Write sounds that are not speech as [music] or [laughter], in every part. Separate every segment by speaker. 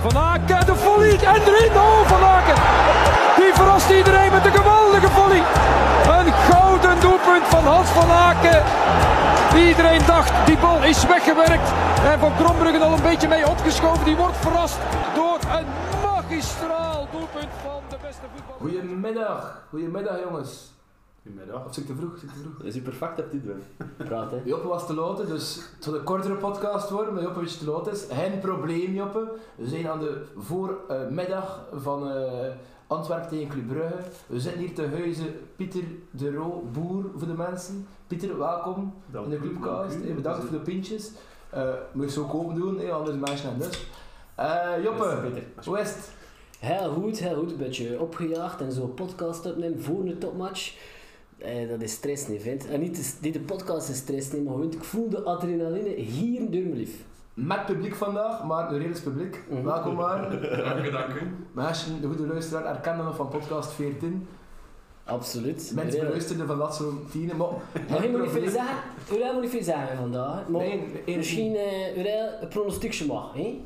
Speaker 1: Van Aken, de volley en erin. Oh, Van Aken. Die verrast iedereen met een geweldige volley. Een gouden doelpunt van Hans van Aken. Iedereen dacht, die bal is weggewerkt. En Van Krombruggen al een beetje mee opgeschoven. Die wordt verrast door een magistraal doelpunt van de beste voetballer.
Speaker 2: Goedemiddag, goedemiddag jongens.
Speaker 3: Goedemiddag.
Speaker 2: Of zit ik te vroeg? Zit ik te vroeg?
Speaker 4: Dat is u perfect op dit moment. Praten.
Speaker 2: Joppe was te laat, dus het zal een kortere podcast worden, maar Joppe een beetje te laat is. Geen probleem Joppe. We zijn aan de voormiddag van eh, Antwerpen tegen Club Brugge. We zitten hier te huizen Pieter de Roo, boer voor de mensen. Pieter, welkom
Speaker 3: Dank
Speaker 2: in de
Speaker 3: u,
Speaker 2: clubcast.
Speaker 3: dank u.
Speaker 2: Hey, bedankt voor de pintjes. Eh moet je zo komen doen, hey, anders mensen en dus. Eh,
Speaker 3: Beste
Speaker 2: Joppe,
Speaker 3: Pieter.
Speaker 2: hoe is het?
Speaker 4: Heel goed, heel goed. Een beetje opgejaagd en zo podcast opnemen voor een topmatch. Eh, dat is stress niet, vindt. En niet de, s- niet de podcast is stress niet, maar gewoon, ik voel de adrenaline hier door mijn lief.
Speaker 2: Met publiek vandaag, maar een redelijk publiek.
Speaker 4: Mhm.
Speaker 2: Welkom
Speaker 3: [laughs]
Speaker 2: maar.
Speaker 3: Dank u, dank u.
Speaker 2: Mensen, de goede luisteraar herkennen nog van podcast 14.
Speaker 4: Absoluut.
Speaker 2: Mensen
Speaker 4: Heel-
Speaker 2: beluisterden van dat soort tien, maar...
Speaker 4: Maar je moet niet veel zeggen, Urel moet niet veel zeggen vandaag. Maar
Speaker 2: Nee, nee,
Speaker 4: misschien eh, Urel een pronostiekje mag, hè?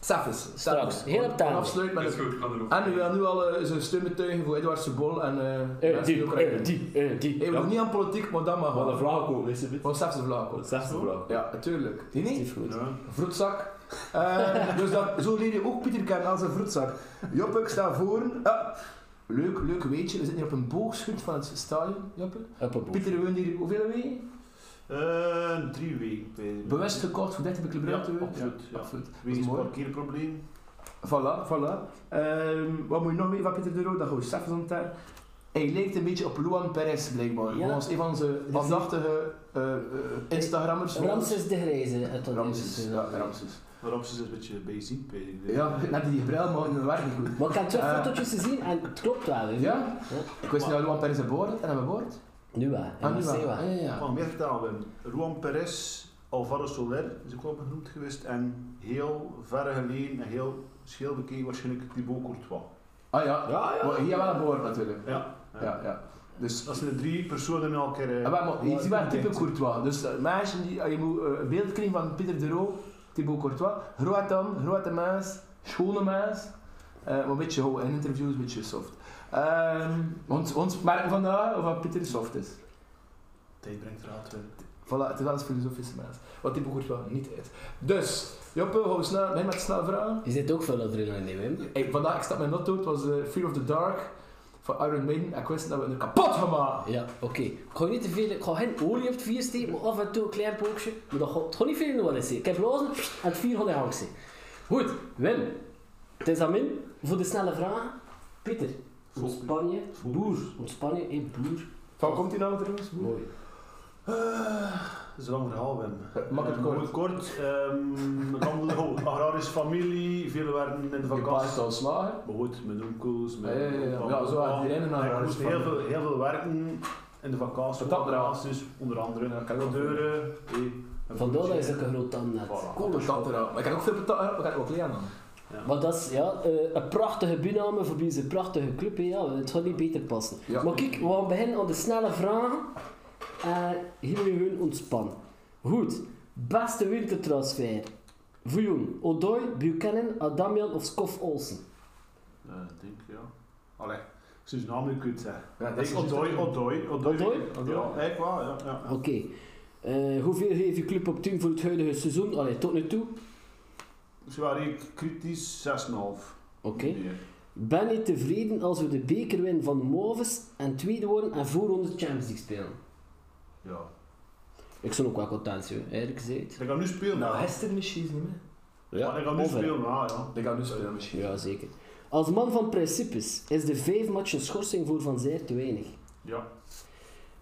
Speaker 2: S'avonds.
Speaker 4: Straks, heel op tijd.
Speaker 2: Afsluit
Speaker 3: Dat
Speaker 2: met
Speaker 3: is
Speaker 2: een...
Speaker 3: goed, ik kan erop.
Speaker 2: En we willen nu al eh, zijn steun betuigen voor Edouard Sebol en... eh
Speaker 4: Eh,
Speaker 2: mensen die
Speaker 4: die,
Speaker 2: ook
Speaker 4: eh,
Speaker 2: krijgen.
Speaker 4: die, eh, die.
Speaker 2: Hey, we doen niet aan politiek, maar dat mag
Speaker 5: Wat
Speaker 2: wel.
Speaker 5: een vraag ook, wist je het?
Speaker 2: Van Stefse Vlaak ook.
Speaker 5: Wat zegt de vraag?
Speaker 2: Ja, natuurlijk. Zie je
Speaker 4: Die
Speaker 2: niet?
Speaker 4: is goed.
Speaker 3: Ja.
Speaker 2: Vroetzak. Eh, dus dat, zo leer je ook Pieter kennen als een vroetzak. Joppe, ik sta voor. Ah, leuk, leuk weetje. We zitten hier op een boogschut van het stadion, Joppe.
Speaker 4: Hoppaboe.
Speaker 2: Pieter, we woont hier hoeveel weken?
Speaker 3: Eh, drie weken. bij-
Speaker 2: Bewust gekocht voor 30 Club
Speaker 3: Ja,
Speaker 2: Brugge te worden?
Speaker 3: absoluut. Ja.
Speaker 2: absoluut. Dat is
Speaker 3: Wegens
Speaker 2: mooi.
Speaker 3: parkeerprobleem.
Speaker 2: Voilà, voilà. Ehm, wat moet je nog mee van Pieter de Roo? Dat gaan we straks ontdekken. Hij lijkt een beetje op Luan Perez, blijkbaar.
Speaker 4: Ja. Dus
Speaker 2: Volgens een van onze aandachtige eh, eh, Instagrammers.
Speaker 4: Ramses de eh, Grijze. uit dat
Speaker 2: Ramses,
Speaker 4: eerste.
Speaker 2: ja, Ramses.
Speaker 3: Waarop ze zich een beetje bij ziek bij ik denk.
Speaker 2: Ja, net die bril, maar dat werkt niet goed.
Speaker 4: Maar ik heb twee
Speaker 2: Eh.
Speaker 4: fotootjes gezien en het klopt wel, hè?
Speaker 2: Ja? Ik wist niet dat Luan Perez boord had en hebben boord.
Speaker 4: Nu wel.
Speaker 2: Ah, nu wel.
Speaker 4: NRC
Speaker 2: Ah, ja, ja.
Speaker 3: Maar meer vertalen we hem. Juan Perez, Alvaro Soler is ook wel genoemd geweest. En heel verre geleden en heel scheel bekeken waarschijnlijk Thibaut Courtois.
Speaker 2: Ah ja,
Speaker 5: Ja, ja.
Speaker 2: maar hier wel aan boord natuurlijk.
Speaker 3: Ja.
Speaker 2: Ja, ja. Dus
Speaker 3: Dat zijn de drie personen in elkaar. eh,
Speaker 2: Ah, maar, maar, je ziet wel
Speaker 3: ja,
Speaker 2: type
Speaker 3: ja.
Speaker 2: Courtois. Dus eh, mensen die, eh, je moet eh, een beeld krijgen van Pieter de Roo, Thibaut Courtois. Groot dan, grote mens, schone mens. Eh, maar een beetje hoog in interviews, een beetje soft. Ehm ons, ons merken vandaag of wat Pieter soft is.
Speaker 3: Tijd brengt raad in.
Speaker 2: Voilà, het is wel een filosofische mens. Wat Thibaut Courtois niet is. Dus, Joppe, gaan we snel, beginnen met snel vragen.
Speaker 4: Je zit ook veel adrenaline in, Wim.
Speaker 2: Hey, vandaag, ik stap mijn auto, het was eh, Fear of the Dark van Iron Maiden. En Ik wist dat we er kapot gaan maken.
Speaker 4: Ja, oké. Ik ga niet te veel, ik ga geen olie op het vuur steken, maar af en toe een klein pookje. Maar dat gaat, het gaat niet veel in de orde zijn. Ik heb blazen en het vuur gaat in gang zijn. Goed, Wim. Het is aan min voor de snelle vragen. Pieter,
Speaker 3: Focus.
Speaker 4: Spanje, boer. Spanje, een boer.
Speaker 2: Van komt die nou trouwens?
Speaker 4: Mooi.
Speaker 3: Dat is een lang verhaal, Wim.
Speaker 2: Maak het kort.
Speaker 3: Goed kort. ehm, landelijk, agrarische familie, veel waren in de
Speaker 2: Je paard is
Speaker 3: vakantie.
Speaker 2: al slagen.
Speaker 3: Maar goed, mijn onkels,
Speaker 2: Ja,
Speaker 3: mijn
Speaker 2: ja, ja, ja. ja zo uit de rennen naar
Speaker 3: Ik
Speaker 2: huis.
Speaker 3: moest heel veel, heel veel werken in de vakantie.
Speaker 2: Wat dat
Speaker 3: vakanties, onder andere.
Speaker 2: Ja,
Speaker 3: Ja,
Speaker 2: kan ik ook
Speaker 3: deuren. hé, een
Speaker 4: Vandaar dat je
Speaker 3: broodje.
Speaker 4: ook een groot tand hebt.
Speaker 3: Voilà.
Speaker 2: Cool, dat eraan. Maar ik heb ook veel betaald, maar ik heb ook kleren aan.
Speaker 4: Maar dat is ja, eh, een prachtige bename voor deze prachtige club. hè. Ja, het gaat niet beter passen.
Speaker 2: Ja.
Speaker 4: Maar kijk, we gaan beginnen aan de snelle vragen. En hier moet je gewoon ontspannen. Goed, beste wintertransfer. Vujon, Odoi, Buchanan, Adamian of Skof Olsen?
Speaker 3: Ja, ik denk ja. Allee, sinds naam ik het zeggen.
Speaker 2: Ja, dat is
Speaker 3: Ik Odoi,
Speaker 2: juist-
Speaker 3: Odoi, Odoi.
Speaker 4: Odoi?
Speaker 3: Ja,
Speaker 2: Odoi.
Speaker 3: ik wel, ja. ja.
Speaker 4: Oké. Eh, hoeveel geeft je club op 10 voor het huidige seizoen? Allee, tot nu toe.
Speaker 3: Ze waren ik kritisch 6,5.
Speaker 4: Oké.
Speaker 3: Nee.
Speaker 4: Ben je tevreden als we de beker winnen van Moves en tweede worden en voorronde Champions League spelen?
Speaker 3: Ja.
Speaker 4: Ik zou ook wel content zijn, eigenlijk gezegd.
Speaker 3: Ik ga nu spelen.
Speaker 2: Nou,
Speaker 3: hè.
Speaker 2: Hester misschien is niet meer.
Speaker 3: Ja, ik ga nu
Speaker 4: of wel?
Speaker 3: spelen, ja, ja.
Speaker 2: Die gaan nu spelen misschien.
Speaker 4: Ja, zeker. Als man van principes is de vijf matchen schorsing voor Van Zijr te weinig.
Speaker 3: Ja.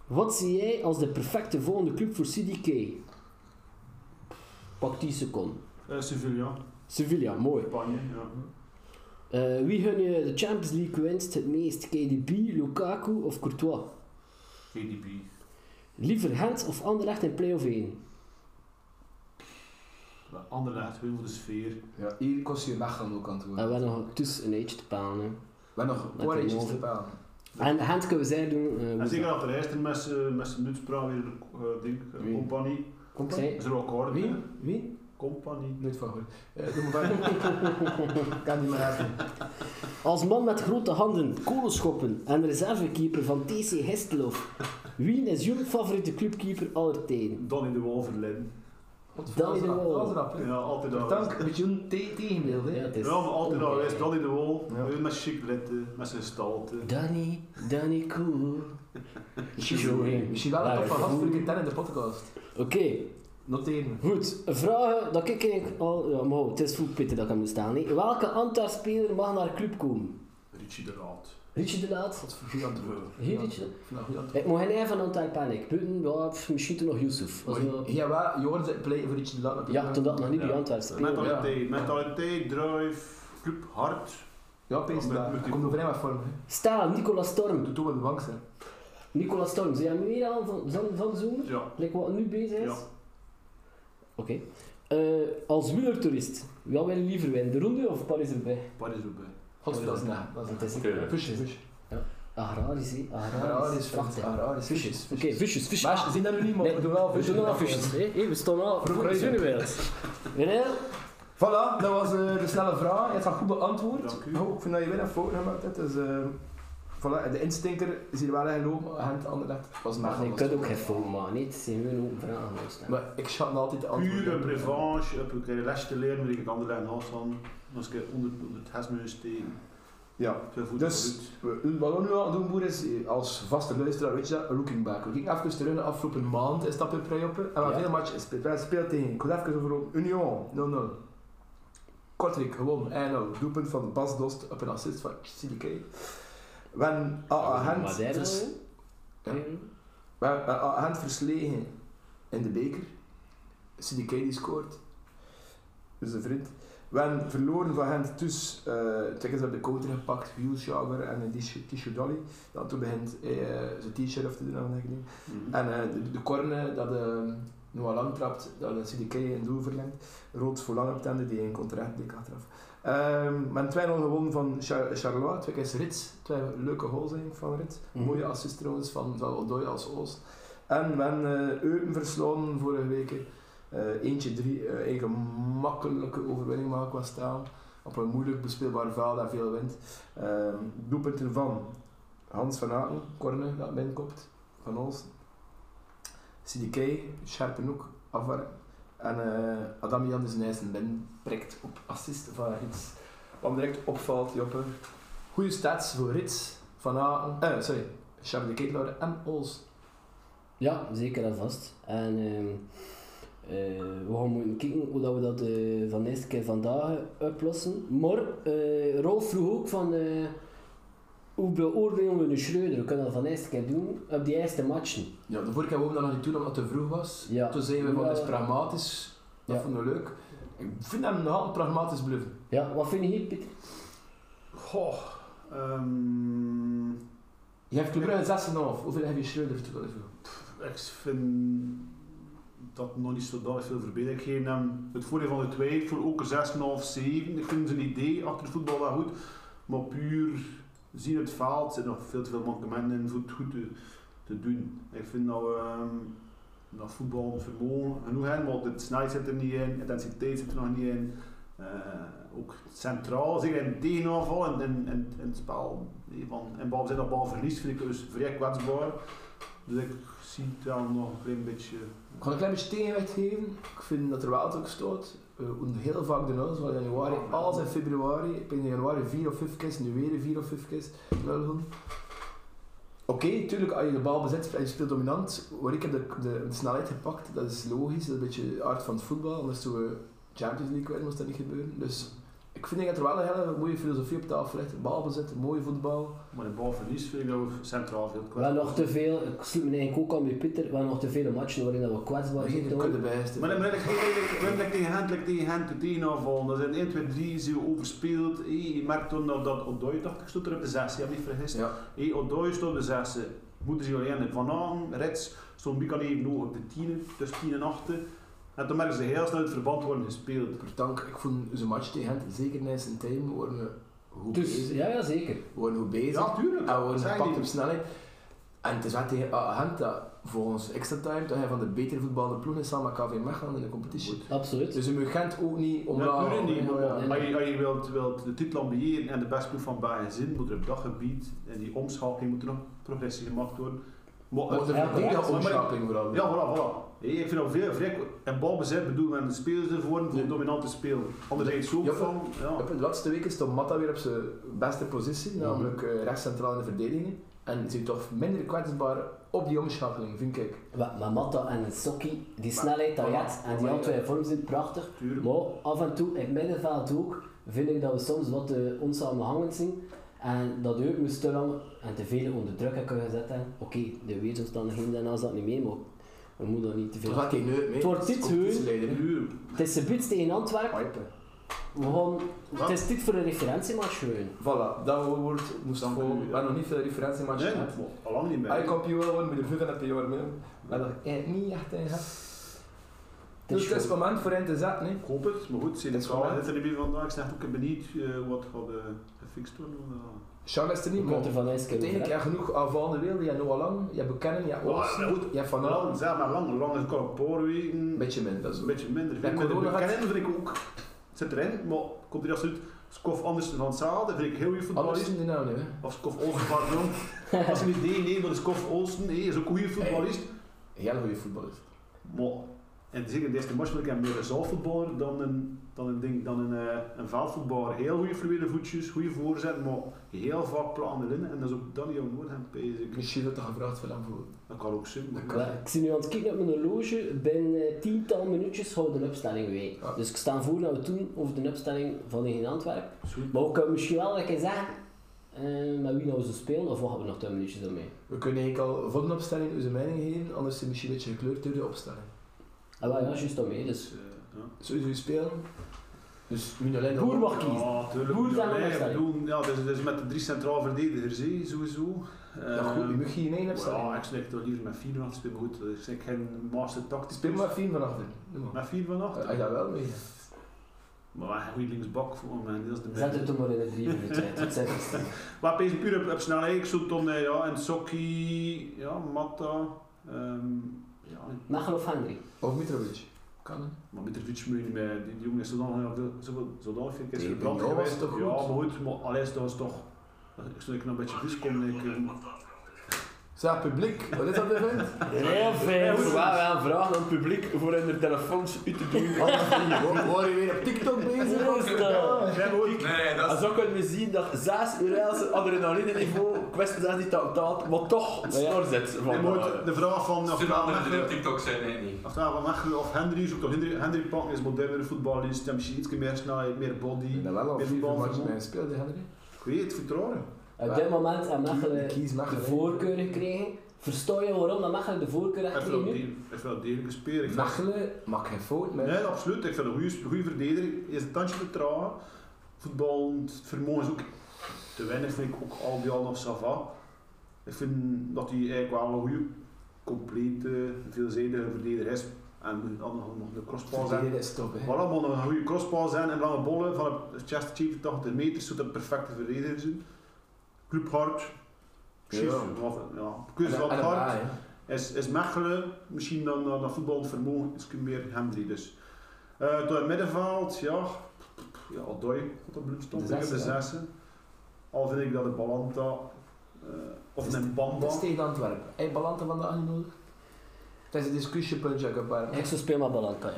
Speaker 4: Wat zie jij als de perfecte volgende club voor CDK? Pak 10 seconden.
Speaker 3: Eh, Sevilla,
Speaker 4: Sevilla, mooi.
Speaker 3: Spanje, ja.
Speaker 2: Mhm.
Speaker 4: Eh, wie gun je de Champions League winst het meest? KDB, Lukaku of Courtois?
Speaker 3: KDB.
Speaker 4: Liever Gent of Anderlecht in play-off 1?
Speaker 3: Anderlecht, heel de sfeer.
Speaker 2: Ja, Eh, hier kost je een weg gaan ook aan toe.
Speaker 4: En we hebben nog tussen een eentje te palen.
Speaker 2: We
Speaker 4: hè.
Speaker 2: hebben nog
Speaker 4: Met
Speaker 2: oranges
Speaker 4: de
Speaker 2: te palen.
Speaker 4: En Gent kunnen we zij doen. eh,
Speaker 2: dus
Speaker 3: En zeker achter Eisteren met zijn nutspraak weer een eh, ding, een
Speaker 2: Wie?
Speaker 3: compagnie.
Speaker 4: Zij-
Speaker 3: Is er wel akkoord?
Speaker 2: Wie?
Speaker 3: hè?
Speaker 2: Wie?
Speaker 3: Compagnie.
Speaker 2: Nooit van gehoord. Eh, doe maar verder. [laughs] kan niet meer hebben.
Speaker 4: Als man met grote handen, kolenschoppen en reservekeeper van TC Hesteloof. Wie is jullie favoriete clubkeeper aller tijden?
Speaker 3: Donnie de Wolverlin.
Speaker 4: Danny de Wol.
Speaker 2: Dat is rap, hè.
Speaker 3: Ja, altijd al.
Speaker 2: Dank, een beetje een te- tegenbeeld,
Speaker 4: Ja,
Speaker 2: hè.
Speaker 4: het is
Speaker 3: Ja, maar altijd al geweest. Donnie de Wol.
Speaker 2: Ja.
Speaker 3: Met chic letten, met zijn stalte.
Speaker 4: Danny, Danny Cool. Showing.
Speaker 2: Misschien eh, wel een
Speaker 4: Waar
Speaker 2: top van gast
Speaker 4: voel-
Speaker 2: voor ik het in de podcast.
Speaker 4: Oké,
Speaker 2: Noteren.
Speaker 4: goed. Vragen dat ik eigenlijk al... Ja, maar het is voetpitten dat ik hem moet staan. hè. Welke Antwerp-speler mag naar club komen?
Speaker 3: Richie de Raad.
Speaker 4: Richie de Laat?
Speaker 2: Wat voor goed antwoord.
Speaker 4: Hier, Richie?
Speaker 2: Vandaag goed antwoord.
Speaker 4: Ik moet geen één van Antwerp panic. Putten, ja, pff, misschien toen nog Yusuf. Als we-
Speaker 2: Ja, wel, je hoorde play voor iets te laat.
Speaker 4: Ja, toen dat nog niet bij Antwerp speelde.
Speaker 3: Mentaliteit. Mentaliteit, drive, club, hard.
Speaker 2: Ja, pees
Speaker 3: Met-
Speaker 2: daar.
Speaker 3: met die-
Speaker 2: Komt overeen met vorm, hè.
Speaker 4: Staal, Nicolas Storm.
Speaker 2: Doe toe een bank, hè.
Speaker 4: Nicolas Storm, zijn jij meer aan van, van, van zomer?
Speaker 3: Ja.
Speaker 4: Like wat nu bezig is?
Speaker 3: Ja.
Speaker 4: Oké. Eh, als wielertoerist, wat wil je liever winnen? De Ronde of Paris-Roubaix?
Speaker 3: Paris erbij.
Speaker 2: God, dat is na. Dat is
Speaker 4: Het is een
Speaker 5: Oké.
Speaker 2: Fusjes, fusjes.
Speaker 4: agrarisch, hè? Agrarisch.
Speaker 2: Agrarisch,
Speaker 4: Wacht,
Speaker 2: fusjes.
Speaker 4: hè.
Speaker 2: Agrarisch, fusjes.
Speaker 4: Oké, visjes, visjes.
Speaker 2: Maar ze zien dat nu niet, maar we doen wel
Speaker 4: We
Speaker 2: fusjes.
Speaker 4: doen al visjes, hè? Hé, We staan al
Speaker 2: Vroeg
Speaker 4: voor de
Speaker 2: rijden.
Speaker 4: zonnewereld. René?
Speaker 2: Voilà, dat was eh, de snelle vraag. Je hebt dat goed beantwoord.
Speaker 3: Dank u.
Speaker 2: Oh, ik vind dat je weer een foto gemaakt hebt. Dus, eh, voilà, de instinker is hier wel ingelopen. En het andere net was maar
Speaker 4: Je kunt ook geen foto maken, niet? Het zijn hun open vragen. dus, hè.
Speaker 2: Maar ik schat me altijd de antwoorden.
Speaker 3: Pure revanche, heb ik een les te leren, maar ik kan de lijn afstaan. Als ik onder onder het hesmeus steken.
Speaker 2: Ja.
Speaker 3: Twee voeten
Speaker 2: Dus,
Speaker 3: vooruit.
Speaker 2: we- wat we nu aan het doen, boer, is eh, als vaste luisteraar, weet je dat, looking back. We gingen even terug de afgelopen maand, is dat weer vrij op. En we hebben
Speaker 4: Ja.
Speaker 2: veel matchen gespeeld. Wij spelen tegen, ik wil even overlopen, Union, 0-0. Kortrijk, gewoon, 1-0. Doelpunt van Bas Dost op een assist van Sidikei. We hebben AA
Speaker 4: Maar
Speaker 2: Gent
Speaker 4: daar dan,
Speaker 2: vers-
Speaker 4: hè?
Speaker 2: Ja. we hebben AA Gent verslegen in de beker. Sidikei die scoort. Dus een vriend. We hebben verloren van Gent dus eh tickets op de counter gepakt, Wielsjager en een t-shirt- t-shirt Dolly. Dan toen begint hij eh, zijn t-shirt af te doen en wat ik denk.
Speaker 3: Mhm.
Speaker 2: En eh, de, de corner dat eh Noah Lang trapt, dat eh, CDK een doel verlengt. Rood voor Lang op het einde, die een contract dik achteraf. Ehm met 2-0 gewonnen van Char- Charleroi, twee keer Rits. Twee leuke goals eigenlijk van Rits.
Speaker 4: Mhm.
Speaker 2: Mooie assist trouwens van zowel Odoi als Oost. En we hebben eh Eupen verslagen vorige week. Eh, eentje drie, eh, een gemakkelijke overwinning maken qua staan. Op een moeilijk bespeelbaar veld en veel wind. Ehm doelpunten van Hans van Aken, corner dat binnenkomt, van ons. CDK, Sharpenhoek, Avar. En eh Adam Jan is een ijs en ben prikt op assist van Rits. Wat me direct opvalt, Joppe. Goede stats voor Rits, Van Aken, eh, sorry, Charles de Ketelaar en Ols.
Speaker 4: Ja, zeker en vast. En ehm, eh, we gaan moeten kijken hoe dat we dat eh, van de eerste keer vandaag oplossen. Maar eh, Rolf vroeg ook van eh, hoe beoordelen we nu Schreuder? We kunnen dat van de eerste keer doen op die eerste matchen.
Speaker 2: Ja, de vorige keer wouden we dat nog niet doen omdat het te vroeg was.
Speaker 4: Ja.
Speaker 2: Toen zeiden we van,
Speaker 4: Ja.
Speaker 2: het is pragmatisch. Dat
Speaker 4: Ja.
Speaker 2: vonden we leuk. Ik vind hem nogal pragmatisch bluffen.
Speaker 4: Ja, wat vind je hier, Piet?
Speaker 3: Goh. ehm,
Speaker 2: Je hebt Club Brugge 6,5. Hoeveel heb je Schreuder toegevoegd?
Speaker 3: ik vind dat nog niet zo duidelijk veel verbeterd. Ik geef hem het voordeel van de twijfel, ook een 6,5, 7. Ik vind zijn idee achter het voetbal wel goed. Maar puur zien het veld, er zitten nog veel te veel mankementen in voor het goed te, te doen. Ik vind dat we ehm, dat voetbal een vermogen genoeg hebben, want de snelheid zit er niet in, intensiteit zit er nog niet in. Eh, ook centraal, zeker in tegenaanval en in, in, in het spel. nee, Van, in balbezit dat balverlies vind ik dus vrij kwetsbaar. Dus ik zie het wel nog een klein beetje.
Speaker 2: Ik ga een klein beetje tegenwicht geven. Ik vind dat er wel ook stoot. Eh, en heel vaak de nul, zowel in januari als in februari. Ik ben in januari 4 of 5 keer, nu weer 4 of 5 keer. nul doen. Oké, tuurlijk, als je de bal bezit en je speelt dominant. Maar ik heb de, de, de snelheid gepakt, dat is logisch. Dat is een beetje de aard van het voetbal. Anders doen we Champions League winnen, moest dat niet gebeuren. Dus ik vind dat er wel een hele mooie filosofie op tafel ligt. Balbezit, mooie voetbal.
Speaker 3: Maar de balverlies vind ik dat we centraal veel
Speaker 4: We hebben
Speaker 3: kwetsbaar
Speaker 4: nog te veel, ik sluit me eigenlijk ook aan bij Pieter, we hebben nog te veel matchen waarin dat we kwetsbaar
Speaker 2: Geen
Speaker 4: zitten.
Speaker 2: kudde
Speaker 4: hoor.
Speaker 2: bij
Speaker 3: Maar dan ben ik eigenlijk tegen hand, like tegen hand de tegenaanval. Dat zijn 1, 2, 3, ze overspeeld. Hé, Je merkt toen dat, dat Odoi, dacht ik, stond er op de 6, je hebt niet vergist.
Speaker 2: Ja.
Speaker 3: Hé, Odoi stond op de 6. Moeten ze alleen Van Agen, Rits, stond Mika even hoog op de 10, tussen 10 en 8. En toen merken ze heel snel het verband worden gespeeld.
Speaker 2: Dank, ik vond zijn match tegen hen, zeker na zijn time, worden we goed
Speaker 4: Dus,
Speaker 2: bezig.
Speaker 4: ja, ja, zeker.
Speaker 2: We worden goed bezig.
Speaker 4: Oh,
Speaker 3: Ja, tuurlijk.
Speaker 2: en we
Speaker 3: Dat
Speaker 2: worden
Speaker 3: zei
Speaker 2: gepakt
Speaker 3: die.
Speaker 2: op snelheid. En het is wel tegen ah, Gent dat volgens extra time toch een van de betere voetballende ploegen is samen KV Mechelen in de competitie.
Speaker 4: Absoluut.
Speaker 2: Dus ze moet Gent ook niet om
Speaker 3: Ja,
Speaker 2: daar-
Speaker 3: natuurlijk niet.
Speaker 2: Ja, ja.
Speaker 4: En-
Speaker 3: Als je, als je wilt, wilt de titel ambiëren en de beste ploeg van Bayern zijn, moet er op dat gebied, in die omschakeling, moet er nog progressie gemaakt worden. Maar,
Speaker 2: Maar de
Speaker 4: Ja,
Speaker 2: verdedigende
Speaker 3: maar-
Speaker 2: omschakeling vooral.
Speaker 3: Ja, voilà, voilà. Hey, ik vind dat veel vrij en balbezit bedoelen en de spelers ervoor worden voor
Speaker 2: Ja.
Speaker 3: een dominante speler. Anderzijds zo
Speaker 2: Ja,
Speaker 3: van, ja.
Speaker 2: Op de laatste week is Tom Matta weer op zijn beste positie,
Speaker 3: Mhm.
Speaker 2: namelijk eh, rechts centraal in de verdediging. En is hij toch minder kwetsbaar op die omschakeling, vind ik.
Speaker 4: Maar, maar Matta en Sokki, die snelheid dat je hebt en die
Speaker 2: maar-
Speaker 4: altijd in vorm zijn, prachtig.
Speaker 3: Tuurlijk.
Speaker 4: Maar af en toe, in het middenveld ook, vind ik dat we soms wat eh, onsamenhangend zijn. En dat ook moest te lang en te veel onder druk hebben gezet. hebben. Oké, de weersomstandigheden daarna zat niet mee, maar we moeten daar niet te
Speaker 2: Daar
Speaker 4: veel...
Speaker 2: gaat hij nooit mee.
Speaker 4: Het wordt
Speaker 2: Dat is
Speaker 4: dit,
Speaker 2: competitieleider, hè.
Speaker 3: Nu,
Speaker 4: Het is de bits tegen Antwerpen.
Speaker 2: Pijpen.
Speaker 4: We gaan... Het is dit voor een referentiematch gewoon.
Speaker 2: Voilà, dat woord moest
Speaker 3: Dan
Speaker 2: gewoon...
Speaker 3: kun je-
Speaker 2: We hebben nog niet veel referentiematchen
Speaker 3: nee,
Speaker 2: gehad.
Speaker 3: maar al lang niet meer.
Speaker 2: Als Ah, ik kampioen wil worden, moet je vijf en een paar jaar mee. Maar dat ik niet echt in heb.
Speaker 4: Het
Speaker 2: Dus
Speaker 4: is
Speaker 2: het is
Speaker 4: gewoon-
Speaker 2: moment voor hen te zetten. hè.
Speaker 3: Ik hoop het, maar goed, ze
Speaker 2: Dat
Speaker 3: zijn
Speaker 2: is
Speaker 3: wel
Speaker 2: wel,
Speaker 3: net er niet meer vandaag. Ik ben ook benieuwd eh, wat gaat eh, gefixt worden. eh.
Speaker 2: Charles is er niet,
Speaker 4: Je
Speaker 2: maar
Speaker 4: kunt er van eens kunnen
Speaker 2: uiteindelijk heb je genoeg aanvallende wilde. Je hebt Noah Lang, je hebt Buchanan, je hebt Olsen,
Speaker 3: Maar goed,
Speaker 2: je hebt Van
Speaker 3: lang,
Speaker 2: Allen.
Speaker 3: zeg maar lang. Lang is het al een paar weken.
Speaker 2: eh, Een beetje minder, dat is
Speaker 3: Een
Speaker 2: ook.
Speaker 3: beetje minder.
Speaker 2: Bij
Speaker 3: Veel minder.
Speaker 2: corona gaat-
Speaker 3: Kennen vind ik ook. Het zit erin, maar komt hier absoluut. Skof Andersen van Zaal, dat vind ik heel goed voetballist.
Speaker 2: Andersen die nou nu, hè.
Speaker 3: Of Skof Olsen, pardon. Als je niet nee, nee, maar Skof Olsen nee, is ook een goede voetballist.
Speaker 2: Een hele goede voetballist.
Speaker 3: Maar en zeker de eerste match vind ik hem meer een zaalvoetballer dan een, dan een, ding, dan een, eh, een veldvoetballer. Heel goede fluïde voetjes, goede voorzet, maar heel vaak plannen erin. En dat is ook dan jouw nood hem bezig.
Speaker 2: Misschien dat er gevraagd veel aan voor.
Speaker 3: Dat kan ook zijn. maar-
Speaker 4: Ja, ik zie nu aan het kijken op mijn horloge. Binnen eh, tiental minuutjes houden de opstelling wij.
Speaker 2: Ja.
Speaker 4: Dus ik sta voor dat we het doen over de opstelling van in Antwerpen.
Speaker 3: Zo.
Speaker 4: Maar we kunnen misschien wel lekker zeggen eh, met wie nou ze spelen of wachten we nog 10 minuutjes daarmee.
Speaker 2: We kunnen eigenlijk al van de opstelling onze mening geven, anders is het misschien een beetje gekleurd door de opstelling.
Speaker 4: En Ah, wel ja, juist daarmee.
Speaker 3: Dus,
Speaker 4: Dus
Speaker 3: eh, ja.
Speaker 2: Sowieso spelen. Dus nu alleen
Speaker 4: Boer mag kiezen.
Speaker 3: Ja, tuurlijk.
Speaker 4: Hoe is dat
Speaker 3: Ja,
Speaker 4: nou
Speaker 3: nee,
Speaker 4: opstelling?
Speaker 3: bedoel, ja, dus, dus met de drie centraal verdedigers, hè, sowieso.
Speaker 2: Ja, goed, je
Speaker 3: Ehm,
Speaker 2: mag geen één opstelling.
Speaker 3: ja, ik slik toch liever met vier af te spelen, maar goed. Ik slik geen master tactisch.
Speaker 2: Speel maar vier van achter.
Speaker 3: Met vier van achter.
Speaker 2: Als je dat wel mee.
Speaker 3: Maar wij hebben een goede linksbak voor me, en dat is de
Speaker 4: zet
Speaker 3: beste.
Speaker 4: het toen maar in de 3 minuten uit. Het zijn er tien.
Speaker 3: Maar opeens puur op, op snelheid, ik zoek dan eh, ja, en Sokki, ja, Matta, ehm ja,
Speaker 4: Mechel of Henry?
Speaker 2: Of Mitrovic. Kan hè.
Speaker 3: maar Mitrovic moet je niet meer, die, die jongen is zodanig heel veel- zoveel- zodanig veel keer
Speaker 2: Nee,
Speaker 3: verbrand
Speaker 2: Pignon was
Speaker 3: geweest.
Speaker 2: toch
Speaker 3: Ja, maar
Speaker 2: goed? Ah,
Speaker 3: goed, maar alles dat was toch, ik zou ik nog een beetje vis komen, ik, eh,
Speaker 2: Zeg, publiek, wat is dat weer vindt?
Speaker 5: Heel veel. Wij wel vragen aan het publiek voor in de telefoons uit te doen.
Speaker 2: Hoor je weer op TikTok bezig?
Speaker 4: Hoe is dat?
Speaker 5: Ja, maar goed. En zo kunnen we zien dat 6 URL's adrenaline niveau, ik wist zelfs niet dat het daalt, maar toch het snor zit. Van,
Speaker 3: Nee, maar goed, de vraag van of
Speaker 6: Zullen
Speaker 3: Daan
Speaker 6: anderen er op
Speaker 3: Mechelen-
Speaker 6: TikTok zijn? Nee, niet.
Speaker 3: of Daan van Mechelen of Hendry, zoek toch Hendry, Hendry Pakken is modernere voetballist, die heeft misschien iets meer snelheid, meer body,
Speaker 2: Ik ben wel al
Speaker 3: meer
Speaker 2: vier matches
Speaker 3: voetbalvermogen.
Speaker 2: mee gespeeld, Henry.
Speaker 3: Ik weet het, vertrouwen.
Speaker 4: Op dit moment heeft Mechelen
Speaker 2: Ik kies Mechelen.
Speaker 4: de voorkeur gekregen. Versta je waarom dat Mechelen de voorkeur heeft
Speaker 3: Hij heeft wel
Speaker 4: gekregen? nu?
Speaker 3: degelijk- hij heeft wel degelijke speler. Ik vind-
Speaker 2: Mechelen maakt geen fout met.
Speaker 3: Nee, absoluut. Ik vind een goede verdediger. Hij is een tandje te traag. Voetbal, het vermogen is ook te weinig, vind ik ook al bij al nog Sava. Ik vind dat hij eigenlijk wel een goede, complete, veelzijdige verdediger is. En moet dan nog nog een crossbal zijn.
Speaker 2: Verdedigen is top, hè.
Speaker 3: Voilà, moet nog een goede crossbal zijn en lange bollen van een chest 87 meter, zodat een perfecte verdediger zijn. Club hard. Precies.
Speaker 2: Ja.
Speaker 3: Wat- Ja.
Speaker 2: En-
Speaker 3: Keuze van
Speaker 2: en
Speaker 3: het
Speaker 2: een
Speaker 3: hart.
Speaker 2: baai, hè.
Speaker 3: Is, is Mechelen misschien dan dan dat voetballend vermogen iets meer Hendry dus. Eh door het middenveld, ja, ja Odoi, wat een bloedstond,
Speaker 4: De
Speaker 3: ik heb de
Speaker 4: zesde, hè?
Speaker 3: zessen. Al vind ik dat de Balanta, eh, of
Speaker 2: Is
Speaker 3: een Bamba,
Speaker 2: Dat is tegen Antwerpen. Heb je Balante vandaag niet nodig? Dat is een discussiepuntje, ik heb een
Speaker 4: Ik zou spelen met Balanta, ja.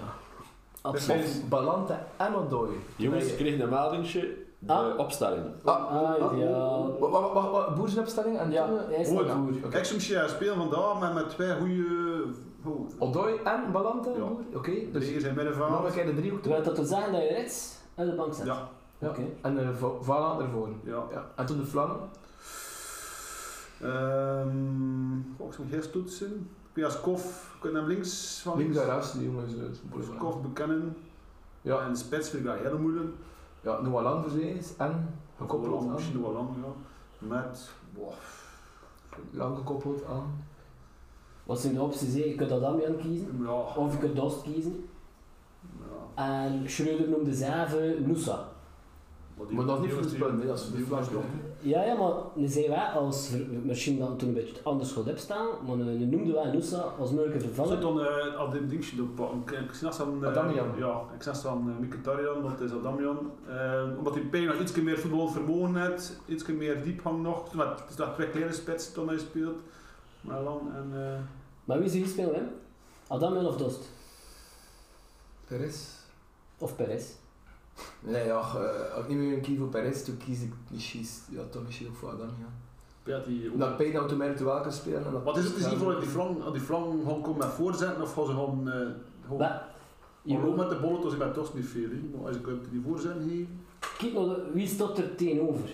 Speaker 4: Absoluut.
Speaker 2: Of Balante en Odoi.
Speaker 5: Jongens, ik
Speaker 2: Nee.
Speaker 5: kreeg een meldingje, de
Speaker 4: Ah.
Speaker 5: opstelling.
Speaker 2: Ah,
Speaker 4: Ah, ja.
Speaker 2: Wat- wat- wat- wat- Boersnapstelling en
Speaker 4: Ja,
Speaker 2: toen, eh,
Speaker 4: hij is
Speaker 3: Goed.
Speaker 4: dat goed.
Speaker 2: Oké.
Speaker 3: Ik zou misschien spelen vandaag met, met twee goede
Speaker 2: Dus-
Speaker 3: oh,
Speaker 2: Odoi en Balante?
Speaker 3: Ja.
Speaker 2: Boer? Oké, dus
Speaker 3: verdedigers in het
Speaker 2: nog een
Speaker 3: middenveld.
Speaker 2: keer de driehoek
Speaker 4: Terwijl
Speaker 2: terug.
Speaker 4: dat wil zeggen dat je rechts uit de bank zet.
Speaker 3: Ja.
Speaker 2: Ja.
Speaker 4: Oké.
Speaker 2: En eh Va- Valaan ervoor.
Speaker 3: Ja.
Speaker 2: Ja. En toen de Vlammen.
Speaker 3: Ehm, goh, ik zou eerst toetsen. Piaskov, kun je hem links van
Speaker 2: Links daaruit, die jongens. eh, het probleem.
Speaker 3: Piaskov bekennen.
Speaker 2: Ja.
Speaker 3: En spits vind ik dat heel moeilijk.
Speaker 2: Ja, Noah Lang voor zij is en gekoppeld
Speaker 3: Lang,
Speaker 2: aan.
Speaker 3: Misschien nog wel lang, ja. Met. Wow.
Speaker 2: Lang gekoppeld aan.
Speaker 4: Wat zijn de opties? hè? Je kunt Adamian kiezen,
Speaker 3: Ja.
Speaker 4: of je kunt Dost kiezen.
Speaker 3: ja.
Speaker 4: En Schreuder noemde zelf eh, Nusa.
Speaker 3: die-
Speaker 2: Maar dat is niet
Speaker 3: die-
Speaker 2: voor het
Speaker 3: die-
Speaker 2: spelen, hè, dat is
Speaker 3: die-
Speaker 2: voor de
Speaker 3: die-
Speaker 2: vlak.
Speaker 4: Ja, ja, maar nu zijn wij als, misschien dan toen een beetje anders goed opstaan, maar nu noemden wij Nusa als mogelijke
Speaker 3: Zit
Speaker 4: vervanger.
Speaker 3: dan eh, al dit dingetje erop. Ik- Ik snap dan. eh,
Speaker 2: Adamian.
Speaker 3: Ja, ik snap dan uh, Mikatarian, dat is Adamian. Eh, omdat hij bijna nog iets meer voetbalvermogen heeft, iets meer diepgang nog. Toen had- Het is dat twee kleine spits toen hij speelt. Maar dan en. eh,
Speaker 4: Maar wie zou hier spelen, hè? Adamian of Dost?
Speaker 2: Perez?
Speaker 4: Of Perez?
Speaker 2: Nee, ja, eh, als ik niet meer een kies voor Perez, toen kies ik misschien, ja, toch misschien ook voor Adam, ja.
Speaker 3: ja, die,
Speaker 2: Omdat Pijn nou te merken welke spelen en dat...
Speaker 3: Wat is het? Is die voor die flang, die flang gaan komen met voorzetten of gaan ze gaan. eh, gewoon-
Speaker 4: Maar,
Speaker 3: Je loopt
Speaker 4: Jeroen,
Speaker 3: met de bollen, dus ik ben toch niet veel. hè. Maar als ik op die voorzet geef,
Speaker 4: kijk nou, de- wie staat er tegenover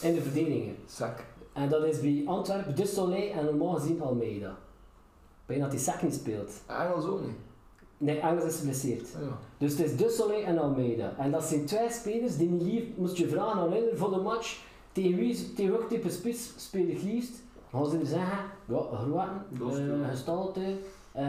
Speaker 4: in de verdedigingen?
Speaker 2: Zak.
Speaker 4: En dat is bij Antwerpen, De Soleil en normaal gezien Almeida. Bijna dat die Sack niet speelt.
Speaker 2: Engels ook niet.
Speaker 4: Nee, Engels is geblesseerd.
Speaker 2: Ah, ja.
Speaker 4: Dus het is De Soleil en Almeida. En dat zijn twee spelers die niet lief moest je vragen aan Leider voor de match. Tegen wie, tegen welk type spits speel ik liefst? Dan gaan ze zeggen, ja, groeten,
Speaker 3: Dost, ja.
Speaker 4: eh, gestalte, eh,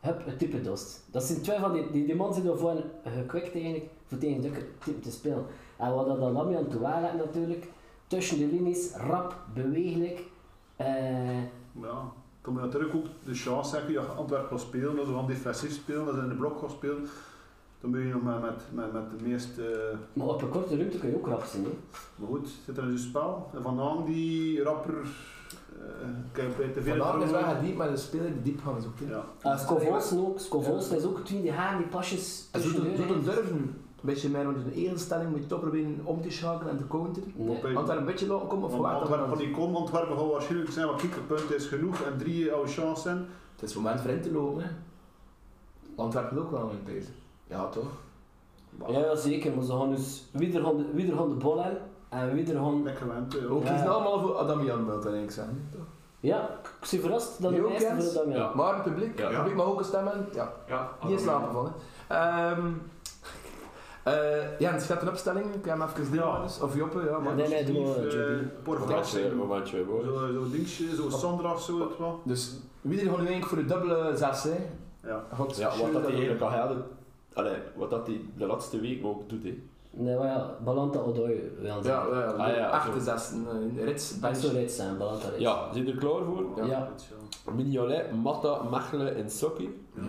Speaker 4: hup, het type dost. Dat zijn twee van die, die, die mannen zijn daarvoor gekwikt eigenlijk, voor tegen dat type te spelen. En wat dat dan aan toe waren natuurlijk, tussen de linies, rap, bewegelijk. eh,
Speaker 3: ja. Toen moet je natuurlijk ook de chance zeggen, ja, Antwerpen gaan spelen, dat ze gaan defensief spelen, dat ze in de blok gaan spelen. Dan moet je nog maar met, met, met de meest... eh,
Speaker 4: maar op een korte ruimte kun je ook rap zijn. hè.
Speaker 3: maar goed, zit er in zijn spel. En Vanaan die rapper... eh ik heb bij te veel...
Speaker 2: Vandaag is wel
Speaker 3: verloren.
Speaker 2: gediend, maar de speler die diepgang zoekt. hè.
Speaker 3: Ja.
Speaker 4: Uh, Scovolsen ook, Scovolsen is ook twintig die haar, die pasjes.
Speaker 2: En zo
Speaker 4: tussendoor,
Speaker 2: te- zo te
Speaker 4: hè.
Speaker 2: durven, een beetje meer, want in de tegenstelling moet je toch proberen om te schakelen en te counteren.
Speaker 4: Nee.
Speaker 3: Oké.
Speaker 2: Want daar een beetje laten komen of
Speaker 3: Want
Speaker 2: waar dan
Speaker 3: Antwerpen
Speaker 2: ook.
Speaker 3: van die kom, Antwerpen gaan waarschijnlijk zijn, maar kijk, een punt is genoeg en drie oude chances.
Speaker 2: Het is moment voor in te lopen. Hè. Antwerpen ook wel in deze. Ja, toch?
Speaker 4: Ja, ja, zeker, maar ze gaan dus wie er gaan de, wie er gaan de bol hebben en wie er gaan...
Speaker 3: Lekker gewend, eh, hè,
Speaker 2: Ook
Speaker 3: joh.
Speaker 4: Ja.
Speaker 2: kiezen allemaal voor Adamian, wil ik denk ik zeggen. toch?
Speaker 4: Ja, ik- ik ben verrast dat
Speaker 2: Die
Speaker 4: de
Speaker 2: ook
Speaker 4: meeste
Speaker 2: kent?
Speaker 4: voor dat
Speaker 5: Ja.
Speaker 4: ja.
Speaker 2: Maar het publiek,
Speaker 5: Ja.
Speaker 2: het publiek mag ook een stem hebben. Ja,
Speaker 5: Ja,
Speaker 2: niet in slaap vallen. Ehm eh Jens, gaat een opstelling? Kan je hem even delen?
Speaker 3: Ja.
Speaker 2: dus? Of Joppe, ja. Maar.
Speaker 4: Nee, nee, doe maar,
Speaker 3: Lief, eh,
Speaker 4: Jordi.
Speaker 5: Momentje,
Speaker 3: Porvassen.
Speaker 5: momentje, hoor.
Speaker 3: Zo- Zo'n dingetje, zo'n Sandra of zo, het wel.
Speaker 2: Dus wie er gewoon nu eigenlijk voor de dubbele zes, hè?
Speaker 3: Ja.
Speaker 2: God,
Speaker 5: Ja, wat dat hij
Speaker 2: dat-
Speaker 5: eigenlijk al hadden. Allee, wat dat hij de laatste week ook doet, hè.
Speaker 4: Nee, maar ja, Balanta Odoi wel.
Speaker 2: Ja, ja,
Speaker 5: Ah, ja,
Speaker 2: achter zes, een rits,
Speaker 4: Dat
Speaker 2: bench.
Speaker 4: zou reeds zijn, Balanta reeds.
Speaker 5: Ja, zijn er klaar voor?
Speaker 2: Ja.
Speaker 4: Ja.
Speaker 5: Mignolet, Matta, Machelen en Sokki.
Speaker 2: Ja.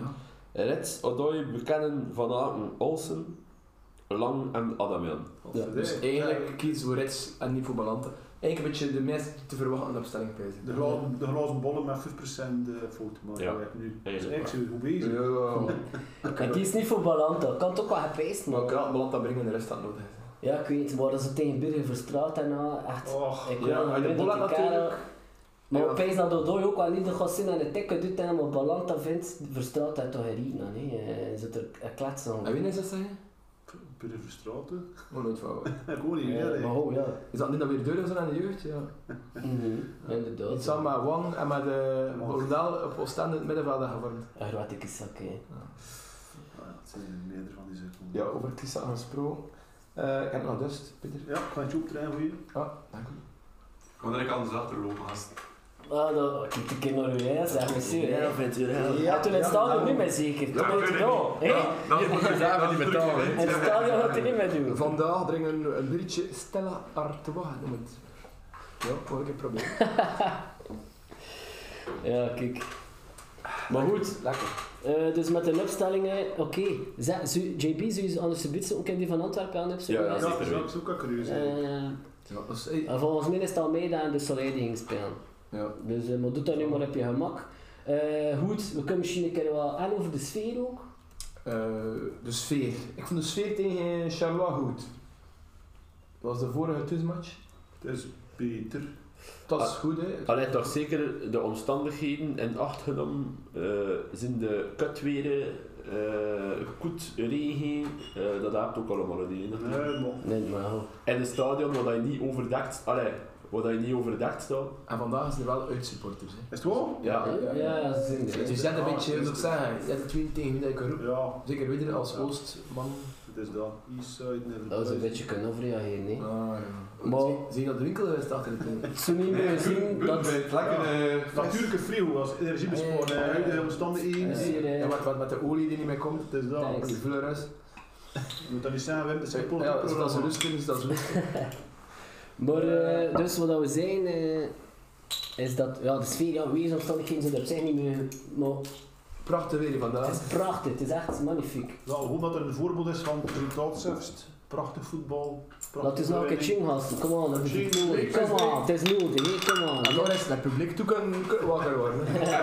Speaker 5: Reds, Odoi, Buchanan, Van Aken, Olsen, Lang en Adamian.
Speaker 4: Ja,
Speaker 2: Dus eigenlijk kiezen we rits en niet voor Balante. Eigenlijk een beetje de meest te verwachten opstelling, pijs ik.
Speaker 3: De, gla de glazen bollen met 5% foto maken
Speaker 5: Ja,
Speaker 3: wij nu. Dus
Speaker 5: eigenlijk
Speaker 3: ik zie hoe bezig.
Speaker 2: Ja,
Speaker 4: [laughs] En die is niet voor Balanta, kan toch wel geprijsd
Speaker 2: maar
Speaker 4: man.
Speaker 2: ik raad Balante brengen de rest aan nodig.
Speaker 4: Ja, ik weet, maar dat ze tegen Birger verstraat en al, echt.
Speaker 3: Och,
Speaker 4: Ik
Speaker 2: ja,
Speaker 4: weet nog
Speaker 2: en de
Speaker 4: niet
Speaker 2: Bolland
Speaker 4: dat die kerel-
Speaker 2: natuurlijk.
Speaker 4: Maar
Speaker 2: Ja.
Speaker 4: ik opeens dat Odoi ook wel niet de gassin en de tikken doet en maar Balanta vindt, verstraat hij toch een riet nog, hè. Hij zit er een klets aan.
Speaker 2: En wie is dat zeggen?
Speaker 3: Pure verstraten.
Speaker 2: Oh, nooit van. wel.
Speaker 3: [laughs] Ik hoor niet
Speaker 4: Ja,
Speaker 3: meer.
Speaker 4: maar
Speaker 3: hè.
Speaker 4: oh, ja.
Speaker 2: Is dat niet dat weer deur is aan de jeugd? Ja.
Speaker 4: Mhm, Inderdaad.
Speaker 2: Niet samen met Wang en met eh
Speaker 3: Wang.
Speaker 2: Oordel op Oostende in het middenveld gevormd.
Speaker 4: Een grote kiszak, hè.
Speaker 3: Ja, Ah, Het zijn meerdere van die seconden.
Speaker 2: Ja, over Tisa gesproken. Eh ik heb nog dust, Pieter.
Speaker 3: Ja, ik ga je opdraaien voor je.
Speaker 2: Ah, dank u.
Speaker 6: Kom er ik anders achterlopen, gast.
Speaker 4: Ah, dat kijk ik in Noorwegen, zeg maar zo. hè.
Speaker 5: Venturel.
Speaker 4: Ja, toen in het stadion niet meer zeker. Toen
Speaker 6: dat
Speaker 4: weet ik
Speaker 6: weet ik
Speaker 4: nog, hè?
Speaker 6: Dat is
Speaker 5: dat is betaald, hè.
Speaker 4: In het stadion had hij niet meer doen.
Speaker 2: Vandaag drinken we een biertje Stella Artois noem het. Ja, ook een probleem.
Speaker 4: Ja, kijk. Maar goed,
Speaker 2: Lekker.
Speaker 4: eh, dus met de opstellingen, oké. Zet- zou- JB, zou je anders gebitsen? Ook in die van Antwerpen aan de opstelling?
Speaker 5: Ja,
Speaker 3: Ja,
Speaker 5: zeker
Speaker 3: dat is wel- dat
Speaker 5: weten.
Speaker 3: is ook een curieus. hè.
Speaker 4: Eh,
Speaker 2: Ja, dus, eh,
Speaker 4: en volgens mij is het Almeida en de Soleil die ging spelen.
Speaker 2: ja.
Speaker 4: Dus eh, maar doe dat nu maar op je gemak. Eh, goed, we kunnen misschien een keer wel aan over de sfeer ook.
Speaker 2: Eh, de sfeer. Ik vond de sfeer tegen Charlois goed. Dat was de vorige thuismatch.
Speaker 3: Het is beter.
Speaker 2: Dat is
Speaker 5: Ah.
Speaker 2: goed, hè.
Speaker 5: Allee, toch zeker de omstandigheden in acht genomen eh, zijn de kutweren, eh goed regen, eh, dat helpt ook allemaal niet. hè.
Speaker 3: Nee, maar
Speaker 4: Nee, maar goed.
Speaker 5: En een stadion waar je niet overdekt, allee, waar je niet overdekt staat.
Speaker 2: En vandaag zijn er wel uitsupporters, hè.
Speaker 3: Is het wel?
Speaker 5: Ja,
Speaker 4: Ja, ja, ze zijn er, hè.
Speaker 2: Dus je zet een
Speaker 3: Ah,
Speaker 2: beetje, hoe moet ik zeggen, je zet het twee tegen wie dat je kan roepen.
Speaker 3: Ja,
Speaker 2: Zeker weten als Oostman.
Speaker 3: het is dat. Eastside, Never
Speaker 4: Dat is een
Speaker 3: Boys.
Speaker 4: beetje kunnen overreageren, nee.
Speaker 2: Ah, ja.
Speaker 4: Maar-
Speaker 2: Zie- Zie je dat de winkel geweest achter de tent?
Speaker 4: Zo [laughs] niet meer
Speaker 2: [laughs]
Speaker 4: gezien dat...
Speaker 3: eh,
Speaker 6: lekker.
Speaker 3: Natuurlijke frio was energiebesparing.
Speaker 2: Eh,
Speaker 3: Huidige
Speaker 2: eh,
Speaker 3: omstandigheden.
Speaker 4: eh,
Speaker 2: Ja, wat, wat met de olie die niet meer komt.
Speaker 3: Het is dat.
Speaker 4: Thanks.
Speaker 2: Die vullerus.
Speaker 3: Je moet dat niet zeggen, Wim, dat is een politiek
Speaker 2: Ja, is dat zo
Speaker 3: programma.
Speaker 2: rustig? Is dat zo rustig?
Speaker 4: Maar eh, dus wat dat we zijn, eh, is dat ja, de sfeer, ja, weersomstandigheden zijn er op zich niet meer. Maar
Speaker 2: Prachtig weer hier vandaag.
Speaker 4: het is prachtig, het is echt magnifiek.
Speaker 3: Nou, gewoon dat er een voorbeeld is van resultaat zegt. Prachtig voetbal. Prachtig
Speaker 4: Dat is nou een
Speaker 3: verleiding.
Speaker 4: ching gasten, kom on, dat is
Speaker 3: Ching,
Speaker 4: nodig.
Speaker 3: leuk,
Speaker 4: Kom on, het is nodig, hè, kom on.
Speaker 2: En dan is het naar het publiek toe kunnen kunnen wakker worden.
Speaker 4: [laughs]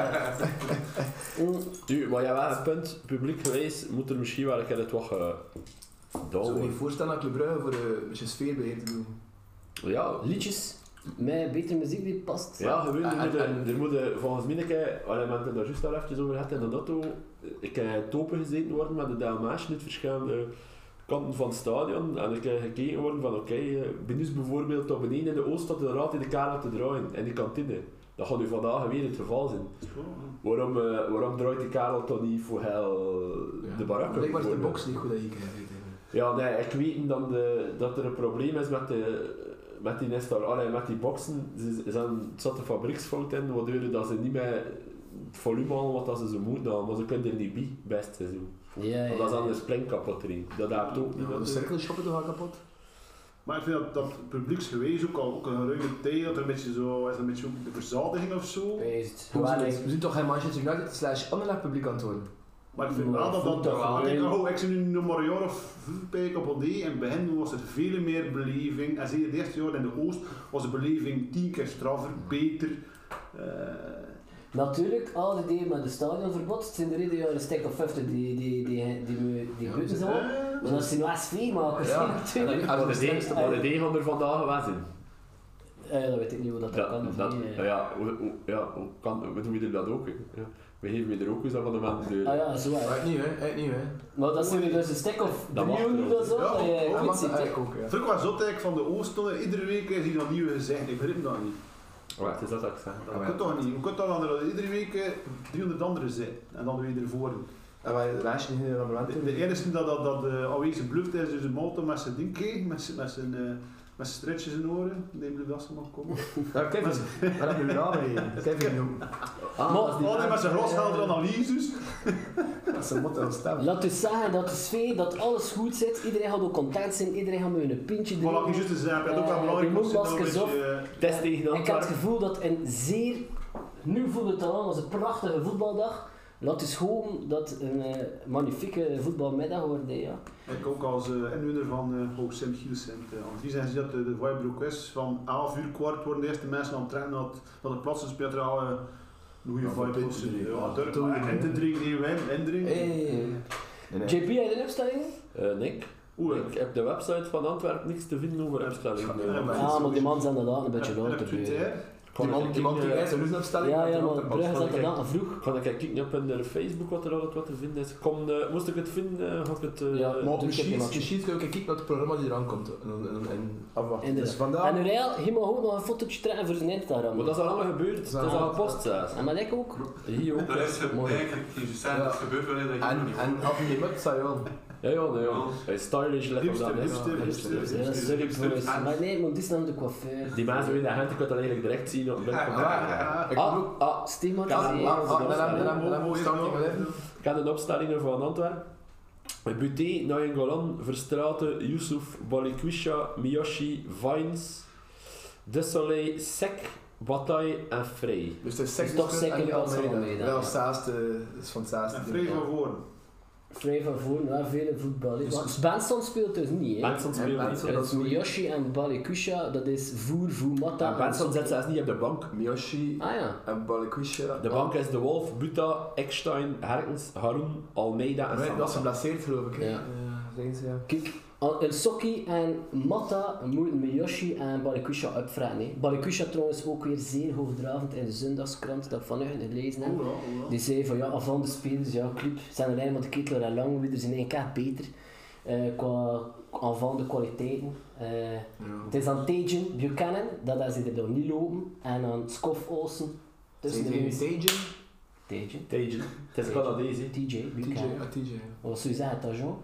Speaker 4: Mm,
Speaker 5: Nu, maar ja, wel, het punt, publiek geweest, moet er misschien wel een keer het wat gedaan
Speaker 2: Zou je je
Speaker 5: worden.
Speaker 2: voorstellen dat Club Brugge voor eh, een beetje sfeerbeheer te doen?
Speaker 5: Ja,
Speaker 4: Liedjes met betere muziek die past.
Speaker 5: Ja, gewoon,
Speaker 2: En-
Speaker 5: er moet,
Speaker 2: en-
Speaker 5: er moet eh, volgens mij, een keer- allee, we hebben het daar juist al even over gehad in de auto, eh, ik heb topen gezeten worden met de DMA's uit verschillende kanten van het stadion en ik heb gekeken worden van oké, eh, ben dus bijvoorbeeld op beneden in de Oost dat de raad in de kamer te draaien, in de kantine. Dat gaat nu vandaag weer het geval zijn.
Speaker 3: Zo, ja.
Speaker 5: Waarom, eh, waarom draait die Karel toch niet voor heel de barakken?
Speaker 2: Blijkbaar is de
Speaker 5: bijvoorbeeld?
Speaker 2: box niet goed dat je krijgt.
Speaker 5: Ja, nee, ik weet dan de, dat er een probleem is met, de, met die Nestor, allee, met die boxen. Ze, ze zijn, er zat een fabrieksfout in, waardoor dat ze niet meer het volume halen wat dat ze zo moeten halen. Maar ze kunnen er niet bij, best seizoen.
Speaker 4: Ja, ja.
Speaker 5: Want dat is dan de springkapotering. Dat helpt ook niet.
Speaker 2: Ja, de
Speaker 5: natuurlijk.
Speaker 2: cirkelshoppen toch al kapot?
Speaker 3: Maar ik vind dat, dat publieksgewijs ook al ook een geruime tijd, dat er een beetje zo, is dat een beetje ook de verzadiging of zo.
Speaker 4: Wees.
Speaker 2: We
Speaker 4: Waar
Speaker 2: zijn-
Speaker 4: ik-
Speaker 2: we zijn toch geen Manchester United slash Anderlecht publiek aan het worden?
Speaker 3: Maar ik vind wel dat dat, dat,
Speaker 4: Voetbal,
Speaker 3: dat ik
Speaker 4: hè.
Speaker 3: dacht, oh, ik zie nu nog maar een jaar of vijf pijken op OD en bij hen was er veel meer beleving. En zeker het eerste jaar in de Oost was de beleving tien keer straffer, beter. Eh,
Speaker 4: Natuurlijk, al die dingen met de stadionverbod, het zijn er ieder jaar een stuk of 50 die, die, die, die, die, die
Speaker 5: dus,
Speaker 4: buiten zijn.
Speaker 3: eh,
Speaker 4: Maar dat zijn wel sfeermakers,
Speaker 2: Ja.
Speaker 4: [laughs] natuurlijk.
Speaker 2: En dan-
Speaker 5: Maar de D- Maar de D van er vandaag geweest zijn.
Speaker 4: Eh, dat weet ik niet hoe dat, dat kan.
Speaker 5: Dat,
Speaker 4: of
Speaker 5: dat,
Speaker 4: niet, eh.
Speaker 5: ja, hoe, hoe- ja, hoe kan, we doen we dat ook. hè. Ja. We geven weer er ook eens aan van de mensen deur.
Speaker 4: Ah ja, zo
Speaker 2: Ja,
Speaker 4: hè.
Speaker 2: Echt niet, hè? Echt niet, hè?
Speaker 4: Maar dat zijn er dus een stuk of
Speaker 5: Dat mag
Speaker 4: drie
Speaker 5: er
Speaker 4: uur
Speaker 5: ook.
Speaker 4: of zo.
Speaker 3: Ja,
Speaker 4: dat je-
Speaker 3: dat
Speaker 4: ik
Speaker 2: mag
Speaker 4: weet het niet.
Speaker 2: eigenlijk ook, ja.
Speaker 3: Het is ook wel zot eigenlijk van de Oost, toen, iedere week is hier een nieuwe gezicht, ik begrijp dat niet.
Speaker 5: Ja, het Oh, is dat dat ik zeg.
Speaker 3: Dat kan toch niet, hoe kan dat dan dat er iedere week eh, 300 anderen zijn en dan weer ervoor.
Speaker 2: En wij lijstje niet in de moment.
Speaker 3: De, de enige dat, dat, dat eh, aanwezig bluft is, is een motor met zijn dinkie, met zijn, met zijn, eh, met zijn stretches in oren. Neem de dassen mag komen.
Speaker 2: Ja, Kevin, daar heb je uw naam in. Kevin, joh.
Speaker 5: Ah, dat is die-
Speaker 3: Oh nee, met zijn grosheldere analyses.
Speaker 2: Dat is een motto stem.
Speaker 4: Laat dus zeggen dat de sfeer, dat alles goed zit, iedereen gaat ook content zijn, iedereen gaat met een pintje
Speaker 3: Maar laat ik
Speaker 4: drinken.
Speaker 3: je juist eens zeggen, dat
Speaker 4: Eh,
Speaker 3: ook wel belangrijk
Speaker 4: die
Speaker 3: om te
Speaker 4: mondmaskers
Speaker 3: zien dat eh, we een
Speaker 5: Het is tegen
Speaker 4: Eh, Ik had het
Speaker 5: Antwerpen.
Speaker 4: gevoel dat een zeer, nu voelde het al aan als een prachtige voetbaldag, laat dus gewoon dat een eh, magnifieke voetbalmiddag wordt, hè, ja.
Speaker 3: beetje, eh, ik ook als eh, inwoner van eh Hoog Sint Giels en eh, Andries en zie dat de, de vibe er ook is van 11 uur kwart worden de eerste mensen aan het trainen dat, dat de plaatsen speelt er al eh, een goede
Speaker 2: Ja,
Speaker 3: vibe
Speaker 2: pintje
Speaker 3: op zijn.
Speaker 2: drinken.
Speaker 3: Ja, Dirk,
Speaker 2: Doe je
Speaker 3: maar in te
Speaker 2: niet.
Speaker 3: drinken, nee, wijn, in drinken.
Speaker 4: JP, heb je een opstelling?
Speaker 5: Eh, Nick?
Speaker 3: Oeh,
Speaker 5: Ik heb de website van Antwerpen niks te vinden over eh. opstellingen.
Speaker 3: Ja, maar-
Speaker 4: Ah, maar die man zijn inderdaad een beetje
Speaker 3: en op
Speaker 2: eh,
Speaker 4: louter.
Speaker 3: Twitter,
Speaker 4: hè.
Speaker 3: hè.
Speaker 2: Die man die man die wijst een roesopstelling.
Speaker 4: Ja, ja, maar Brugge zat
Speaker 5: ik-
Speaker 4: inderdaad vroeg.
Speaker 5: Ga ik kijken op hun eh, Facebook wat er altijd wat te vinden is. Kom, eh, moest ik het vinden, eh, ga ik het... eh,
Speaker 4: Ja, maar-
Speaker 2: Maar misschien misschien kun je ook kijken naar het programma die eraan komt. En, en, en afwachten.
Speaker 4: Inderdaad.
Speaker 2: Dus vandaag...
Speaker 4: En Uriel, hij mag ook nog een fotootje trekken voor zijn Instagram.
Speaker 5: Maar dat is al lang gebeurd, het is
Speaker 2: Zijn
Speaker 5: al
Speaker 2: al-
Speaker 5: gepost zelfs.
Speaker 4: En maar ik ook.
Speaker 5: Hier ook. eh.
Speaker 6: Dat is het
Speaker 5: Mooi.
Speaker 6: eigenlijk niet zo dat gebeurt wanneer dat je het
Speaker 2: En,
Speaker 6: niet
Speaker 2: en af en je mut, zei je wel.
Speaker 5: Ja, ja, nee, ja. Hij is stylish, lekker op
Speaker 3: Hipster,
Speaker 5: dat is.
Speaker 3: hipster, hipster,
Speaker 4: Ja, dat is
Speaker 3: hipster.
Speaker 4: leuk voor ons. Maar nee, maar dit is dan de coiffeur.
Speaker 5: Die mensen in de hand, ik kan dat eigenlijk direct zien op het blik van-
Speaker 2: Ja, ik
Speaker 5: Ah,
Speaker 2: bedoel-
Speaker 5: ah,
Speaker 2: Ah, ah,
Speaker 4: Stigmatiseren.
Speaker 2: ah, dan hebben- dan hebben- dan hebben we
Speaker 3: Mooi,
Speaker 2: starting
Speaker 3: mooi,
Speaker 2: eleven.
Speaker 5: ik ken de opstellingen van Antwerpen. Buté, Nayangolan, Verstraten, Yusuf, Balikwisha, Miyoshi, Vines, Desolé, Sek, Bataille en Frey.
Speaker 2: Dus het is
Speaker 4: Het is toch
Speaker 2: Sextus en
Speaker 4: zeker
Speaker 2: niet
Speaker 4: wel van
Speaker 2: Almeida.
Speaker 4: Almeida,
Speaker 2: Wel,
Speaker 4: ja.
Speaker 2: Saast, eh, is van Saast.
Speaker 3: En vrij van voren.
Speaker 4: Vrij van voor, nou, veel in voetbal. hè. Want Benson speelt dus niet, hè.
Speaker 5: Benson
Speaker 2: En
Speaker 5: speelt niet.
Speaker 2: Benson,
Speaker 5: hè.
Speaker 4: Dat is Miyoshi en Balikusha, dat is Voer, Voemata.
Speaker 5: En Benson zit zelfs niet op de bank.
Speaker 2: Miyoshi
Speaker 4: Ah ja.
Speaker 2: en Balikwisha.
Speaker 5: De bank is De Wolf, Buta, Eckstein, Herkens, Haroun, Almeida en
Speaker 2: Nee, dat is
Speaker 5: Samatta.
Speaker 2: geblesseerd geloof ik. hè.
Speaker 4: Ja.
Speaker 2: Eh, zijn ze, ja.
Speaker 4: Kijk, al- El Sokki en Matta moeten Miyoshi en Balikusha opvragen. hè. Balikusha trouwens ook weer zeer hoogdravend in de zondagskrant dat ik vanochtend gelezen heb.
Speaker 3: Oeh, ja, oeh, ja.
Speaker 4: Die zei van ja, van de spelers, ja, club, zijn er helemaal de ketel en lang, weer zijn één keer beter. eh, qua aanvallende kwaliteiten. Eh, het is aan Tajan Buchanan, dat daar zit er nog niet lopen. En aan Scoff Olsen. Tussen
Speaker 2: Zijn
Speaker 4: de
Speaker 2: ze in
Speaker 4: muur.
Speaker 2: Tajan?
Speaker 4: Tajan.
Speaker 5: Teijin. Het is Canadees, hè.
Speaker 4: TJ
Speaker 2: TJ,
Speaker 4: Buchanan.
Speaker 2: ah, TJ.
Speaker 4: Wat zou je zeggen, Tajon?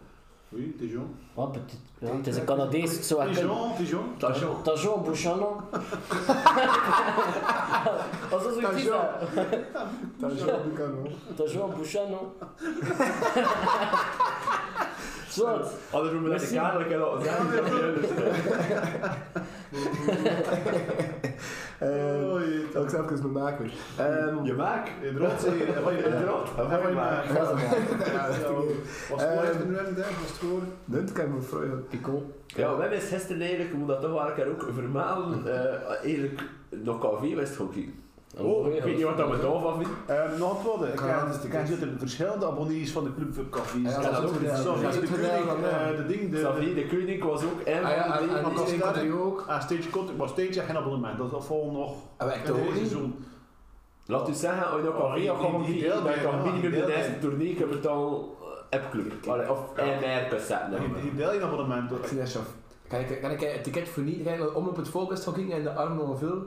Speaker 3: Oei, Dijon.
Speaker 4: Wat betekent- ja, Het is een Canadees, zo ik kunnen.
Speaker 3: Dijon, Dijon.
Speaker 5: Tajon.
Speaker 4: Tajon Buchanan. Wat is
Speaker 2: Tajon.
Speaker 4: zoiets? hè?
Speaker 2: Tajan Buchanan.
Speaker 4: Tajon Buchanan. Zwart.
Speaker 5: Anders moet men dat
Speaker 4: Merci.
Speaker 5: eigenlijk wel vragen.
Speaker 3: Ja, ja,
Speaker 5: dus, eh,
Speaker 2: Ehm,
Speaker 3: Oei.
Speaker 2: dat ik zelf eens moet maken. weer. Ehm,
Speaker 5: Je maak.
Speaker 3: In de rotse, van je
Speaker 5: Ja.
Speaker 3: draad. Van je maak.
Speaker 2: Ja, dat is
Speaker 3: Ja,
Speaker 2: waar.
Speaker 3: ja. Was het
Speaker 2: Ehm.
Speaker 3: mooi in de wedstrijd? Was het voor?
Speaker 2: Nunt kan ik me vragen.
Speaker 4: Pico.
Speaker 5: Ja, we hebben gisteren eigenlijk, ik moet dat toch wel een keer ook vermelden, eh, eigenlijk nog café west hockey. Oh, ik weet niet wat dat met daarvan vindt.
Speaker 3: Ehm, nog het worden. Ik
Speaker 2: Kan
Speaker 3: heb-
Speaker 2: dat is de
Speaker 3: Ik heb
Speaker 2: kans.
Speaker 3: zitten verschillende abonnees van de Club van Cafés.
Speaker 2: Ja,
Speaker 5: dat is ook
Speaker 3: de
Speaker 5: de-
Speaker 3: zo.
Speaker 5: dat
Speaker 3: Dat
Speaker 5: is
Speaker 3: is de
Speaker 2: de-
Speaker 3: koning,
Speaker 2: ja.
Speaker 3: eh, de ding, de...
Speaker 5: Xavier de Koning was ook een
Speaker 2: Ah ja,
Speaker 5: van de
Speaker 2: en,
Speaker 5: dingen.
Speaker 2: en
Speaker 3: want dat
Speaker 2: die
Speaker 3: is
Speaker 2: één
Speaker 3: daar-
Speaker 2: er ook.
Speaker 3: Ah, Stage Contact, maar Stage heeft geen abonnement. Dat is vol nog...
Speaker 2: En wij
Speaker 3: in
Speaker 2: toch
Speaker 3: deze
Speaker 2: niet.
Speaker 3: seizoen.
Speaker 5: Laat u zeggen, als je nog
Speaker 3: Oh,
Speaker 5: café
Speaker 3: die-
Speaker 5: of gewoon
Speaker 3: die- die
Speaker 5: niet dan
Speaker 3: deel bij-
Speaker 5: kan
Speaker 3: ja,
Speaker 5: minimum
Speaker 3: die
Speaker 5: de
Speaker 3: deel
Speaker 5: eerste
Speaker 3: bij.
Speaker 5: tournee kunnen betalen appclub. Allee, Of
Speaker 6: Ja.
Speaker 5: MR zetten.
Speaker 3: Je- Je deelt je abonnement.
Speaker 2: Ik zie dat, chef. Kan ik, kan ik het ticket voor niet? Kan ik naar de omloop het volk is hockey en de armen nog veel?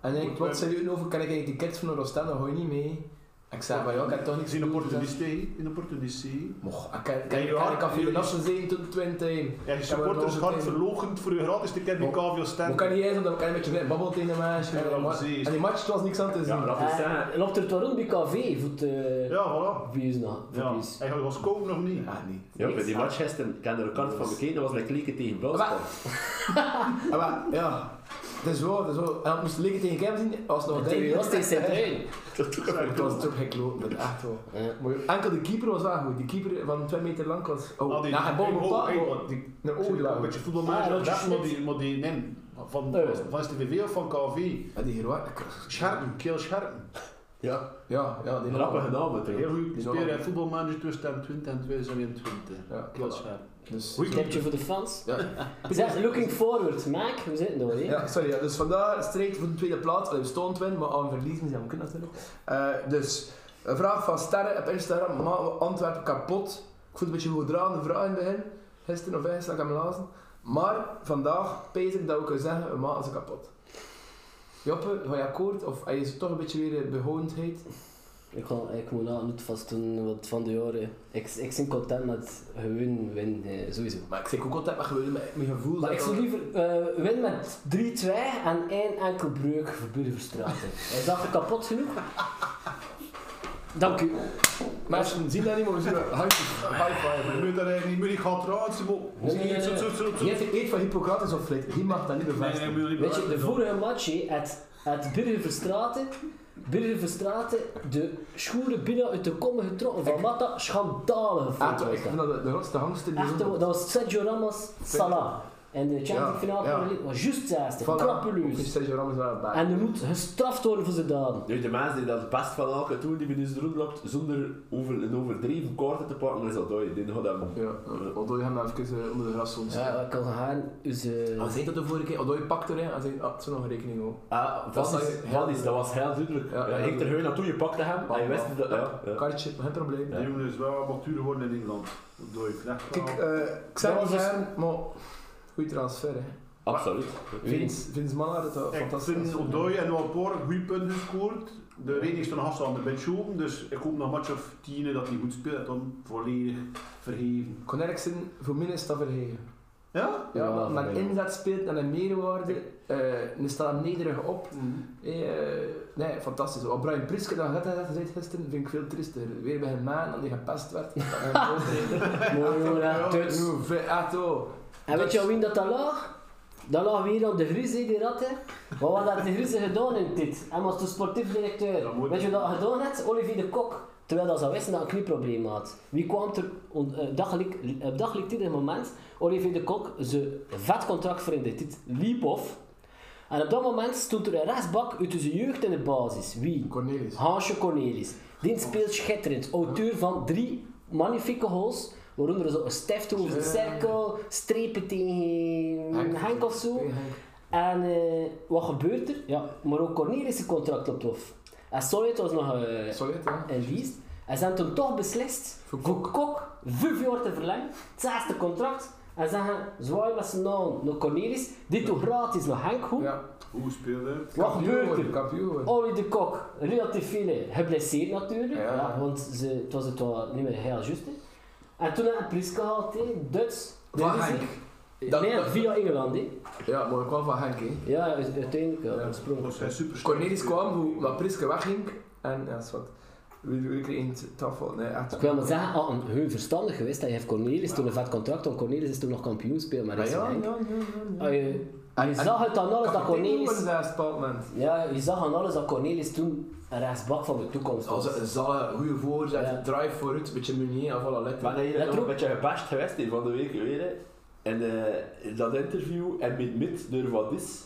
Speaker 2: En denk ik,
Speaker 3: Goed,
Speaker 2: wat
Speaker 3: wij-
Speaker 2: zei u over? Kan ik een ticket voor naar Oostende? Gooi niet mee. Ik zei, maar ja, ik heb toch
Speaker 3: Ik
Speaker 2: niet
Speaker 3: zie een opportunist tegen, een opportunist tegen.
Speaker 2: Mocht, ik kan,
Speaker 3: Ja,
Speaker 2: kan,
Speaker 3: je
Speaker 2: kan ik
Speaker 3: hart-
Speaker 2: café de
Speaker 3: je-
Speaker 2: nassen zijn tot 20.
Speaker 3: Ja, je supporters
Speaker 2: Ja,
Speaker 3: hard
Speaker 2: maar-
Speaker 3: verlogend voor je gratis ticket bij
Speaker 2: Maar-
Speaker 3: KVO
Speaker 2: Hoe
Speaker 3: Stand.
Speaker 2: kan niet eens, omdat ik een beetje babbelt in de match.
Speaker 3: Ja,
Speaker 2: En,
Speaker 3: precies.
Speaker 2: en die match, het was niks aan te zien.
Speaker 5: Ja, laat u zeggen.
Speaker 4: Loopt er toch rond bij KV? Voet.
Speaker 3: Ja, voilà.
Speaker 4: Wie is dat?
Speaker 3: Ja. Eigenlijk was Koop nog niet.
Speaker 2: Ja, niet.
Speaker 5: Ja, bij die match gisteren, ik heb er een kant van bekeken, dat was met klikken tegen Belsport.
Speaker 2: Ah, maar, ja. Het is wel, het is wel. En dat moest liggen tegen Kevin zien, was nog
Speaker 4: Tegen
Speaker 2: dertig.
Speaker 4: ons
Speaker 2: [laughs]
Speaker 4: tegen Sint-Truiden.
Speaker 2: Het was toch gekloot, [laughs] dat is echt wel.
Speaker 4: Ja.
Speaker 2: Maar Enkel de keeper was wel goed. Die keeper van 2 meter lang was. Oh,
Speaker 3: Ah, die-
Speaker 2: ja, hij bal
Speaker 3: oh,
Speaker 2: bepaald.
Speaker 3: hey,
Speaker 2: Oh,
Speaker 3: die-
Speaker 2: Een
Speaker 3: ik zie
Speaker 2: oog
Speaker 3: ook Een
Speaker 2: lang.
Speaker 3: beetje voetbalmanager,
Speaker 4: Ah, dat
Speaker 3: dat,
Speaker 4: is
Speaker 3: maar
Speaker 4: shit.
Speaker 3: die, maar die, nee, van,
Speaker 4: Eh.
Speaker 3: van STVV of van KV.
Speaker 2: Ja, die hier waar.
Speaker 3: Scherpen, Keel Scherpen.
Speaker 5: Ja,
Speaker 2: Ja, ja, die
Speaker 5: grappige
Speaker 2: nog.
Speaker 5: naam
Speaker 3: Een heel
Speaker 5: toch.
Speaker 3: goed
Speaker 2: Die
Speaker 3: speler
Speaker 2: zal-
Speaker 3: in voetbalmanager 2020 en 2021.
Speaker 2: Ja,
Speaker 3: Keel
Speaker 2: voilà.
Speaker 3: Scherpen.
Speaker 2: Dus,
Speaker 3: Goeie
Speaker 4: Tipje voor de fans.
Speaker 2: ja.
Speaker 4: Zeg, looking forward. Maak, we zitten door. hè?
Speaker 2: ja, sorry. Ja. Dus vandaag strijd voor de tweede plaats. Allee, We stonden twin, maar aan verliezen zijn we kunnen natuurlijk. Eh, dus, een vraag van Sterren op Instagram. Maken we Antwerpen kapot? Ik voel een beetje gedragen vraag in het begin. Gisteren of gisteren, ik heb hem lazen. Maar vandaag pees ik dat we kunnen zeggen, we maken ze kapot. Joppe, ga je akkoord? Of hij is toch een beetje weer eh, behoondheid?
Speaker 4: Ik, kan, ik moet nou niet vast doen wat van de jaren. Ik, ik ben content met gewoon winnen, eh, sowieso.
Speaker 2: Maar ik zeg ook altijd maar gewoon met mijn gevoel.
Speaker 4: Maar
Speaker 2: dat
Speaker 4: ik zou
Speaker 2: dat-
Speaker 4: liever eh winnen met 3-2 en één enkel breuk voor Burgerstraten. Is dat kapot genoeg? Dank u.
Speaker 2: Mensen zien dat niet, maar we zien dat. High five.
Speaker 3: Je moet daar eigenlijk niet meer, ik ga trouwens, ze moet-
Speaker 4: Nee, nee, nee.
Speaker 3: zo, zo, zo, zo.
Speaker 2: Je hebt eet van Hippocrates of vlees. Die mag dat niet
Speaker 3: Nee, nee,
Speaker 2: bevestigen.
Speaker 3: je moet niet
Speaker 4: Weet je, de
Speaker 3: bewijzen.
Speaker 4: vorige match, hè, het, het Burgerstraten, Burgerstraten, de schoenen binnen uit de kommen getrokken van Mata, schandalige
Speaker 2: Echt, wel,
Speaker 4: foto. was
Speaker 2: Ah, ik vind
Speaker 4: dat.
Speaker 2: dat de, de grootste hangster die
Speaker 4: Echt,
Speaker 2: zo-
Speaker 4: dat was Sergio Ramos Salah. En de Champions
Speaker 2: Ja,
Speaker 4: League finale
Speaker 2: ja.
Speaker 4: parallel was juist 60,
Speaker 2: Voilà. Ook
Speaker 4: krapeloos.
Speaker 2: is Sergio Ramos wel het baas.
Speaker 4: En er moet gestraft worden voor zijn daden.
Speaker 5: Nu, de mensen die dat het best van elke toer die binnen de loopt, zonder over, een overdreven korte te pakken, is dat dood. Die gaat hem.
Speaker 2: Ja, eh, Odoi hem nou even eh, onder de gras soms.
Speaker 4: Ja, ik kan gaan. Dus, eh,
Speaker 2: Hij zei dat de vorige keer. Odoi pakt erin en zei, ah, het is nog een rekening ook.
Speaker 5: Ah,
Speaker 2: Dat
Speaker 5: van is,
Speaker 2: is-
Speaker 5: van is, dat was heel duidelijk.
Speaker 2: Ja, ja,
Speaker 5: Ja, ik ging er gewoon naartoe, je pakte hem, en je wist dat... Ja, ja.
Speaker 2: Kartje, geen probleem.
Speaker 3: Die jongen is wel wat duurder geworden in Engeland. Dat doe je vlecht.
Speaker 2: Kijk, eh, ik
Speaker 4: Dat
Speaker 2: zou niet
Speaker 4: was dus-
Speaker 2: zeggen, maar goede transfer hè.
Speaker 5: Absoluut.
Speaker 2: Vince, Vince Manhart, dat was
Speaker 3: Ik
Speaker 2: fantastisch.
Speaker 3: vind Odoi en Walpoor goede punten gescoord. De reden is dan Hassan aan de bench open, dus ik hoop nog een match of tien dat hij goed speelt. Dan volledig verheven.
Speaker 2: Kon ergens zijn, voor mij is dat verheven.
Speaker 3: Ja?
Speaker 2: Ja,
Speaker 4: Ja,
Speaker 2: dat naar
Speaker 4: verheven.
Speaker 2: inzet speelt, naar een meerwaarde. eh nu staat hem nederig op. Eh, eh, nee, fantastisch. Wat Brian Priske dan net had gezegd gisteren, vind ik veel triester. Weer bij een man dat hij gepest werd. Dat hij een goal kreeg.
Speaker 4: mooi Nou, jongen, hè, Tuts.
Speaker 2: Hoe vet, echt, oh.
Speaker 4: En weet
Speaker 3: dus-
Speaker 4: je aan wie dat daar lag? Dat lag weer aan de Griezen, die ratten. Maar wat had de Griezen gedaan in dit? Hij was de sportief
Speaker 3: Dat
Speaker 4: directeur.
Speaker 3: moet-
Speaker 4: Weet je wat hij gedaan heeft? Olivier de Kok. Terwijl dat ze wisten dat hij een knieprobleem had. Wie kwam er on- eh, dagelijk, op dagelijk dit moment? Olivier de Kok, zijn vet contract voor in de tit liep af. En op dat moment stond er een rechtsbak uit zijn jeugd in de basis. Wie?
Speaker 2: Cornelis.
Speaker 4: Hansje Cornelis. Die speelt schitterend. Auteur van drie magnifieke goals. Waaronder zo een stift over de cirkel, strepen tegen Henk, of zo.
Speaker 2: Tegen Henk.
Speaker 4: En eh, wat gebeurt er? Ja, maar ook Cornelis zijn contract loopt af. En Solid was nog eh,
Speaker 2: Solid, ja.
Speaker 4: in dienst. En ze hebben toen toch beslist
Speaker 2: Voor
Speaker 4: voor
Speaker 2: Kok.
Speaker 4: Kok vijf jaar te verlengen. Het zesde contract. En zeggen, zwaai met z'n naam naar Cornelis. Dit doet gratis naar Henk Hoek.
Speaker 2: Ja.
Speaker 3: Hoe speelde?
Speaker 4: Wat
Speaker 2: Kampioen
Speaker 4: gebeurt
Speaker 2: worden,
Speaker 4: er?
Speaker 2: Kampioen worden.
Speaker 4: Olly de Kok, relatief veel geblesseerd natuurlijk.
Speaker 2: Ja.
Speaker 4: Ja. want ze, het was het wel niet meer heel juist. hè. En toen had Priske gehaald, hè, Duits. de
Speaker 2: Van
Speaker 4: Rizzi.
Speaker 2: Henk.
Speaker 4: Eh,
Speaker 2: Dat-
Speaker 4: nee,
Speaker 2: dat-
Speaker 4: via Engeland. hè.
Speaker 2: Ja, maar ik kwam van Henk, hè.
Speaker 4: Ja, u- uiteindelijk
Speaker 2: Ja.
Speaker 4: ja, gesprongen.
Speaker 3: Dat zijn super
Speaker 2: Cornelis kwam, hoe- wat Priske wegging. En ja, dat is wat. Wie doe ik er één te- tafel? Nee, echt.
Speaker 4: Ik wil maar zeggen, had een heel verstandig geweest dat je heeft Cornelis toen een vet contract, want Cornelis is toen nog kampioenspeel met
Speaker 2: Ja,
Speaker 4: Racing
Speaker 2: ja, ja,
Speaker 4: Genk.
Speaker 2: ja,
Speaker 4: Ah,
Speaker 2: ja.
Speaker 4: je- je zag het aan alles dat Cornelis... Ja, je zag aan alles dat Cornelis toen een rechtsbak van de toekomst
Speaker 2: Als
Speaker 4: was.
Speaker 2: een zalige, goede voorzet,
Speaker 4: Ja.
Speaker 2: drive vooruit, een beetje meneer en voilà, lekker.
Speaker 5: Maar dat je
Speaker 4: Let
Speaker 5: net ook
Speaker 4: op.
Speaker 5: een beetje gebashed geweest hier van de week weer. hè. En eh, in dat interview en met mid door wat is.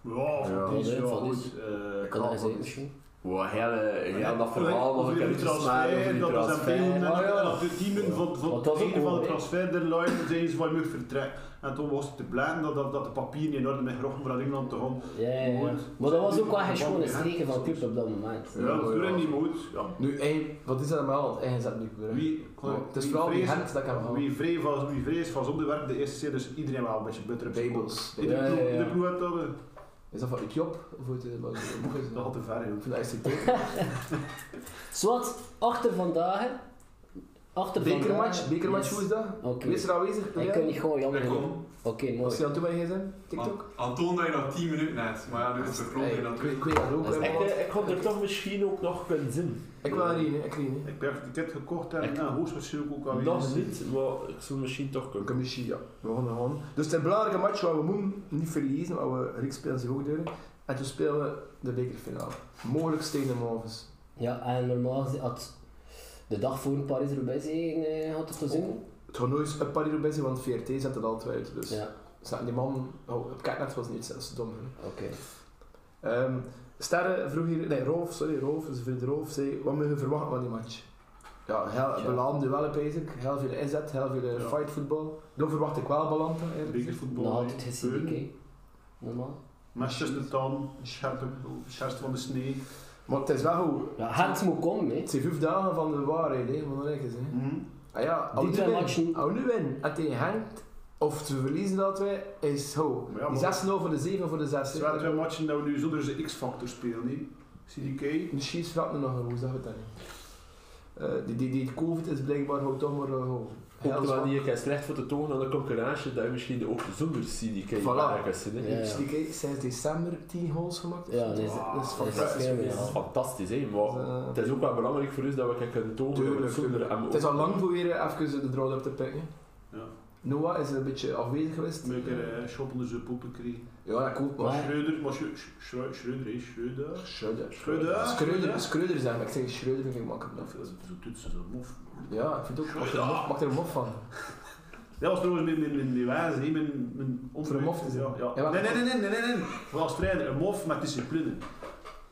Speaker 3: Ja,
Speaker 4: Ja,
Speaker 3: van die is ja,
Speaker 4: van die
Speaker 3: goed.
Speaker 4: is-
Speaker 3: Eh,
Speaker 4: Kan dat
Speaker 3: Kramer.
Speaker 4: eens uit misschien?
Speaker 5: Wow, heel, eh, heel dat verhaal nog
Speaker 3: Over
Speaker 5: een
Speaker 3: die
Speaker 5: keer
Speaker 3: transfer,
Speaker 5: uitsmaaien over die
Speaker 3: Dat was een
Speaker 5: transfer.
Speaker 3: periode
Speaker 4: Ah, ja.
Speaker 3: dat de teamen van, van
Speaker 4: Want
Speaker 3: het
Speaker 4: dat is ook
Speaker 3: einde van de
Speaker 4: mooi, hè?
Speaker 3: transfer deadline zeiden ze van je mag vertrekken. En toen was het te blijven dat, dat, dat de papieren in orde met gerochen om naar Engeland te gaan.
Speaker 4: Ja, ja, ja.
Speaker 3: Goed.
Speaker 4: Maar dat was ook wel geen schone
Speaker 3: Ja.
Speaker 4: streken van club op dat moment.
Speaker 3: Ja, dat doe je niet goed. Ja.
Speaker 2: Nu, hey, wat is dat allemaal? Hij zet nu weer.
Speaker 3: Wie,
Speaker 2: Oh, het is vooral die
Speaker 3: vrees-
Speaker 2: hand dat ik heb
Speaker 4: Oh.
Speaker 2: gehad.
Speaker 3: Wie vrij was, wie vrij is van zonder werk de eerste keer, dus iedereen wel een beetje butter op zijn kop.
Speaker 2: Babels.
Speaker 3: Iedere
Speaker 4: Ja, ja,
Speaker 3: ploeg-
Speaker 4: ja.
Speaker 3: Iedere ploeg had dat. eh,
Speaker 2: Is dat van Ethiop? Of hoe heet het? Wat is het? Hoe heet het?
Speaker 3: Dat had te ver, joh.
Speaker 2: Van de ICT.
Speaker 4: Zwart, achter vandaag. hè. Achter
Speaker 2: Bekermatch,
Speaker 4: vandaag.
Speaker 2: bekermatch,
Speaker 4: Yes.
Speaker 2: hoe is dat?
Speaker 4: Oké.
Speaker 2: Wees er aanwezig.
Speaker 4: Ik kan niet gewoon jammer
Speaker 6: Ik
Speaker 4: genoeg.
Speaker 6: kom.
Speaker 4: Oké, mooi.
Speaker 2: Als je aan toe bij je gsm, TikTok.
Speaker 6: An- Antoon dat je dat 10 minuten net, maar ja, nu is het
Speaker 2: Hey,
Speaker 6: vergroten
Speaker 2: ik weet-
Speaker 6: natuurlijk.
Speaker 2: ik weet Ah, dat ook.
Speaker 4: Dat is
Speaker 2: hè,
Speaker 5: Ik,
Speaker 2: want-
Speaker 5: eh, ik had er toch misschien ook nog kunnen zien.
Speaker 2: Ik wil erin, hè, ik wil erin.
Speaker 3: Ik heb het ticket gekocht en eh,
Speaker 5: Ik-
Speaker 3: ja, hoogstwaarschijnlijk ook alweer.
Speaker 5: Nog niet, maar ik zou misschien toch
Speaker 2: We
Speaker 5: kunnen.
Speaker 2: kunnen misschien, ja. We gaan er gewoon. Dus het is een belangrijke match waar we moeten niet verliezen, maar we Rick spelen zich ook deuren. En toen spelen we de bekerfinale. Mogelijk tegen de Movens.
Speaker 4: Ja, en normaal gezien had de dag voor Paris-Roubaix eh, eh, had het gezien.
Speaker 2: Het gaat nooit een paar euro bij zijn, want VRT zet het altijd uit. Oh, Dus
Speaker 4: Ja,
Speaker 2: Snap je, die man, oh, op Catnet was niet zelfs dom. hè.
Speaker 4: oké.
Speaker 2: Ehm Sterre vroeg hier, nee, Rolf, sorry, Rolf, zijn vriend Rolf, zei, wat moet je verwachten van die match? Ja, heel
Speaker 4: Tja.
Speaker 2: beladen duellen, basic. Heel veel inzet, heel veel
Speaker 3: Ja.
Speaker 2: fightvoetbal. fightvoetbal. Dat verwacht ik wel, Balanta.
Speaker 3: Bekervoetbal.
Speaker 4: Nog
Speaker 3: hè.
Speaker 4: altijd gezien, oké. Normaal.
Speaker 3: Manchester Town, Scherst van de Snee.
Speaker 2: Maar het is wel goed.
Speaker 4: Ja, het moet komen, hè.
Speaker 2: Het zijn vijf dagen van de waarheid, hè, moet je rekenen, hè.
Speaker 3: Hm.
Speaker 2: Ah ja, als
Speaker 4: Die
Speaker 2: we
Speaker 4: twee
Speaker 2: nu winnen,
Speaker 4: matchen.
Speaker 2: als we nu winnen en tegen Henk, of te verliezen dat wij, is zo.
Speaker 3: Maar ja,
Speaker 2: die
Speaker 3: maar-
Speaker 2: 6-0 voor de 7 voor de 6.
Speaker 3: Het zijn wel twee matchen dat we nu zonder zijn X-factor spelen. hè. CDK.
Speaker 2: De Chiefs vraagt me nog een hoe zeg het dan niet. Eh, die, die, die COVID is blijkbaar ook toch maar eh, hoog. Heel
Speaker 5: Ook wel
Speaker 2: zwak.
Speaker 5: niet een keer slecht voor te tonen aan de concurrentie dat je misschien ook zonder CDK
Speaker 2: Voilà.
Speaker 5: kan zien. hè.
Speaker 4: Ja, ja.
Speaker 2: Die kijk, sinds december 10 goals gemaakt.
Speaker 4: Ja,
Speaker 2: dat
Speaker 4: dat
Speaker 2: is
Speaker 4: is-
Speaker 2: dat is
Speaker 4: dat is
Speaker 2: fantastisch.
Speaker 4: fenomenaal.
Speaker 5: Dat is fantastisch, hè? maar
Speaker 2: Eh,
Speaker 5: het is ook wel belangrijk voor ons dat we kunnen tonen dat we
Speaker 2: Tuurlijk,
Speaker 5: het zonder
Speaker 2: tuurlijk.
Speaker 5: hem
Speaker 2: Het is al
Speaker 5: ook-
Speaker 2: lang proberen even de draad op te pikken.
Speaker 3: Ja.
Speaker 2: Noah is een beetje afwezig geweest.
Speaker 3: Een keer eh, shop onder zijn poppen kreeg.
Speaker 2: Ja, dat klopt, maar...
Speaker 4: Maar-
Speaker 3: Schreuder, maar Schreuder, Schreuder, Schreuder. Schreuder.
Speaker 2: Schreuder.
Speaker 3: Schreuder.
Speaker 2: Schreuder, Schreuder zijn, maar ik zeg Schreuder vind ik makkelijk.
Speaker 3: Zo toetsen, zo mof.
Speaker 2: Ja, ik vind het ook. Ik maak er een mof- maak er een mof van.
Speaker 3: Dat was trouwens mijn, mijn, mijn, mijn wijze, hè, mijn, mijn
Speaker 2: Voor een mof te zijn.
Speaker 3: Ja, ja.
Speaker 2: Ja, maar-
Speaker 3: nee, nee, nee, nee, nee, nee, nee. Vooral als trainer, een mof met discipline.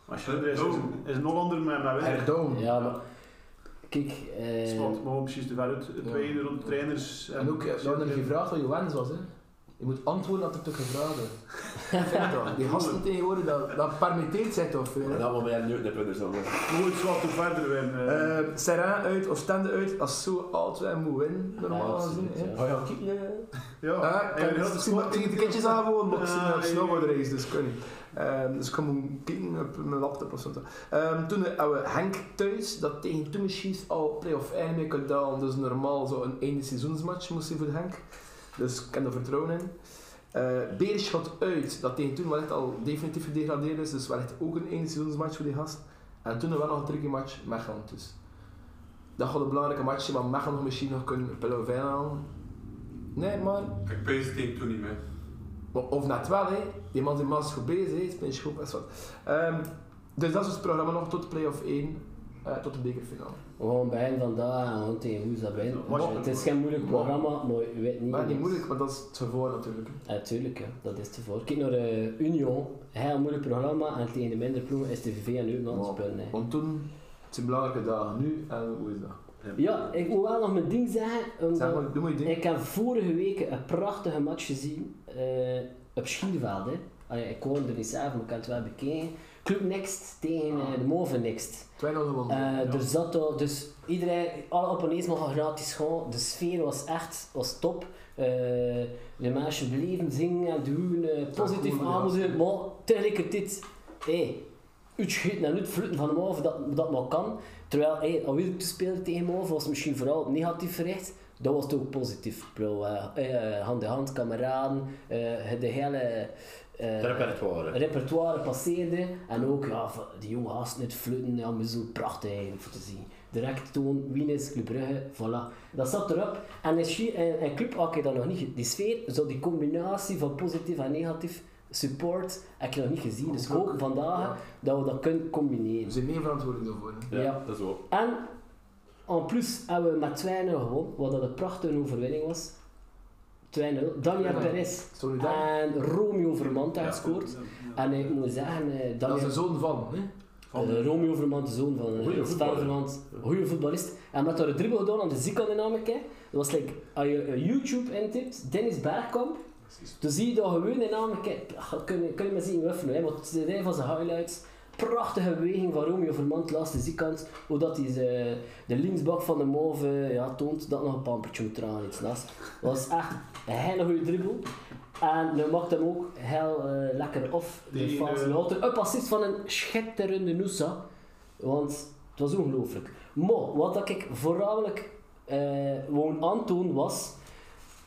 Speaker 3: Maar Schreuder is, is, een- is een Hollander met, met werk.
Speaker 2: Herdoom.
Speaker 4: Ja, maar... Kijk, eh...
Speaker 3: Spot, maar precies te ver uit. Twee
Speaker 2: Ja.
Speaker 3: rond trainers.
Speaker 2: En ook, eh, we hadden hem gevraagd wat je wens was. Hè. Je moet antwoorden dat er toch gevraagd
Speaker 4: [laughs]
Speaker 2: werd. Vind je dat? Die gasten tegenwoordig, dat, dat permitteert zich toch veel.
Speaker 5: En
Speaker 2: hè.
Speaker 5: dus dan maar meer nu de punten zo.
Speaker 3: Goed, zwart te verder winnen.
Speaker 2: Eh Serrain uit of Stende uit, als zo altijd moet winnen, normaal
Speaker 4: Ja,
Speaker 2: gezien. hè.
Speaker 4: absoluut,
Speaker 5: Ga je aan kieken? hè?
Speaker 3: ja,
Speaker 2: Ja,
Speaker 3: en
Speaker 2: ik
Speaker 3: we hebben heel
Speaker 2: heb
Speaker 3: de
Speaker 2: Ah, misschien maar
Speaker 3: sport
Speaker 2: tegen de kindjes aan gewoon, maar ik zie
Speaker 3: Ah,
Speaker 2: een
Speaker 3: ja, ja.
Speaker 2: snowboardrace, dus ik kan niet. Ehm, dus ik kan gewoon kijken op mijn laptop of zo. Ehm, toen hadden we Henk thuis, dat tegen toen misschien al play-off einde mee kon dalen, dus normaal zo een einde seizoensmatch moest zijn voor Henk. Dus ik heb er vertrouwen in. Eh Beerschot uit, dat tegen toen wel echt al definitief gedegradeerd is, dus wel echt ook een einde seizoensmatch voor die gast. En toen wel nog een tricky match, Mechelen dus. Dat gaat een belangrijke match zijn, maar Mechelen nog misschien nog kunnen play-off halen. Nee, maar
Speaker 6: Ik pees het tegen toen niet meer.
Speaker 2: maar Of net wel, hè. die man zijn maas goed bezig, hè. spins goed, best wat. Ehm, dus dat is ons programma nog tot play-off 1, eh, tot de bekerfinale.
Speaker 4: We gaan beginnen vandaag en we gaan tegen hoe is dat bij.
Speaker 3: Wat-
Speaker 4: Het is geen moeilijk
Speaker 2: Wat-
Speaker 4: programma, maar je weet niet...
Speaker 2: Maar niet
Speaker 4: wat-
Speaker 2: moeilijk, want dat is het gevoel natuurlijk. hè.
Speaker 4: Ja, tuurlijk, hè. dat is te voor. Kijk naar eh, Union, heel moeilijk programma en tegen de minder ploegen is de VV en Eupen aan het
Speaker 2: Maar-
Speaker 4: spelen. hè.
Speaker 2: Want toen, het zijn belangrijke dagen nu, en hoe is dat?
Speaker 4: Ja, ik moet wel nog mijn ding zeggen. omdat
Speaker 2: Zeg maar, doe maar je ding.
Speaker 4: Ik heb vorige week een prachtige match gezien eh, op Schierveld. Hè. Allee, ik woon er niet zelf, maar ik kan het wel bekijken. Club Next tegen eh, de Moven Next.
Speaker 2: 2-0 gewonnen.
Speaker 4: Eh, Er zat al, dus iedereen, alle abonnees mogen gratis gaan. De sfeer was echt was top. Eh, de mensen bleven zingen en doen, eh, positief
Speaker 2: cool, ja.
Speaker 4: aanmoedigen, maar tegelijkertijd, hé, uitschieten en uitvloeten van Mauve dat, dat maar kan. Terwijl, hé, al wil ik te spelen tegen Mauve was misschien vooral negatief verricht, Dat was toch positief, bro. Eh, eh, hand in hand, kameraden, eh, de hele... eh,
Speaker 5: Het repertoire.
Speaker 4: repertoire passeerde. En ook, ja, v- die jonge gasten het fluiten, ja, maar zo prachtig eigenlijk voor te zien. Direct toon, Wien is Club Brugge, voilà. Dat zat erop. En in, Chi- in, in Club had ik dat nog niet ge- Die sfeer, zo die combinatie van positief en negatief support, heb ik nog niet gezien. Dus ik hoop vandaag dat we dat kunnen
Speaker 2: We
Speaker 4: combineren.
Speaker 2: zijn meer verantwoordelijk daarvoor. hè.
Speaker 5: Ja,
Speaker 4: ja.
Speaker 5: dat is wel.
Speaker 4: En en plus hebben we met 2-0 gewonnen, wat dat een prachtige overwinning was. 2-0. Daniel
Speaker 2: Ja.
Speaker 4: Perez
Speaker 2: Solidair.
Speaker 4: en Romeo Vermand hebben gescoord. En ik moet zeggen, eh,
Speaker 2: Dat is
Speaker 4: Daniel
Speaker 2: de zoon van. Hè?
Speaker 3: Van-
Speaker 4: eh, Romeo Vermand, de zoon van
Speaker 5: Goeie
Speaker 4: eh, Stan
Speaker 5: voetballer.
Speaker 4: Vermand, goede voetballist. En met haar dribbel gedaan aan de zijkant namelijk. hè. Dat was like, als je eh, YouTube intipt, Dennis Bergkamp, dan zie je dat gewoon in namelijk. hè. Ja, Kun je, kun je maar zien wuffen, hè, want het is een van zijn highlights. Prachtige beweging van Romeo Vermand, laatste zijkant. Hoe dat hij ze- de linksbak van de Mauve eh, ja, toont, dat nog een pampertje moet eraan iets naast. Dat was echt een hele goede dribbel. En nu maakt hem ook heel eh, lekker af. De
Speaker 3: Die,
Speaker 4: Frans
Speaker 3: eh,
Speaker 4: Louter. Een assist van een schitterende Noosa. Want het was ongelooflijk. Maar wat dat ik voornamelijk eh wou aantonen was.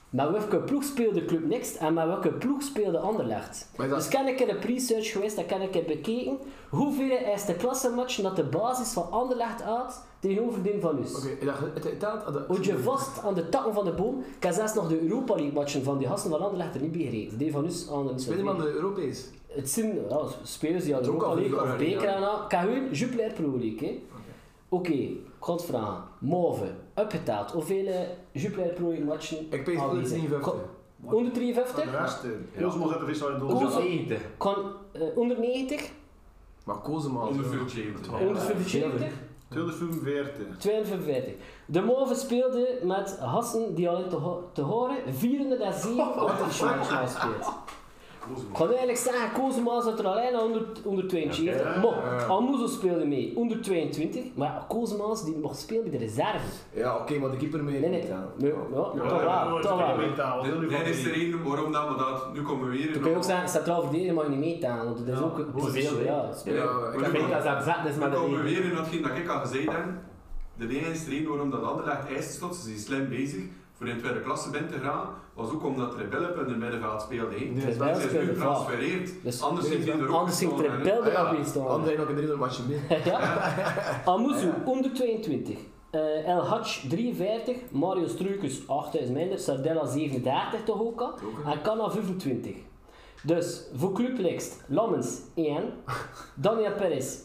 Speaker 4: Met welke ploeg speelde Club Next en met welke ploeg speelde Anderlecht?
Speaker 2: Maar dat-
Speaker 4: Dus ken ik in de pre-search geweest, dat ken ik heb bekeken. Hoeveel is de klassenmatchen dat de basis van Anderlecht uit tegenover die van ons?
Speaker 2: Oké, ik dacht, het- het telt aan de-
Speaker 4: Houd je vast aan de takken van de boom. Ik heb zelfs nog de Europa League matchen van die gasten van Anderlecht er niet bij gereden. Die van ons aan de
Speaker 2: Weet je man, de Europees.
Speaker 4: het zijn ja, spelers die aan de
Speaker 2: Het is ook
Speaker 4: Europa
Speaker 2: al
Speaker 4: League of
Speaker 2: vroeger,
Speaker 4: beker
Speaker 2: ja.
Speaker 4: en al. Ik heb gewoon Jupiler Pro League. hè. Oké, ik ga het vragen. Mauve, opgeteld. Hoeveel eh, Jupiler Pro League matchen?
Speaker 2: Ik pees
Speaker 4: aanwezig?
Speaker 2: 153.
Speaker 4: Ko- Onder
Speaker 3: Van de
Speaker 4: 53?
Speaker 3: rest, eh, Koosman zet de vis aan de doos.
Speaker 4: Koosman-
Speaker 5: Einde.
Speaker 4: Kon, eh, onder 90?
Speaker 2: Maar kozen maar.
Speaker 6: Onder 74.
Speaker 4: Onder 75?
Speaker 3: 245.
Speaker 4: 52. De Mauve speelde met Hassen die al in te, ho- te horen 407 op de Schwarzmaal speelt. Ik kan eigenlijk zeggen, Kozema zat er alleen aan onder, onder 72.
Speaker 5: Oké.
Speaker 4: Maar Amuzo speelde mee onder 22. Maar ja, Kozema's die mocht spelen bij de reserve.
Speaker 2: Ja, oké, maar de keeper mee.
Speaker 4: Nee, nee. Nee, ja, toch waar, toch waar. Dan
Speaker 6: Dit is de reden waarom dat we dat... Nu komen we weer...
Speaker 4: kun je ook zeggen, centraal verdediger mag je niet meetalen, want dat is
Speaker 5: Ja,
Speaker 4: ook te
Speaker 5: hoeveel,
Speaker 4: veel.
Speaker 5: hè?
Speaker 4: Ja.
Speaker 2: Ja,
Speaker 5: Ik denk dat ze bezet is
Speaker 6: We
Speaker 5: met
Speaker 6: komen
Speaker 5: een
Speaker 6: weer in datgene dat ik al gezegd heb. De enige reden waarom dat Anderlecht eist slot, ze zijn slim bezig voor in tweede klasse binnen te gaan, was ook omdat Rebelle in het middenveld speelde. hè.
Speaker 2: Nee,
Speaker 4: Rebelle
Speaker 6: Ze is
Speaker 4: speelde
Speaker 6: nu
Speaker 4: vaak.
Speaker 6: getransfereerd.
Speaker 4: Dus
Speaker 6: Anders
Speaker 2: nee,
Speaker 6: zit hij er ook
Speaker 4: anders ging
Speaker 6: gestaan, hè.
Speaker 4: Rebelle er nog in staan.
Speaker 2: Anders nog een drie matje mee.
Speaker 4: [laughs] Ja. Amuzu, onder 22. Eh, El Hatch 53, Mario Struikus 8000 minder, Sardella 37 toch ook al, en Canna 25. Dus voor Club Lext, Lammens 1, Daniel Perez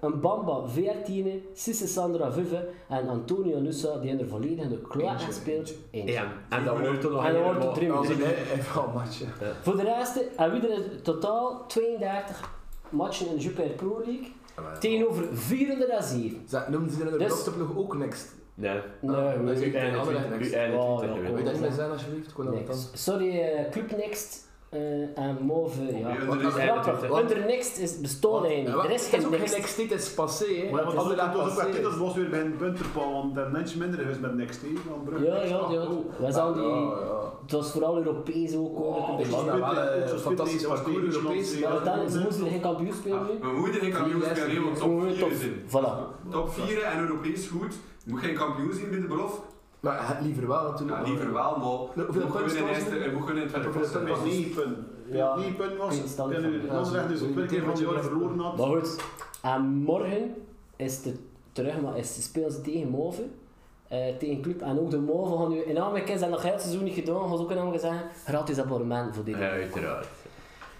Speaker 4: 11, Mbamba 14, Sisse Sandra 5 en Antonio Nusa die in de volledige klaar
Speaker 2: Eentje,
Speaker 4: speelt 1.
Speaker 5: Ja, en dan wordt er nog
Speaker 4: En dan
Speaker 5: een
Speaker 4: wordt er
Speaker 5: bal.
Speaker 4: drie
Speaker 2: Ja,
Speaker 4: minuten.
Speaker 2: nee, even al een matje.
Speaker 4: Voor de rest hebben we er in totaal 32 matchen in de Jupiler Pro League tegenover 407.
Speaker 2: Zeg, Noemden ze in de
Speaker 4: Dus-
Speaker 2: grootste ploeg ook next?
Speaker 5: Nee.
Speaker 4: Nee,
Speaker 2: Ah, dat is
Speaker 4: nee.
Speaker 5: U einde
Speaker 2: Anderlecht
Speaker 5: 20,
Speaker 2: next.
Speaker 5: U einde
Speaker 4: Oh,
Speaker 5: 20
Speaker 4: ja,
Speaker 5: gewin.
Speaker 2: Wil je dat niet
Speaker 4: nee.
Speaker 2: meer zijn, alsjeblieft? Ik kon dat
Speaker 4: Nee.
Speaker 2: niet aan.
Speaker 4: Sorry, eh, Club Next eh, en Mauve. Ja.
Speaker 6: Ja,
Speaker 4: Wat
Speaker 6: dat is
Speaker 4: is grappig.
Speaker 5: 21,
Speaker 2: hè.
Speaker 4: Under Next is bestaan
Speaker 2: Ja,
Speaker 4: eigenlijk. Er is
Speaker 2: het is
Speaker 4: geen
Speaker 2: ook geen
Speaker 4: Next.
Speaker 2: next, dit is passé. hè.
Speaker 3: Maar ja, want
Speaker 2: Het is
Speaker 3: anders
Speaker 2: inderdaad
Speaker 3: komt onze
Speaker 2: passé.
Speaker 3: kwartier, dat was weer bij een punterpaal, want daar mensen minder geweest met Next hè, van Brugge.
Speaker 4: Ja, ja, ja. We zijn
Speaker 2: Ja,
Speaker 4: die,
Speaker 2: ja.
Speaker 4: het was vooral Europees ook. hoor.
Speaker 2: Oh,
Speaker 4: Dus-
Speaker 2: man, dat wel, eh,
Speaker 3: Zo'n
Speaker 2: fantastisch
Speaker 3: spits-
Speaker 2: parcours,
Speaker 3: zo'n spits-
Speaker 2: Europees.
Speaker 3: zo'n
Speaker 4: Ja,
Speaker 2: Ja,
Speaker 4: maar dan ze
Speaker 3: ja.
Speaker 4: moesten geen kampioen spelen nu.
Speaker 6: Mijn moeder geen kampioen
Speaker 2: Ja,
Speaker 6: spelen, want top
Speaker 4: Mogen we
Speaker 6: 4
Speaker 4: top-
Speaker 6: zijn.
Speaker 4: Voilà.
Speaker 6: Top 4 en Europees goed. Moet geen kampioen zijn binnen de belofte.
Speaker 2: Maar het liever wel natuurlijk.
Speaker 6: Ja, liever wel, maar
Speaker 2: Hoeveel
Speaker 6: we kunnen
Speaker 2: punten
Speaker 6: in
Speaker 2: staan ze
Speaker 6: eerste
Speaker 2: nu?
Speaker 6: en we kunnen in tweede
Speaker 2: Hoeveel
Speaker 6: klasse.
Speaker 3: Dat was 9 punten.
Speaker 4: Ja.
Speaker 3: 9 punten was
Speaker 4: Geen
Speaker 3: het.
Speaker 4: stand
Speaker 3: En
Speaker 4: van.
Speaker 3: nu, onze recht is
Speaker 2: Ja,
Speaker 3: ook twee keer van het
Speaker 2: ja.
Speaker 3: jaar verloren had.
Speaker 4: Maar goed, en morgen is de terug, maar is, spelen ze tegen Mauve. eh, tegen Club. En ook de Mauve gaan nu in Amerika zijn nog heel het seizoen niet gedaan. Gaan ze ook in Amerika zeggen: gratis abonnement voor dit.
Speaker 5: Ja, uiteraard.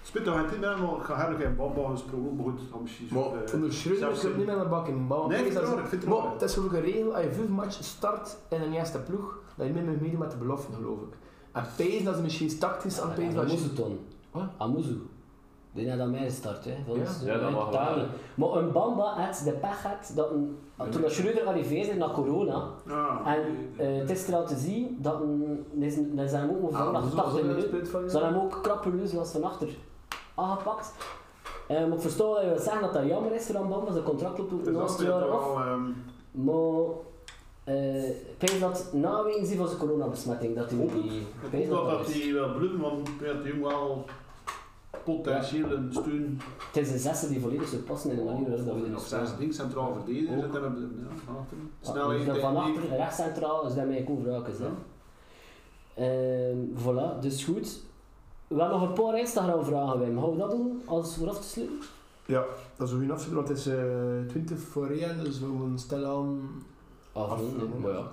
Speaker 3: Spit dat het in ben, maar ik ga herlijk in Bamba gesproken, maar goed, dan misschien zo,
Speaker 2: Maar
Speaker 3: eh,
Speaker 2: onder Schreuder
Speaker 3: zelfs
Speaker 2: kun je
Speaker 3: in-
Speaker 2: niet met een bak in bal.
Speaker 3: Nee, ik vind het
Speaker 2: dat
Speaker 3: raar, ik vind het
Speaker 2: Maar
Speaker 3: raar.
Speaker 2: het is geloof ik een regel, als je vijf matchen start in een eerste ploeg, dat je niet meer meedoet met de belofte, geloof ik. En pezen dat ze misschien tactisch aan pezen dat
Speaker 4: Amuzu
Speaker 2: je...
Speaker 4: ton.
Speaker 2: Wat?
Speaker 4: Amuzu. Die had aan mij gestart, hè. Van
Speaker 2: Ja?
Speaker 4: ons,
Speaker 5: Ja, dat
Speaker 4: hè,
Speaker 5: mag
Speaker 4: totaal
Speaker 5: wel.
Speaker 4: niet. Maar een Bamba had de pech had dat een, toen dat Schreuder arriveerde na corona.
Speaker 3: Ja.
Speaker 4: En eh, het is er al te zien dat een, dat is- dat zijn hem ook
Speaker 2: Ah,
Speaker 4: vandaag
Speaker 2: Amuzu was
Speaker 4: 80
Speaker 2: ook een
Speaker 4: minuten.
Speaker 2: spits van, ja.
Speaker 4: Ze hebben hem ook krappeloos last van achter aangepakt. Eh, maar ik versta wat je wilt zeggen dat dat jammer is voor een Bamba, zijn contract loopt
Speaker 3: Dus dat
Speaker 4: naast
Speaker 3: speelt
Speaker 4: jaar af.
Speaker 3: wel, ehm,
Speaker 4: Maar eh, ik denk dat na wezen van zijn coronabesmetting dat hij
Speaker 3: Hoop het.
Speaker 4: die.
Speaker 3: Ik hoop dat
Speaker 4: is.
Speaker 3: hij wel bloedt, want ik weet dat hij wel potentieel een steun
Speaker 4: Het is een zesde die volledig zou passen in de manier waarop dat we
Speaker 3: op
Speaker 4: dit spelen.
Speaker 3: zes ding centraal verdedigen.
Speaker 4: Ook.
Speaker 3: Zit daar op de- ja, van achter.
Speaker 4: Ja, dus
Speaker 3: Snelheid,
Speaker 4: dan van
Speaker 3: techniek.
Speaker 4: achter, rechts centraal, is daarmee Koen Vrouwkes. hè. Ehm, voilà, dus goed. We hebben nog een paar Instagram-vragen, Wim. Gaan we dat doen als vooraf te sluiten?
Speaker 2: Ja, dat is een goede afzet, want het is eh 20 voor 1, dus we moeten stilaan
Speaker 4: Afronden,
Speaker 2: afronden.
Speaker 4: maar ja.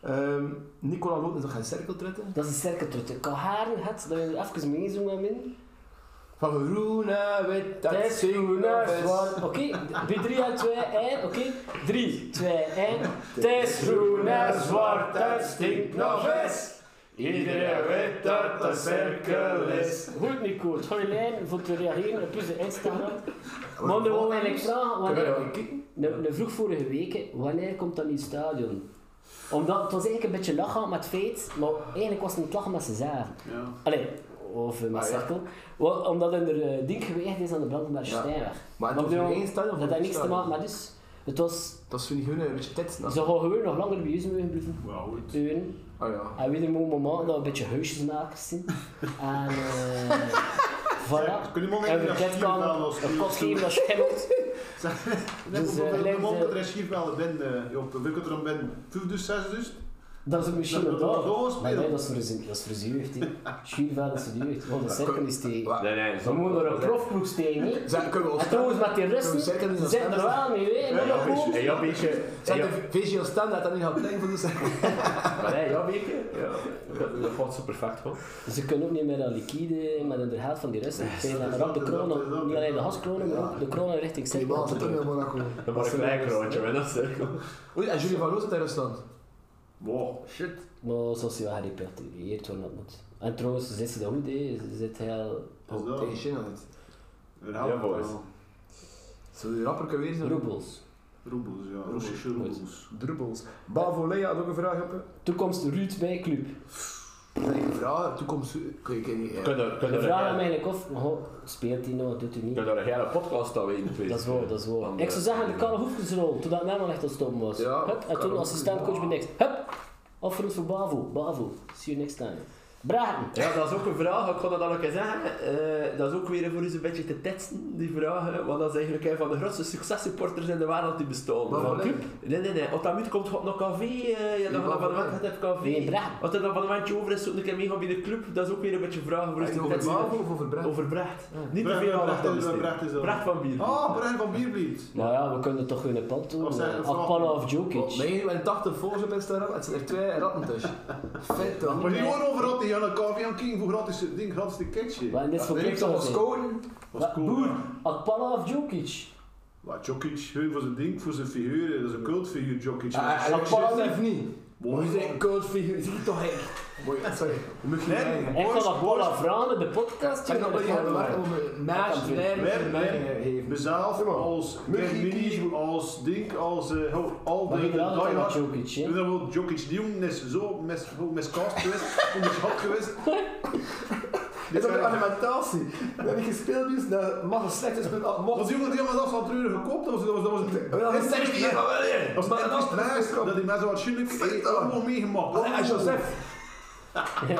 Speaker 2: Ehm, Nicola Loot is nog geen cirkel trekken.
Speaker 4: Dat is een sterke trut. Ik kan haren het, dat we even meezoomen min.
Speaker 2: Van groen naar wit, dat
Speaker 4: Tijd,
Speaker 2: is groen
Speaker 4: groene,
Speaker 2: of is-
Speaker 4: zwart. Oké, bij 3 en 2 en, oké. 3, 2 en. Tijd, groene, zwart, dat stinkt nog eens.
Speaker 5: Iedereen weet dat de cirkel is.
Speaker 4: Goed Nico, het goede lijn voor te reageren op onze Instagram. Maar nu wil
Speaker 2: Kunnen
Speaker 4: ik vragen,
Speaker 2: we
Speaker 4: wanneer,
Speaker 2: dat kijken?
Speaker 4: nou, nou vroeg vorige week, hè, wanneer komt dat nieuw stadion? Omdat het was eigenlijk een beetje lachen met het feit, maar eigenlijk was het niet lachen met z'n zagen.
Speaker 3: Ja.
Speaker 4: Allee, of eh, met
Speaker 2: Ah, ja.
Speaker 4: cirkel. Wel, Omdat er eh, ding geweest is aan de Brandenburg
Speaker 2: Ja.
Speaker 4: Steinweg.
Speaker 2: Maar het
Speaker 4: Maar
Speaker 2: was
Speaker 4: bedoel,
Speaker 2: één stadion of
Speaker 4: Dat had
Speaker 2: een
Speaker 4: niks te
Speaker 2: stadion?
Speaker 4: maken met dus. Het was,
Speaker 2: Dat is vind ik gewoon een beetje tijd.
Speaker 4: ze gaan gewoon nog langer bij ons mogen blijven.
Speaker 3: Wauw, goed.
Speaker 4: Uren.
Speaker 2: Oh ja.
Speaker 4: En weer een mooi moment dat we een beetje huisjesmakers zien. En eh [laughs] voilà.
Speaker 3: Kun je me
Speaker 4: En we
Speaker 3: naar
Speaker 4: kent kan
Speaker 3: schiervelden als
Speaker 4: een kot geven dat schimmelt. Dus,
Speaker 3: Dus,
Speaker 4: eh,
Speaker 3: uh, de
Speaker 4: lijkt,
Speaker 3: man
Speaker 4: eh,
Speaker 3: dat er schiervelden binnen, Joppe. We kunnen er dan binnen 5 dus 6 dus.
Speaker 4: Dat is misschien
Speaker 3: Dat-
Speaker 4: een
Speaker 3: dat-
Speaker 4: dag.
Speaker 3: dat was
Speaker 4: Maar
Speaker 3: spelen.
Speaker 4: nee, dat is verzu- dat is verzuurd. hè. Schuurveld is verzuurd. Want de cirkel is tegen.
Speaker 2: Wa-
Speaker 5: Nee, nee,
Speaker 4: We moeten door een profploeg steken. hè.
Speaker 2: Zeg, kunnen we ons
Speaker 4: En trouwens, met die
Speaker 2: Kunnen we dus
Speaker 4: Russen,
Speaker 2: cirkel niet
Speaker 4: ze
Speaker 2: als
Speaker 4: zijn er
Speaker 2: standaard?
Speaker 4: wel mee. hè. Met de koop.
Speaker 5: Hey, ja, beetje.
Speaker 2: Zeg, de VGL standaard dat niet gaat blijven voor de cirkel.
Speaker 5: Nee, ja, beetje. Ja, dat valt ze perfect van.
Speaker 4: Ze kunnen ook niet meer aan liquide, maar de helft van die Russen. Ze zijn dan rap de kronen, niet alleen de haskronen, maar ook de kronen richting
Speaker 2: Die man
Speaker 4: cirkel.
Speaker 2: zit ook in Monaco.
Speaker 5: Dan maar een klein kroontje met dat cirkel.
Speaker 2: Oei, en Jullie van Loos zit in Rusland.
Speaker 3: Wow.
Speaker 2: Shit.
Speaker 4: Maar zoals je wel gerepatrieerd worden dat moet. En trouwens, zit ze dat goed, hè? Ze zit heel...
Speaker 3: Wat is
Speaker 2: Tegen
Speaker 3: dat?
Speaker 2: China niet.
Speaker 3: Herhaal het
Speaker 5: boys.
Speaker 3: wel.
Speaker 2: Zullen die rapper kunnen weer zijn?
Speaker 4: Roebels.
Speaker 3: Roebels, ja. Russische roebels.
Speaker 2: Drubbels. Bavolea had ook een vraag op.
Speaker 4: Toekomst Ruud bij club.
Speaker 2: Dat ik een vraag, toekomst... Ik weet niet. eh,
Speaker 5: Kunnen
Speaker 4: De
Speaker 5: kunnen
Speaker 4: vraag aan
Speaker 5: er
Speaker 4: mij of oh, speelt hij nog, doet hij niet?
Speaker 5: kunnen er een hele podcast aan weten.
Speaker 4: Dat is waar, dat is waar.
Speaker 5: Van
Speaker 4: Ik
Speaker 5: de-
Speaker 4: zou zeggen, de Karel Hoefkensrol, toen dat Merman echt al stom was.
Speaker 2: Ja,
Speaker 4: Hup, en toen
Speaker 2: Karel
Speaker 4: assistentcoach bij niks. Hup! Offerend voor Bavo, Bavo. See you next time. Bragen!
Speaker 5: Ja, dat is ook een vraag, ik kon dat al een keer zeggen. Eh, dat is ook weer voor ons een beetje te testen, die vraag. hè, Want dat is eigenlijk een van de grootste successupporters in de wereld die bestaan.
Speaker 2: Maar
Speaker 5: Van-
Speaker 2: wat is-
Speaker 5: Nee, nee, nee. Op dat moment komt God nog café. eh, je hebt nog een
Speaker 2: maar wat
Speaker 5: abonnement hebt
Speaker 4: Nee,
Speaker 5: café.
Speaker 4: Bragen.
Speaker 5: Als er een abonnementje over is, zoek een keer mee gaan bij de club. Dat is ook weer een beetje vragen voor ons
Speaker 2: Is het
Speaker 5: te
Speaker 2: over
Speaker 5: testen.
Speaker 2: Bravo of over Bravo?
Speaker 5: Over Brecht. Niet te
Speaker 3: Brecht,
Speaker 5: veel aandacht
Speaker 3: Brecht,
Speaker 5: aan besteden.
Speaker 3: Brecht is dat.
Speaker 5: Brecht van Bier.
Speaker 3: Ah, Brian van Bierbleed.
Speaker 4: Nou ja, we kunnen toch weer een pand doen.
Speaker 3: Of zijn er
Speaker 4: eh,
Speaker 3: vragen?
Speaker 4: Akpala of Jokic.
Speaker 2: Nee, we hebben 80 volgers op Instagram. Het zijn er twee ratten tussen. Vet
Speaker 3: Maar
Speaker 2: dan.
Speaker 3: die horen over dat die aan een koffie aan King voor gratis ding, gratis de
Speaker 4: Wat
Speaker 3: kitchen.
Speaker 4: en dit is voor
Speaker 2: We
Speaker 4: club
Speaker 2: heeft al
Speaker 4: toch zijn?
Speaker 2: scoren.
Speaker 3: Was cool.
Speaker 4: Boer.
Speaker 3: hè.
Speaker 4: Akpala of Jokic?
Speaker 3: Maar Jokic, gewoon voor zijn ding, voor zijn figuur, hè. dat is een cultfiguur, Jokic.
Speaker 2: Ah,
Speaker 3: Dat
Speaker 2: en
Speaker 3: is-
Speaker 2: Paul of niet?
Speaker 3: Wow.
Speaker 2: Moet je zijn coachfiguur? Zie je toch ik? Mooi, [laughs] sorry. Je mag
Speaker 3: Nee,
Speaker 2: niet
Speaker 4: Ik
Speaker 3: Boys,
Speaker 4: kan Akpala
Speaker 3: boys.
Speaker 4: vragen in de podcast.
Speaker 2: En dan ben
Speaker 4: jongen,
Speaker 2: nou je
Speaker 4: dat kan
Speaker 2: aan
Speaker 4: wel.
Speaker 2: om een match
Speaker 4: Wij-
Speaker 2: nergens
Speaker 3: wij-
Speaker 2: een mening geven.
Speaker 3: Mezelf, als
Speaker 2: Muggie,
Speaker 3: Kermini, als Dink, als eh, ho- al
Speaker 4: Maar
Speaker 3: die
Speaker 4: ik
Speaker 3: die
Speaker 4: raad het wel met
Speaker 3: hard.
Speaker 4: Jokic, hè.
Speaker 3: Ik bedoel, wel, Jokic, die jongen is zo mis- zo miscast geweest, [laughs] onderschat
Speaker 4: [laughs]
Speaker 3: geweest.
Speaker 2: Is dat de alimentatie? We hebben gespeeld dus, dat mag een slecht gespeeld, dat
Speaker 3: Want
Speaker 2: mocht.
Speaker 3: die jongen die allemaal dat van treuren gekoopt, dat was, dat was, dat was een...
Speaker 2: Maar dat is een slecht hier, maar wel hè.
Speaker 3: Dat was
Speaker 2: Maar
Speaker 3: een
Speaker 2: dat is
Speaker 3: interest
Speaker 2: een
Speaker 3: dat die mensen waarschijnlijk eh, allemaal meegemaakt.
Speaker 2: Allee, Oh, en
Speaker 4: [laughs]
Speaker 2: Joseph.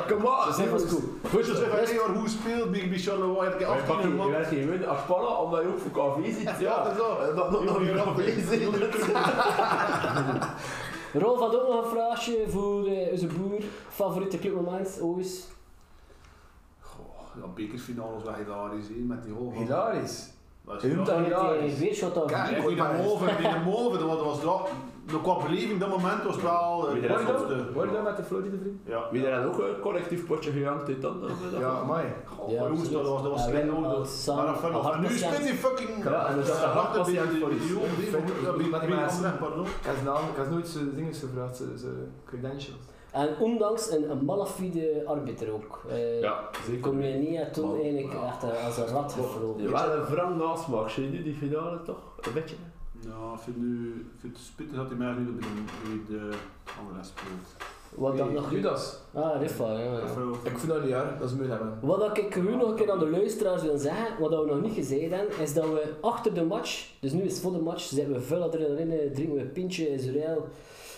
Speaker 2: Come on.
Speaker 4: Joseph was cool.
Speaker 3: Goed, dus even hey, hoor, hoe speelt Big B Charleroi? Heb ik
Speaker 5: Maar je pakt
Speaker 3: 18
Speaker 5: je
Speaker 3: gemaakt?
Speaker 5: werkt geen win als Palla, omdat je ook voor café zit.
Speaker 3: Ja, dat is wel.
Speaker 5: Dat nog
Speaker 3: Jullie
Speaker 5: een café
Speaker 3: grappen.
Speaker 5: zit.
Speaker 4: Rolf had ook nog een vraagje voor eh, onze boer. Favoriete clubmoment ooit?
Speaker 3: Goh, dat bekerfinale was wel hilarisch, hè, met die hoge.
Speaker 2: Hilarisch.
Speaker 3: Dat is
Speaker 2: Je noemt
Speaker 3: wel-
Speaker 2: dat
Speaker 4: Tegen
Speaker 3: dus-
Speaker 2: hilarisch.
Speaker 4: eh, Weerschot of
Speaker 2: Kijk,
Speaker 3: Ja,
Speaker 2: Nico
Speaker 3: die de
Speaker 2: Parijs.
Speaker 3: Moven, die de Moven, dat was dat. De qua beleving, dat moment was het wel. eh,
Speaker 5: Wie
Speaker 3: was
Speaker 5: dat
Speaker 3: het
Speaker 5: ook-
Speaker 3: de-
Speaker 2: Hoor je dat met de Florida vriend?
Speaker 3: Ja.
Speaker 5: Wie daar ook een collectief potje gejankt heeft dan?
Speaker 2: Ja, mooi.
Speaker 3: Goh,
Speaker 4: Ja,
Speaker 3: maar hoe is dat? Dat was- dat was
Speaker 4: absoluut.
Speaker 3: slecht
Speaker 4: Ja,
Speaker 3: nodig.
Speaker 4: als Sam-
Speaker 3: Maar dat vind ik-
Speaker 4: als
Speaker 3: en nu
Speaker 4: Hartman
Speaker 3: speelt die fucking.
Speaker 5: Ja, en dat is
Speaker 3: Ja,
Speaker 5: dat
Speaker 3: dat
Speaker 5: Hartman
Speaker 3: is die-
Speaker 5: die-
Speaker 3: die- die-
Speaker 5: die-
Speaker 3: die- die-
Speaker 2: die-
Speaker 3: die- die-
Speaker 2: die-
Speaker 3: die-
Speaker 2: die-
Speaker 3: die- pardon.
Speaker 2: Ik had zijn naam- ik had nooit zijn dingen gevraagd, zijn- zijn credentials.
Speaker 4: En ondanks een, een malafide arbiter ook. Eh,
Speaker 5: Ja, zeker.
Speaker 4: Kom je niet aan toen
Speaker 5: Man,
Speaker 4: eigenlijk echt eh, als een rat
Speaker 5: Ja,
Speaker 4: gevlogen.
Speaker 5: wel een wrang nasmaak, zie je nu die finale toch? Een beetje.
Speaker 3: Ja, ik vind nu- ik vind het spittig dat die mij nu bij de andere speelt.
Speaker 4: Wat dat
Speaker 2: Hey,
Speaker 4: nog...
Speaker 2: Judas.
Speaker 4: Ah, Riffa, ja. ja.
Speaker 2: Ik vind dat niet raar, dat is moeilijk hebben.
Speaker 4: Wat dat ik gewoon nog een keer aan de luisteraars wil zeggen, wat dat we nog niet gezegd hebben, is dat we achter de match, dus nu is het voor de match, zitten we vol adrenaline, drinken we een pintje, Israël,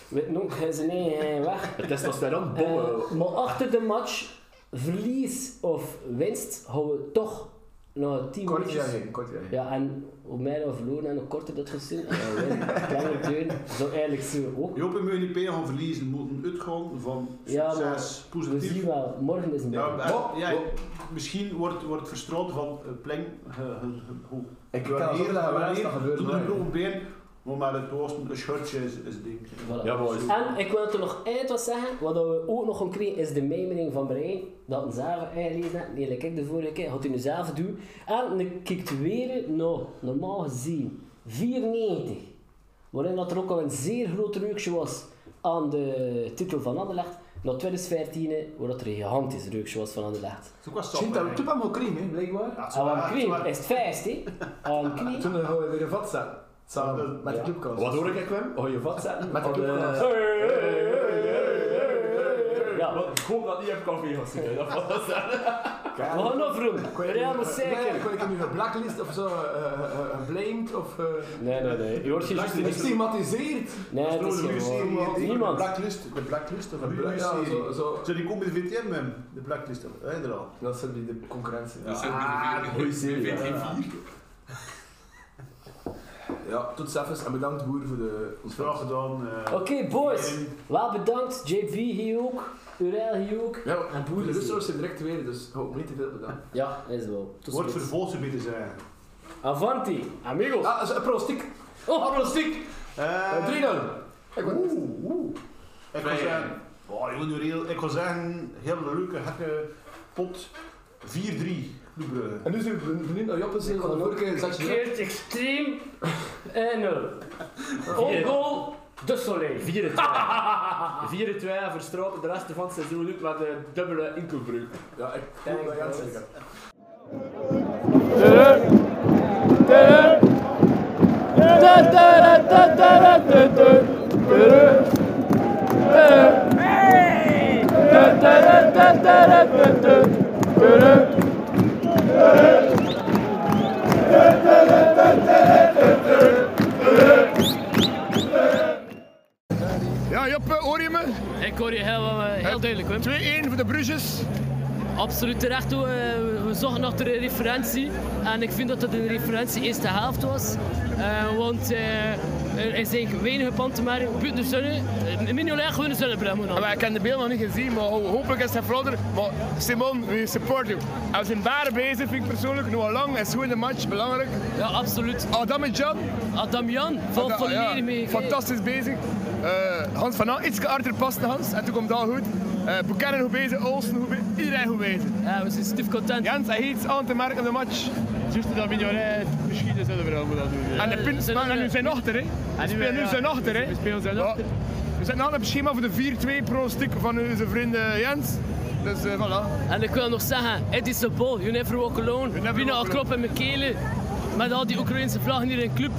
Speaker 4: weet nog, hij is nee, hij weg.
Speaker 3: [laughs]
Speaker 5: Het is als dan
Speaker 4: Eh,
Speaker 5: bommen.
Speaker 4: maar achter de match, verlies of winst, houden we toch nou, 10
Speaker 2: Eh, Kort
Speaker 4: minuutjes.
Speaker 2: reageren, kort reageren.
Speaker 4: Ja, en hoe meer we verloren en hoe korter dat gezien, en hoe meer [laughs] kleine deuren, zo eigenlijk zien we ook.
Speaker 3: Joop en Meunier gaan verliezen, moeten uitgaan van
Speaker 4: Ja, maar
Speaker 3: succes,
Speaker 4: Dus we
Speaker 3: positief.
Speaker 4: zien wel, morgen is een
Speaker 3: Ja,
Speaker 4: dag.
Speaker 3: maar-
Speaker 2: Bob,
Speaker 3: ja,
Speaker 2: Bob.
Speaker 3: misschien wordt, wordt verstraald van eh, Pleng. ge- ge- ge- hoe-
Speaker 2: Ik kan het ook laten wijzen, dat gebeurt
Speaker 3: doet er een
Speaker 2: nooit.
Speaker 3: broek been, maar met het oosten, een shirtje is, is het ding.
Speaker 4: Voilà.
Speaker 5: Ja, boys.
Speaker 4: En ik wil het er nog uit wat zeggen, wat we ook nog gaan krijgen is de mijmering van Brein. Dat een zelf ingelezen heeft. Nee, like ik de vorige keer, had hij nu zelf doen. En ik kijkt weer naar, normaal gezien, 94. Waarin dat er ook al een zeer groot reukje was aan de titel van Anderlecht. Naar 2014, waar dat er een gigantisch reukje was van Anderlecht.
Speaker 3: Het is ook wel sap,
Speaker 2: Sint, dat we
Speaker 3: eigenlijk.
Speaker 2: toen allemaal cream, hè, blijkbaar.
Speaker 3: Ja, het is
Speaker 4: En
Speaker 3: wel-
Speaker 4: aan
Speaker 3: het is
Speaker 4: Knie
Speaker 3: wel-
Speaker 4: is het feest, hè. Aan Knie.
Speaker 2: Toen gaan we weer een vat zetten. Samen, met de
Speaker 4: Ja.
Speaker 2: clubkast.
Speaker 5: Wat hoor ik, hè, Kwem?
Speaker 2: Oh,
Speaker 5: Hou je vat zetten?
Speaker 2: Met de
Speaker 5: Van, eh,
Speaker 2: clubkast.
Speaker 5: hey, hey, hey, hey, hey, hey.
Speaker 4: Ja.
Speaker 5: Wat- Ik hoop dat niet op café gaat zitten. Dat was
Speaker 4: We gaan afroemen. Real moet
Speaker 2: Nee,
Speaker 4: zeker.
Speaker 2: kon ik hem nu een blacklist of zo, eh, eh, eh, geblamed of... eh,
Speaker 4: Nee, nee, nee. Je wordt geen justitie.
Speaker 2: Gestigmatiseerd!
Speaker 4: Nee, het is
Speaker 3: de nieuwe
Speaker 4: gewoon...
Speaker 3: serie, die-
Speaker 4: Niemand.
Speaker 3: De blacklist, de blacklist van de
Speaker 2: Bla-
Speaker 3: nieuwe
Speaker 2: Ja,
Speaker 3: serie.
Speaker 2: zo, zo.
Speaker 3: Zou die komen met VTM, hem, de blacklist, hè, er al. Ah,
Speaker 2: Dat zijn die de concurrentie.
Speaker 6: Dus
Speaker 2: Ja,
Speaker 6: heb ik
Speaker 5: goeie serie,
Speaker 6: vind
Speaker 5: ja.
Speaker 6: geen vier.
Speaker 2: ja tot zelfs en bedankt Boer voor de
Speaker 3: Vraag
Speaker 2: ontvangst.
Speaker 3: gedaan. eh,
Speaker 4: Oké, boys.
Speaker 3: en-
Speaker 4: Wel bedankt. JV hier ook. Urel hier ook.
Speaker 2: Ja,
Speaker 4: En
Speaker 2: de
Speaker 4: Boer is hier.
Speaker 2: Russers zijn direct weer, dus hoop niet te veel bedankt.
Speaker 4: Ja, is wel. Tot
Speaker 3: Wordt
Speaker 4: ziens.
Speaker 3: vervolgd te bieden zijn.
Speaker 4: Avanti. Amigos.
Speaker 2: Ah, dat is een prostiek!
Speaker 4: Oh,
Speaker 2: Prostiek!
Speaker 3: Eh,
Speaker 2: 3-0! Ik word
Speaker 3: Oeh, oeh. Ik was
Speaker 6: Twee.
Speaker 3: zeggen, oh, jongen, nu heel, ik was zeggen, heel leuke, gekke pot 4-3, Club Brugge.
Speaker 2: En nu zijn we benieuwd naar Joppes, van de vorige keer zat je niet.
Speaker 4: verkeerd extreem. 1-0. On goal. De Soleil.
Speaker 5: 4-2. 4-2 verstraalt de rest van het seizoen ook met een dubbele inkoopbreuk.
Speaker 2: Ja, ik denk dat je het zeker hebt.
Speaker 7: Ja, Job, eh, hoor je me?
Speaker 4: Ik hoor je heel, eh, heel duidelijk, Wim.
Speaker 7: 2-1 voor de Bruges.
Speaker 4: Absoluut terecht. hoor. Eh, we zochten nog een referentie. En ik vind dat het een referentie eerste helft was. Eh, want eh, er is eigenlijk weinig pand te maken. Buiten de zonne. Eh, Mignolet gewoon de zonne brengen.
Speaker 7: Maar ik heb de beeld nog niet gezien, maar ho- hopelijk is hij vlodder. Maar Simon, we support you. En we zijn daar bezig, vind ik persoonlijk. Nu al lang, is gewoon de match, belangrijk.
Speaker 4: Ja, absoluut.
Speaker 7: Adam en Jan,
Speaker 4: Adam Jan valt
Speaker 7: Ja, ja,
Speaker 4: volledig mee.
Speaker 7: fantastisch bezig. Eh, Hans van Aan, iets harder passen, Hans. En toen komt dat goed. Eh Buchanan goed bezig, Olsen goed bezig, iedereen goed bezig.
Speaker 4: Ja, we zijn stief content.
Speaker 7: Jens, hij heeft iets aan te merken op de match.
Speaker 8: Juist dat Mignolet misschien zullen we dat moeten doen.
Speaker 7: En de punten
Speaker 4: zijn
Speaker 7: spelen
Speaker 4: er-
Speaker 7: nu zijn achter, hè. We spelen nu zijn achter, hè.
Speaker 8: We spelen zijn
Speaker 7: Ja.
Speaker 8: achter.
Speaker 7: We zitten al op schema voor de 4-2 pro-stick van onze vriend eh, Jens. Dus eh, voilà.
Speaker 4: En ik wil nog zeggen, it is a ball. You never walk alone.
Speaker 7: never
Speaker 4: Wina
Speaker 7: walk
Speaker 4: al krop en Mekele. Met al die Oekraïnse vlaggen hier in de club.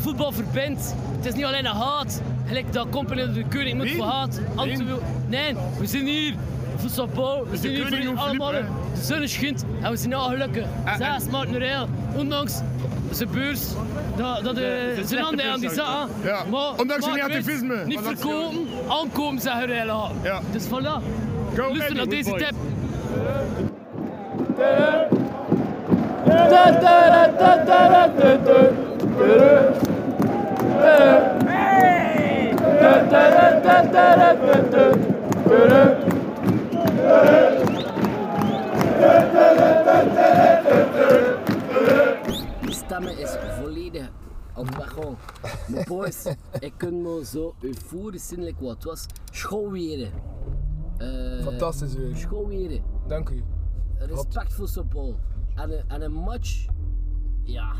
Speaker 4: Voetbal verbindt. Het is niet alleen een haat. Gelijk dat Company de keuring moet
Speaker 7: Wie?
Speaker 4: voor haat. Antwerpen- Nee, we zijn hier. voor Sapor, we zijn hier voor
Speaker 7: keuring
Speaker 4: jullie
Speaker 7: hoeft
Speaker 4: allemaal.
Speaker 7: niet,
Speaker 4: De zon schijnt en we zijn al gelukkig.
Speaker 7: Ah,
Speaker 4: Zes maart nu rijl, ondanks zijn beurs, dat, dat de, zijn handen aan die zaten.
Speaker 7: Ja, ondanks
Speaker 4: maar
Speaker 7: hun
Speaker 4: het werd
Speaker 7: negativisme.
Speaker 4: Niet
Speaker 7: Ondanks-
Speaker 4: verkopen, aankomen zeggen rijlen.
Speaker 7: Ja.
Speaker 4: Dus voilà,
Speaker 7: Go
Speaker 4: luister naar
Speaker 7: Eddie.
Speaker 4: deze tip. De stemmen is volledig op weg gang. Maar boys, ik kan me zo euforisch zinnelijk wat het was. Eh, Schouwweren.
Speaker 2: Fantastisch weer.
Speaker 4: Schouwweren.
Speaker 2: Dank u.
Speaker 4: Respectvol voetbal. En een, en een match. Ja.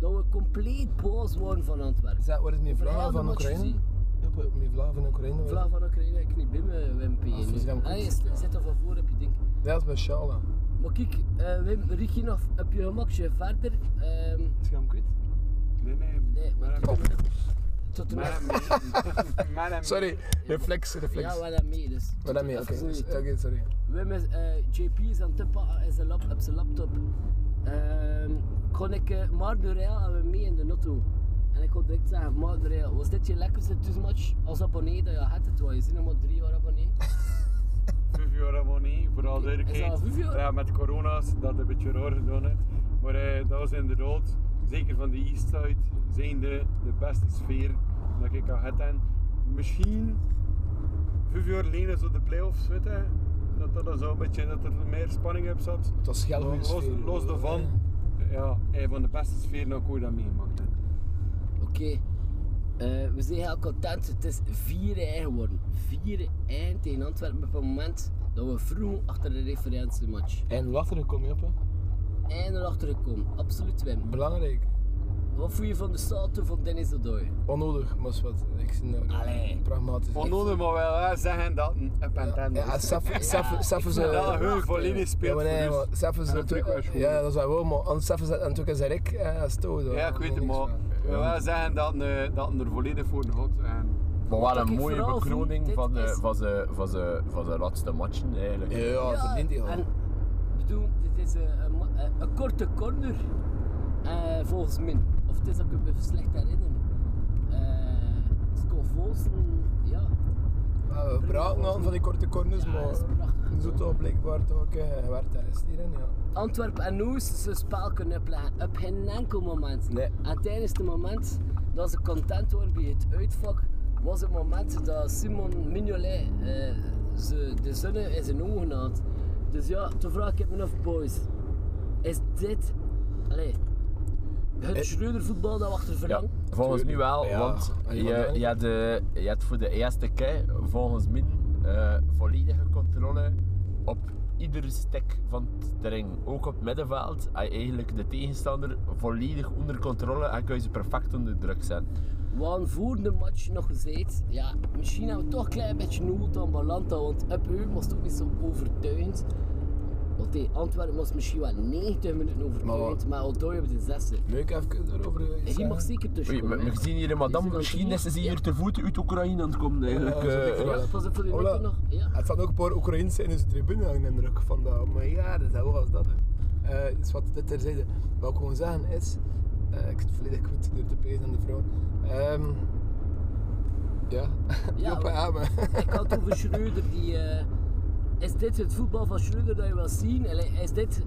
Speaker 4: Dat we compleet boos worden van Antwerpen.
Speaker 2: Zet, wat is mijn
Speaker 4: Over heel
Speaker 2: vlag
Speaker 4: de
Speaker 2: van
Speaker 4: match
Speaker 2: Oekraïne?
Speaker 4: gezien.
Speaker 2: Ja, wat- Mijn vlag van Oekraïne? wat-
Speaker 4: Vlag van Oekraïne, ik niet bij me, Wim P.
Speaker 2: Ah, vies, dan
Speaker 4: Allee,
Speaker 2: goed.
Speaker 4: zit zit er van voor op je ding.
Speaker 2: Dat is mijn sjaal aan.
Speaker 4: Maar kijk, eh, Wim, richt je nog op je gemakje verder. Ehm,
Speaker 2: Is je hem kwijt?
Speaker 6: Nee, nee.
Speaker 4: nee, maar ik heb- tot de next.
Speaker 2: Sorry, reflex, reflex.
Speaker 4: Ja, wel aan mee dus.
Speaker 2: Wat daarmee? Oké,
Speaker 4: Even
Speaker 2: dus-
Speaker 4: niet.
Speaker 2: oké, sorry.
Speaker 4: Wim is, eh, JP is aan het tippen op zijn, lap, op zijn laptop. Ehm kon ik eh, Marc Durel hebben mee in de auto. En ik wil direct zeggen, Marc Durel, was dit je lekkerste toesmatch als abonnee dat je had? Het was je ziet nog maar drie jaar abonnee.
Speaker 8: Vivio Ramoni, vooral
Speaker 4: Is dat
Speaker 8: duidelijkheid.
Speaker 4: Vivio?
Speaker 8: Ja, met corona's, dat een beetje raar gedaan heeft.
Speaker 9: Maar eh, dat was inderdaad, zeker van de Eastside, zijn de, de beste sfeer dat ik kan hebben. Misschien vijf jaar geleden zo de playoffs, weet je, dat dat dan zo een beetje, dat er meer spanning op zat.
Speaker 2: Het was geld
Speaker 9: Maar los,
Speaker 2: sfeer.
Speaker 9: los daarvan, ja, een van de beste sfeer dat ik ooit aan meegemaakt heb.
Speaker 4: Oké. Eh, we zijn heel content. Het is 4-1 geworden. 4-1 tegen Antwerpen op het moment dat we vroeg achter de referentiematch.
Speaker 2: En later gekomen, Joppe.
Speaker 4: En erachter gekomen. Absoluut win.
Speaker 2: Belangrijk.
Speaker 4: Wat voel je van de salto van Dennis de Dooi?
Speaker 2: Onnodig, maar is wat. Ik zie nou
Speaker 4: Allee.
Speaker 2: pragmatisch.
Speaker 9: Onnodig, maar wel hè, zeggen dat een up and down
Speaker 2: Ja,
Speaker 9: is.
Speaker 2: Sef- Sef- Sef is eh,
Speaker 9: Dat
Speaker 2: een-
Speaker 9: heel volledig
Speaker 2: Ja,
Speaker 9: speelt
Speaker 2: maar nee,
Speaker 9: voor
Speaker 2: maar
Speaker 9: ons.
Speaker 2: Sef is
Speaker 9: En
Speaker 2: een
Speaker 9: een terugweg gewoon.
Speaker 2: Ja, dat is wel, maar anders Sef is en toen is Rick en Stodo.
Speaker 9: Ja, ik weet het, maar ik wil wel zeggen dat, eh, dat een er volledig voor had. En
Speaker 10: Maar wel
Speaker 4: Wat
Speaker 10: een
Speaker 4: ik
Speaker 10: mooie
Speaker 4: vooral voel,
Speaker 10: bekroning
Speaker 4: dit
Speaker 10: van, de,
Speaker 4: is-
Speaker 10: van, de, van, de, van de laatste matchen eigenlijk.
Speaker 2: Ja, dat verdient hij
Speaker 4: En
Speaker 2: al.
Speaker 4: bedoel, dit is een, een, ma- eh, een- een korte corner. Eh, volgens mij. Of het is dat ik me slecht herinner. Eh Scovolsen, ja.
Speaker 2: Ja, Ah, We praten al van die korte corners,
Speaker 4: Ja, dat is
Speaker 2: maar
Speaker 4: prachtig.
Speaker 2: zo toch blijkbaar toch ook eh, gewerkt daar is hierin, ja.
Speaker 4: Antwerpen en Noes zijn spel kunnen opleggen. Op geen enkel moment.
Speaker 2: Nee.
Speaker 4: En tijdens het moment dat ze content waren bij het uitvak, was het moment dat Simon Mignolet eh, ze de zonne in zijn ogen had. Dus ja, toen vraag ik me af, boys, is dit allee, het Schreuder-voetbal dat we achter
Speaker 10: Eh, Ja,
Speaker 4: verlangen?
Speaker 10: volgens mij wel,
Speaker 2: Ja.
Speaker 10: want
Speaker 2: En
Speaker 10: je,
Speaker 2: die van
Speaker 10: je, had, de- je had voor de eerste keer volgens mij eh, volledige controle op iedere stek van het terrein. Ook op het middenveld had je eigenlijk de tegenstander volledig onder controle en kun je ze perfect onder druk zetten.
Speaker 4: Want voor de match nog gezegd, ja, misschien hebben we toch een klein beetje nood aan Balanta, want op u was het ook niet zo overtuigend. Want hey, Antwerpen was misschien wel 90 minuten overtuigend, maar Aldooi op de zesde.
Speaker 2: Leuk even erover
Speaker 4: En die mag zeker
Speaker 10: Oei,
Speaker 4: tussen.
Speaker 10: we, we zien hier een madame,
Speaker 4: Is er dan
Speaker 10: misschien is ze
Speaker 4: niet?
Speaker 10: hier
Speaker 4: Ja.
Speaker 10: te voet uit Oekraïne aan het komen eigenlijk.
Speaker 2: Ja,
Speaker 10: eh,
Speaker 2: zeker.
Speaker 10: eh.
Speaker 4: Ja, pas op voor die
Speaker 2: Hola.
Speaker 4: noten nog. Ja.
Speaker 2: Er staan ook een paar Oekraïnse in onze tribune, had ik de indruk van dat. Maar ja, dat is wel als dat. hè. Eh dus wat dit terzijde. Wat ik gewoon zeggen is, eh, ik zit volledig goed door de pees aan de vrouw. Ehm, ja,
Speaker 4: Ja,
Speaker 2: Joppe
Speaker 4: maar-
Speaker 2: Amen.
Speaker 4: Ik had het over Schreuder, die... eh, is dit het voetbal van Schreuder dat je wil zien? Allee, Is dit...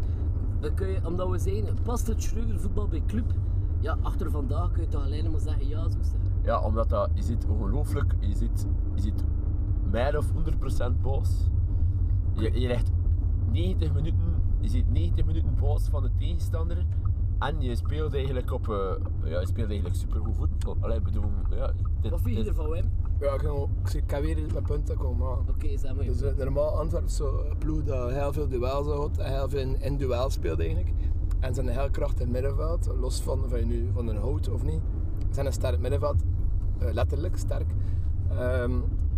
Speaker 4: we kun je, omdat we zijn, past het Schreuder voetbal bij club? Ja, achter vandaag kun je toch alleen maar zeggen ja, zo zeggen.
Speaker 10: Ja, omdat dat, je zit ongelooflijk, je zit, je zit meer of 100% boos. Je, je legt 90 minuten, je zit 90 minuten boos van de tegenstander. En je speelt eigenlijk op, eh, ja, je speelt eigenlijk supergoed voetbal. Allee, ik bedoel, ja, dit-
Speaker 4: Wat vind je
Speaker 10: dit-
Speaker 4: ervan, Wim?
Speaker 2: Ja, ik kan- ik zie- ik kan weer mijn punten komen maken.
Speaker 4: Oké, zeg maar.
Speaker 2: Dus eh, normaal Antwerpen is zo'n ploeg dat heel veel duels had en heel veel in, in duel speelt eigenlijk. En zijn heel krachtig in het middenveld, los van, van, je nu, van hun hout of niet. Ze zijn een sterk middenveld, eh, letterlijk sterk. Ehm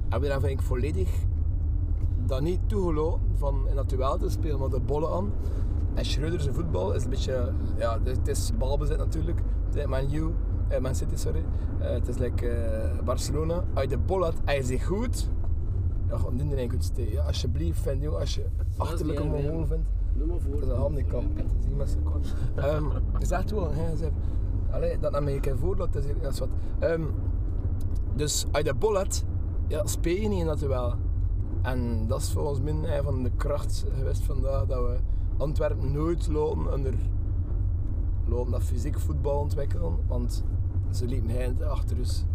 Speaker 2: en we hebben ik volledig dat niet toegelaten van in dat duel te spelen, maar de bollen aan. En Schreuder zijn voetbal is een beetje, ja, het is- het is balbezit natuurlijk. Het is Man U, eh, Man City, sorry. Eh, het is like eh, Barcelona. Als je de bol had, hij is zich goed. Ja, gewoon niet iedereen kunt steken. Ja, alsjeblieft, vind je, als je achterlijke
Speaker 4: niet erg,
Speaker 2: mongool vindt.
Speaker 4: Noem maar voor.
Speaker 2: Dat is een handicap. Het is niet met z'n kort. Ehm, Het is echt wel, hè. Ze hebben- Allee, dat nam ik een keer voor, dat is, dat is wat. Ehm, dus uit de bullet, ja, speel je niet in dat wel. En dat is volgens mij een van de kracht geweest vandaag, dat we Antwerpen nooit lopen onder lopen dat fysiek voetbal ontwikkelen, want ze liepen heind achter dus.
Speaker 4: Ze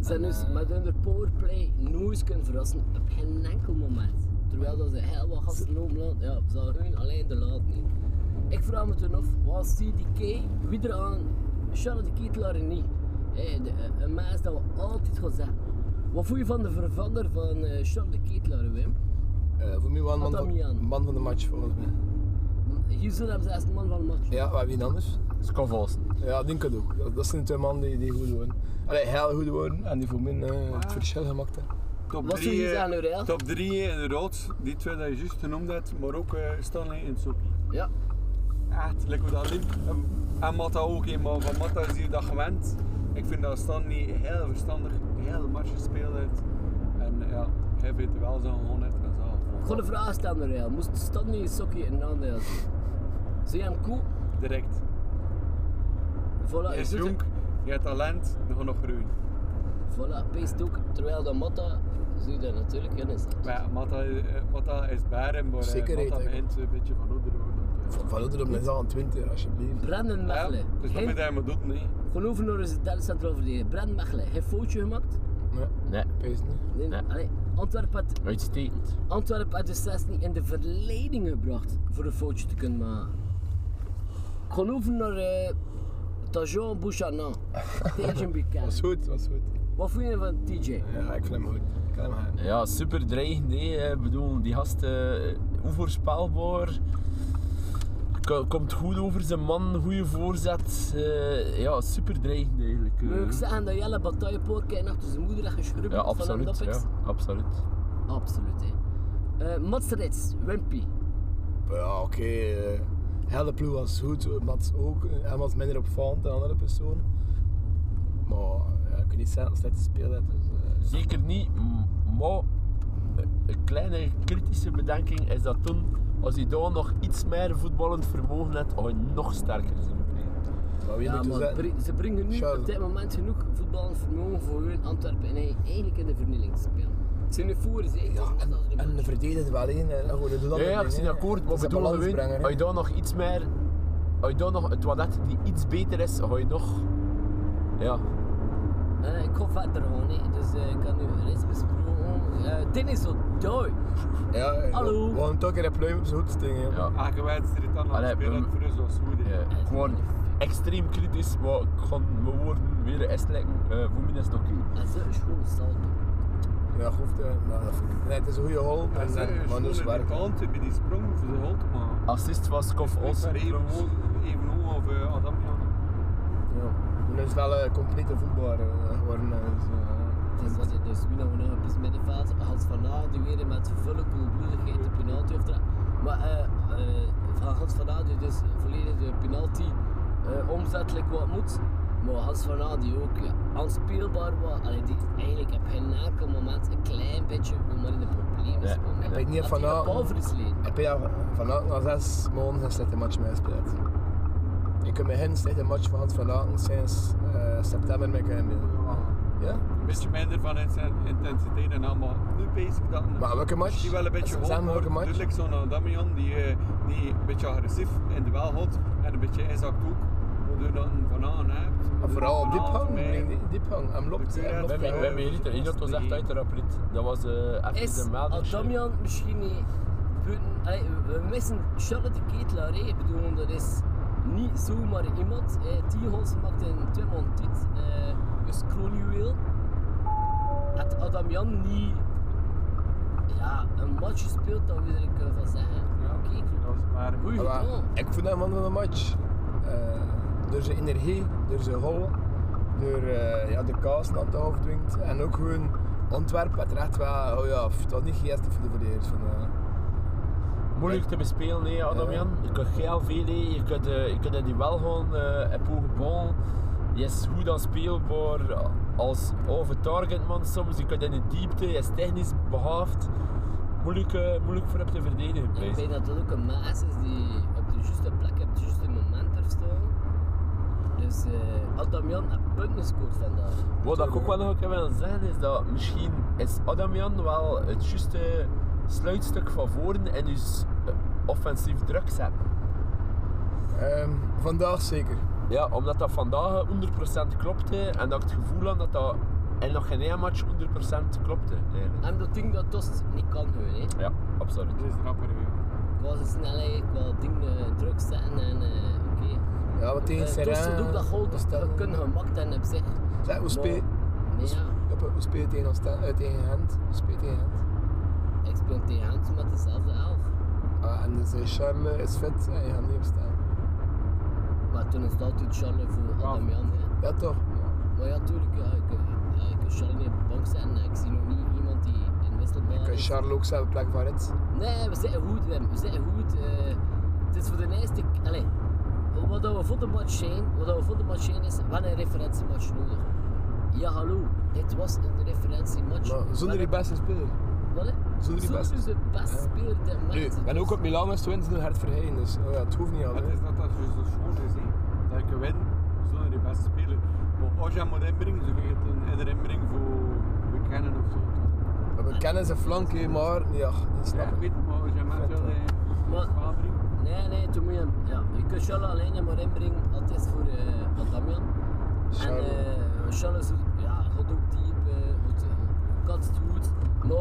Speaker 4: zijn dus met hun powerplay nooit kunnen verrassen op geen enkel moment. Terwijl dat ze heel wat gasten omlaan, ja, ze hadden hun alleen de laat niet. Ik vraag me toen af, was CDK wie eraan? Charles de Ketelaar en niet. Hey, de, eh, een mens dat we altijd gaan zeggen. Wat voel je van de vervanger van eh, Charles de Ketelaar, Wim?
Speaker 2: Eh, voor mij was man van,
Speaker 4: Adamian.
Speaker 2: man van de match volgens mij.
Speaker 4: Hier zullen hem zelfs de man van de match.
Speaker 2: Ja, maar wie anders?
Speaker 10: Scovolsen.
Speaker 2: Ja, denk het ook. Dat, dat zijn twee mannen die, die goed worden. Allee, heel goed worden en die voor mij eh, het verschil gemaakt hebben.
Speaker 9: Top
Speaker 4: Wat zou je
Speaker 9: eh,
Speaker 4: zeggen, Aurel?
Speaker 9: Top 3 in rood, die twee dat je juist genoemd hebt, maar ook eh, Stanley en Sophie.
Speaker 4: Ja.
Speaker 9: Echt, lekker hoe dat liep. En, en Matta ook, hè, maar van Matta is hier dat gewend. Ik vind dat Stanley heel verstandig, heel match gespeeld heeft. En ja, hij weet wel zo'n gewoon het en
Speaker 4: Ik
Speaker 9: zo.
Speaker 4: ga een vraag stellen, Aurel. Moest Stanley Sokkie een aandeel zien? Zie je hem koe?
Speaker 9: Direct.
Speaker 4: Voilà,
Speaker 9: Hij
Speaker 4: je
Speaker 9: is
Speaker 4: ziet hem.
Speaker 9: jong, je hebt talent, dan gaat nog groeien.
Speaker 4: Voilà, peest ook. Terwijl dat Matta, zie je daar natuurlijk in is.
Speaker 9: Maar ja, Matta, eh, Matta is baren, maar eh,
Speaker 2: Zekerheid,
Speaker 9: Matta
Speaker 2: hè.
Speaker 9: begint een beetje van ouder te worden. eh,
Speaker 11: Van, van Ouderdom is aan 20, alsjeblieft.
Speaker 4: Brandon Mechelen.
Speaker 9: Dus dat
Speaker 4: Geen-
Speaker 9: moet hij maar doen, nee.
Speaker 4: Geloven door is het centraal verdediger. Brandon Mechelen. Heeft foutje gemaakt?
Speaker 11: Nee,
Speaker 2: Nee,
Speaker 11: pees niet.
Speaker 4: Nee. Allee, Antwerpen had,
Speaker 2: uitstekend.
Speaker 4: Antwerpen had de 6 niet in de verleiding gebracht voor een foutje te kunnen maken. Geloven naar eh Tajon
Speaker 11: [laughs]
Speaker 4: Bouchanan. TJ Buchanan.
Speaker 11: Was goed, was goed.
Speaker 4: Wat vond je van TJ?
Speaker 11: Ja, ik vind hem goed. Ik kan hem gaan.
Speaker 2: Ja, super dreigend. hè. Ik bedoel, die gast, eh, onvoorspelbaar. Ko- Komt goed over zijn man, goede voorzet. Eh, ja, super dreigend eigenlijk. eh.
Speaker 4: Moet ik zeggen dat Jelle Bataillepoorke en achter zijn moeder heeft geschrubbeld
Speaker 2: ja,
Speaker 4: van hem
Speaker 2: absoluut.
Speaker 4: dat ik-
Speaker 2: Ja, absoluut.
Speaker 4: Absoluut, hè. Eh Mats Rits, Wimpy.
Speaker 11: Ja, oké. eh, Hele ploeg was goed, eh, Mats ook. Hij was minder opvallend dan andere personen. Maar ja, ik kan niet zeggen dat hij slecht gespeeld heeft. Dus, eh,
Speaker 2: Zeker niet, m- maar eh, een kleine kritische bedenking is dat toen, als hij daar nog iets meer voetballend vermogen had, had hij nog sterker zijn.
Speaker 11: maar wie
Speaker 4: Ja,
Speaker 11: moet Oh, je
Speaker 4: maar
Speaker 11: zeggen?
Speaker 4: bre- ze brengen nu
Speaker 11: Charles.
Speaker 4: op dit moment genoeg voetballend vermogen voor hun Antwerpen en hij eigenlijk in de vernieling te spelen. Het zijn de voeren, hè. Ja,
Speaker 11: En de verdediger wel één. hè. Gewoon, doe dat
Speaker 2: Ja, ja,
Speaker 11: niet,
Speaker 2: ik zie
Speaker 11: hè.
Speaker 2: akkoord, maar
Speaker 11: Het is een
Speaker 2: bedoel gewoon,
Speaker 11: balansbrenger, hè.
Speaker 2: als je daar nog iets meer, als je daar nog het toilet die iets beter is, ga je nog, ja,
Speaker 4: Eh, ik ga verder gewoon, hè. dus eh, ik kan nu reeds besproken. Eh Dennis O'Doy.
Speaker 11: Ja, ja.
Speaker 4: Hallo.
Speaker 11: We gaan toch weer een pluim op zijn hoed stingen. hè.
Speaker 2: ja.
Speaker 9: Elke wedstrijd dan aan
Speaker 2: Allee,
Speaker 9: het spelen
Speaker 2: we-
Speaker 9: voor ons was goed. hè.
Speaker 2: Ja, Eh, gewoon extreem kritisch, maar ik ga mijn woorden weer uitleggen. Eh voor mij is het oké.
Speaker 4: Dat is een schone salto.
Speaker 11: Ja, hoeft hè. eh, Maar dat vind ik- Nee, het is een goede hol.
Speaker 9: Hij
Speaker 11: En,
Speaker 9: zei,
Speaker 11: eh, Maar
Speaker 9: schoon
Speaker 11: nu
Speaker 9: in
Speaker 11: is
Speaker 9: de
Speaker 11: het werk.
Speaker 9: kant, bij die sprong voor zijn hond, maar...
Speaker 2: Assist was Skof
Speaker 9: Ik
Speaker 2: Olsen.
Speaker 9: ben even
Speaker 2: trouwens.
Speaker 9: hoog- even hoog of eh, Adamjan.
Speaker 11: Ja. Nu is het wel een complete voetballer eh, geworden. hè. Dus, eh,
Speaker 4: Dus wat het dus nu nog een op is middenveld. Hans van Aarde weer met volle koelbloedigheid de penalty aftrekt. Maar eh, eh, van Hans van Aarde dus volledig de penalty eh, omzettelijk wat moet. Maar Hans van Aarde ook ja, aanspeelbaar was. Allee, die eigenlijk op geen enkel moment een klein beetje om maar in de problemen is
Speaker 2: Nee,
Speaker 4: gekomen.
Speaker 11: Ik weet niet of
Speaker 4: Had
Speaker 11: Van
Speaker 4: hij de
Speaker 11: Aarde-
Speaker 4: bal versleten.
Speaker 11: Heb je al vanavond na zes maanden geen slechte match meegespeeld? Ik heb me geen slechte match van Hans van Laten sinds eh, september mee kunnen spelen. Ja?
Speaker 9: Een beetje minder van inten- intensiteit en allemaal. Nu bezig ik dat.
Speaker 11: Maar welke match?
Speaker 9: Die wel een beetje Dus-
Speaker 11: Zeg
Speaker 9: hot
Speaker 11: maar
Speaker 9: wordt.
Speaker 11: welke match?
Speaker 9: Duidelijk zo'n Adamian die, eh, die een beetje agressief in de wel houdt en een beetje inzakt ook. Waardoor je dat een van aan hebt.
Speaker 11: En Ah, vooral op diep hangen,
Speaker 9: Mij-
Speaker 11: nee, diep hangen. Hem loopt,
Speaker 9: Ik
Speaker 11: hem
Speaker 9: weet
Speaker 11: loopt.
Speaker 2: We hebben- we hebben hier niet, hier dat was echt uit de raprit. Dat was eh even
Speaker 4: Is
Speaker 2: de melder.
Speaker 4: Adamian misschien niet buiten... Allee, we- we missen Charlotte de Ketelaar, hè. Ik bedoel, dat is niet zomaar iemand. Eh, Tien goals maakt in twee maanden tijd. Eh, dus Kronuweel. Had Adamian niet ja, een match gespeeld, dan wil ik van zeggen.
Speaker 9: Ja,
Speaker 4: Oké, ik
Speaker 9: Dat is maar
Speaker 4: Goeie
Speaker 11: Maar
Speaker 4: gedaan.
Speaker 11: ik vond hem man van de match. Eh, door zijn energie, door zijn hol, door eh, ja, de kaas dat hij afdwingt. En ook gewoon Antwerpen, het recht wel, oh ja, pff, het was niet geestig voor de verdedigers. van, eh.
Speaker 2: Moeilijk te bespelen, nee, Adamian. Je kunt heel veel, hè. je kunt, eh, je kunt in die wel gewoon eh op hoge bal. Je is goed aan speelbaar eh, als over target man soms. Je kunt in de diepte, je is technisch behaafd. Moeilijk, eh, moeilijk voor hem te verdedigen.
Speaker 4: Ik
Speaker 2: Pijs.
Speaker 4: denk dat dat ook een maas is die op de juiste plek, op het juiste moment er staan. Dus eh Adamian heeft punten gescoord vandaag.
Speaker 2: Wat ik ook wel nog kan willen zeggen is dat misschien is Adamian wel het juiste sluitstuk van voren en dus eh, offensief druk zetten.
Speaker 11: Ehm, vandaag zeker.
Speaker 2: Ja, omdat dat vandaag 100% klopte en dat ik het gevoel had dat dat in nog geen één match 100% klopte. eigenlijk.
Speaker 4: En dat ding dat Dost niet kan gewoon, hè.
Speaker 2: Ja, absoluut.
Speaker 9: dit is rapper
Speaker 11: Ah,
Speaker 9: weer.
Speaker 4: Qua zijn snelheid, qua ding eh, druk zetten en eh, oké.
Speaker 11: Ja, wat tegen
Speaker 4: Eh,
Speaker 11: Serrain.
Speaker 4: Dost doet ook dat goal, dus dat
Speaker 11: Oostende.
Speaker 4: kunnen gemaakt en op zich.
Speaker 11: Zeg, hoe speel
Speaker 4: Nee, ja.
Speaker 11: Op, we spelen tegen, ons, eh, tegen Gent. We spelen tegen Gent.
Speaker 4: Ik speel tegen Hans met dezelfde elf.
Speaker 11: Ah, en dus eh, Charles is fit en je gaat niet opstaan.
Speaker 4: Maar toen is dat toen Charles voor Adamian, hè.
Speaker 11: Ja, toch? Ja.
Speaker 4: Maar ja, tuurlijk, ja, ik, eh, ja, ik kan Charles niet op de bank zetten. Ik zie nog niet iemand die inwisselbaar
Speaker 11: Kan
Speaker 4: is.
Speaker 11: Charles ook zijn plek van Rits?
Speaker 4: Nee, we zitten goed, Wim. We zitten goed. eh, het is voor de eerste... k- Allee, wat dat we voor de match zijn, wat dat we voor de match zijn is, we hebben een referentiematch nodig. Ja, hallo. Dit was een referentiematch.
Speaker 11: Maar zonder die
Speaker 4: die
Speaker 11: beste speler.
Speaker 4: Wat, hè?
Speaker 11: zonder die beste.
Speaker 4: de beste
Speaker 11: Ja.
Speaker 4: speler ter
Speaker 11: Nu,
Speaker 4: markt.
Speaker 11: en ook op Milan is Twins nu hard verheyen, dus oh ja, het hoeft niet
Speaker 9: Het
Speaker 11: altijd.
Speaker 9: is dat dat je zo schoon is, hè. dat je kan winnen zonder je beste speler. Maar als je hem moet inbrengen, dan kun je het een- in de inbreng voor bekennen of zo. toch?
Speaker 11: We kennen zijn flank, hè, maar ja,
Speaker 9: Ja,
Speaker 11: dat snap
Speaker 9: ik
Speaker 11: ik.
Speaker 9: weet het, maar als je hem echt wel... eh,
Speaker 4: Maar, nee, nee, toen moet je hem. Ja, je kunt Charles alleen maar inbrengen, dat is voor eh Damian. En
Speaker 11: Charles.
Speaker 4: eh Charles ja, gaat ook diep, eh, goed, eh, katst goed.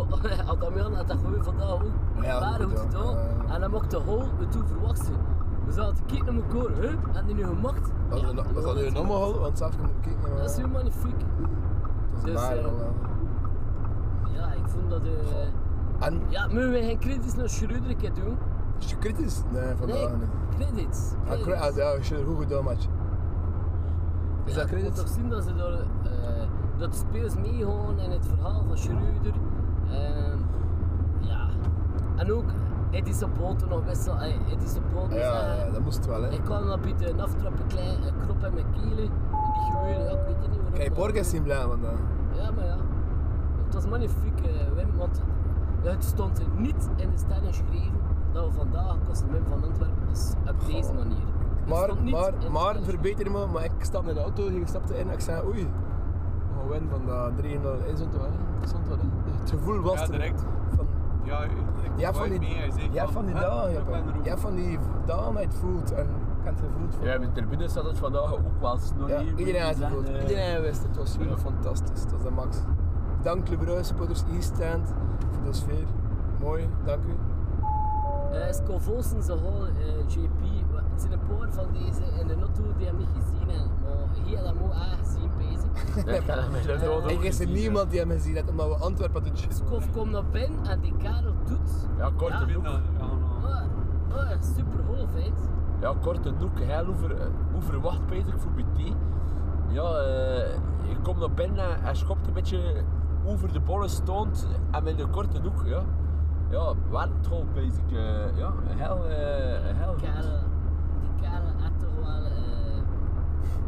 Speaker 4: Maar [laughs] Damian had dat gewoon vandaag ook
Speaker 11: Ja,
Speaker 4: maar goed
Speaker 11: goed, ja.
Speaker 4: gedaan. En hij mocht de hol toe verwachten. We zaten kijken naar elkaar, hè? En die nu gemaakt.
Speaker 11: Wat hadden we- wat hadden we nog maar al? Want zelfs moet ik kijken. maar-
Speaker 4: Dat is heel magnifiek.
Speaker 11: Dat is
Speaker 4: Dus,
Speaker 11: waar,
Speaker 4: eh,
Speaker 11: wel, wel.
Speaker 4: Ja, ik vond dat. eh Ja, moeten we geen kritisch naar Schreuder een keer doen?
Speaker 11: Is je kritisch? Nee, vandaag
Speaker 4: Nee,
Speaker 11: niet.
Speaker 4: credits.
Speaker 11: Ah, cre- ah, Ja, je hebt goed gedaan, match. Ah, Is dat
Speaker 4: Dus Je moet
Speaker 11: credits?
Speaker 4: toch zien dat ze daar, eh, dat de spelers meegaan in het verhaal van Schreuder. Ehm, ja. En ook Eddie Sabote nog wissel. eh, Eddie Sabote
Speaker 11: Ja, ja, dat moest wel, hè.
Speaker 4: eh, Ik kwam dat bij een aftrappen klein, een krop in mijn kelen. En die gebeurde, ja, ik weet het niet waarom.
Speaker 11: Kijk,
Speaker 4: dat-
Speaker 11: Borges zien blij eh, vandaag.
Speaker 4: Ja, maar ja. Het was magnifiek, eh, Wim, want het stond niet in de sterren geschreven dat we vandaag kosten Wim van Antwerpen. Dus op deze manier. Het stond
Speaker 11: Maar,
Speaker 4: niet in
Speaker 11: maar,
Speaker 4: de
Speaker 11: maar,
Speaker 4: sterren.
Speaker 11: verbeter me, maar ik stapte in de auto, ik stapte in en ik zei oei. We gaan winnen van dat 3-0 in zo'n toon. Het gevoel was
Speaker 9: Ja,
Speaker 11: er.
Speaker 9: direct. Ja, ik
Speaker 11: Je hebt van
Speaker 9: ooit
Speaker 11: die,
Speaker 9: meer. Hij zei
Speaker 11: je hebt van die
Speaker 9: hè,
Speaker 11: dagen,
Speaker 9: ik ben er
Speaker 11: Joppe.
Speaker 9: ook.
Speaker 11: Je hebt van die dagen dat je het voelt en ik heb het gevoeld van.
Speaker 10: Ja, met de tribune zat het vandaag ook wel snor
Speaker 11: Ja,
Speaker 10: hier.
Speaker 11: iedereen had het
Speaker 10: Zeggen,
Speaker 11: gevoeld.
Speaker 10: eh,
Speaker 11: Iedereen wist het. Het was gewoon fantastisch. Dat is de max. Dank Le Bruyne, supporters East Stand, voor de sfeer. Mooi, dank u.
Speaker 4: Eh, Scovolsen, ze hol, eh, JP, wa- het zijn een paar van deze in de auto die hem niet gezien hebben. Maar hier had hem ook aangezien,
Speaker 10: [laughs]
Speaker 4: bezig. Eh,
Speaker 10: ik heb hem inderdaad ook
Speaker 11: Ik is er
Speaker 10: gezien,
Speaker 11: niemand die hem gezien heeft, omdat we Antwerpen hadden juist.
Speaker 4: Kof komt naar binnen en die Karel doet.
Speaker 10: Ja, korte
Speaker 4: Ja.
Speaker 10: doek.
Speaker 9: nou.
Speaker 4: Oh, oh, super hol, feit.
Speaker 10: Ja, korte doek. Heel over, hoe verwacht Peter voor BT? Ja, eh ik kom naar binnen en schopt een beetje over de bollen stond en met een korte doek. Ja, ja wel het goal, Peter. Eh, ja, heel, eh heel goed.
Speaker 4: Karel, die Karel had toch wel eh,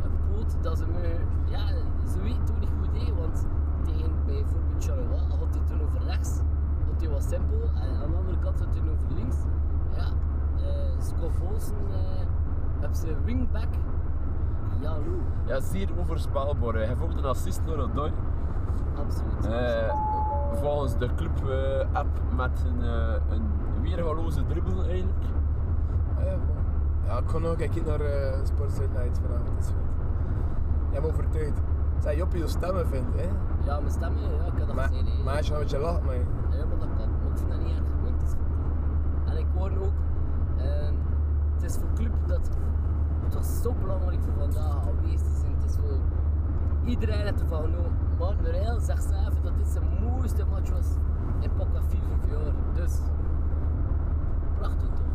Speaker 4: een poot dat ze me. Ja, ze weet toen niet goed deed, want tegen bijvoorbeeld Charleroi had hij toen over rechts, had hij wat simpel, en aan de andere kant had hij over links. Ja, eh Scott Olsen eh, op zijn wingback. Ja, Lou,
Speaker 10: Ja, zeer onvoorspelbaar. Hij heeft ook een assist naar Odoi.
Speaker 4: absoluut.
Speaker 10: Eh, volgens de club-app met een, eh, een weergaloze dribbel eigenlijk.
Speaker 11: Ah, ja, mooi. ja, ik kon ook kijken naar eh Sports Night vanavond. Dat is goed. Jij bent overtuigd. Het zijn Joppie je stemmen vindt, hè?
Speaker 4: Ja, mijn stem, ja, ik had dat
Speaker 11: Maar,
Speaker 4: gezien. hè.
Speaker 11: maar als je nou met je lacht, man.
Speaker 4: Ja, maar dat kan. Maar ik vind dat niet erg, want het is voor club. En ik hoor ook, ehm, het is voor club dat het was zo belangrijk voor vandaag aanwezig te zijn. Het is voor iedereen het ervan genomen. Maarten Reil zegt zelf dat dit zijn mooiste match was in Pocca 4 jaar. Dus, prachtig toch?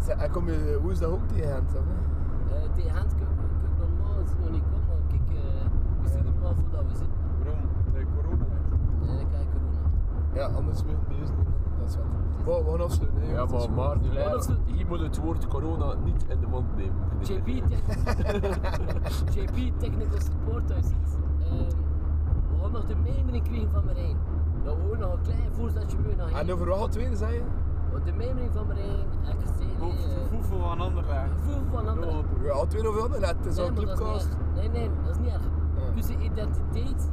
Speaker 11: Zeg, En kom je eh, woensdag ook tegen Gent, of niet?
Speaker 4: Eh die hand kan kan ik normaal gezien nog niet komen, maar kijk, eh, we zitten er wel voor dat we zitten. Eh,
Speaker 9: Waarom? De corona.
Speaker 4: Nee, dat kan corona.
Speaker 11: Ja, anders wil ik niet Dat is wat. Wow, we gaan afsluiten, hè.
Speaker 10: Ja,
Speaker 11: jongens. Het is
Speaker 10: maar
Speaker 11: goed.
Speaker 10: Maarten de Leijer,
Speaker 4: Maar dat is-
Speaker 10: hier moet het woord corona niet in de mond nemen.
Speaker 4: JP,
Speaker 11: [laughs]
Speaker 4: tech- JP Technical Support thuis iets. Ehm, we gaan nog de mijmering krijgen van Marijn. Dat we ook nog een klein voorzetje moeten nog
Speaker 11: En
Speaker 4: hebben.
Speaker 11: over wat tweede, zei je?
Speaker 4: Want De mijmering van Marijn, en Christine, eh,
Speaker 9: Hoeveel van Anderlecht?
Speaker 4: gevoel van anderen. Nee,
Speaker 11: Ja, al twee over handen, het is al
Speaker 4: maar
Speaker 11: een
Speaker 4: dat is niet
Speaker 11: clubcast.
Speaker 4: erg. Nee, nee, dat is niet erg.
Speaker 11: Ja.
Speaker 4: Dus de identiteit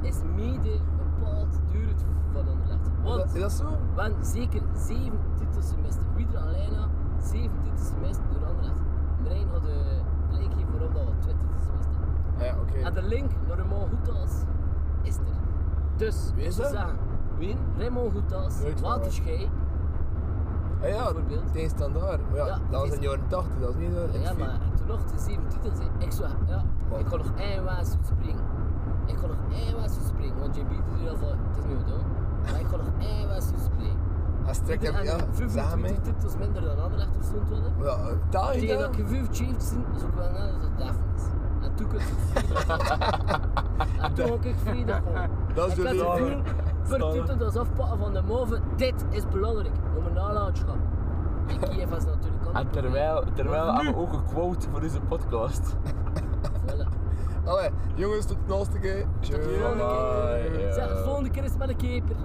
Speaker 4: is mede bepaald door het gevoel van Anderlecht.
Speaker 11: Is dat-
Speaker 4: Want
Speaker 11: Is dat zo?
Speaker 4: we hebben zeker zeven titels gemist. Wieder Alena, zeven titels gemist door Anderlecht. Marijn had de blijk gegeven waarom dat we twee titels gemist hebben.
Speaker 11: Ah Ja, oké.
Speaker 4: En de link naar Raymond Goethals is er. Dus,
Speaker 11: Wie is
Speaker 4: ze
Speaker 11: dat?
Speaker 4: zeggen,
Speaker 11: Wien?
Speaker 4: Raymond
Speaker 11: Nooit
Speaker 4: Goethals,
Speaker 11: van
Speaker 4: Waterschei.
Speaker 11: Ah ja,
Speaker 4: Bijvoorbeeld.
Speaker 11: tegen standaard. Maar ja,
Speaker 4: Ja,
Speaker 11: dat was in
Speaker 4: tegen-
Speaker 11: de jaren 80, dat was niet zo.
Speaker 4: Ja, maar toen nog de zeven titels, hè. ik zou, ja,
Speaker 11: Wat?
Speaker 4: ik kan nog één waas springen. Ik kan nog één waas springen, want JB doet hier al van, het is nu gedaan. Maar ik kan nog één waas springen.
Speaker 11: Hij strekt hem,
Speaker 4: En
Speaker 11: ja, zeg hem, hè.
Speaker 4: 25 titels minder dan Anderlecht of zo'n worden.
Speaker 11: Ja, taal je
Speaker 4: Tegen dat
Speaker 11: dat?
Speaker 4: je 25 zit, is ook wel net als het Daphne is. En toen kun je
Speaker 11: [laughs]
Speaker 4: vrijdag En toen ook ik vrijdag komen.
Speaker 11: Dat is
Speaker 4: Ik had
Speaker 11: de
Speaker 4: het
Speaker 11: ding.
Speaker 4: gevoel, vertuten dat is afpakken van de moven. Dit is belangrijk om een nalatenschap. En Kiev was natuurlijk ook.
Speaker 10: En Ah, terwijl, terwijl
Speaker 4: Maar
Speaker 10: hebben
Speaker 4: nu-
Speaker 10: we ook een quote voor deze podcast.
Speaker 4: Voilà.
Speaker 11: Allee, jongens, tot de volgende keer.
Speaker 4: Tot de volgende
Speaker 10: Bye,
Speaker 4: keer.
Speaker 10: ja.
Speaker 4: Zeg, de volgende keer is het met een keeper.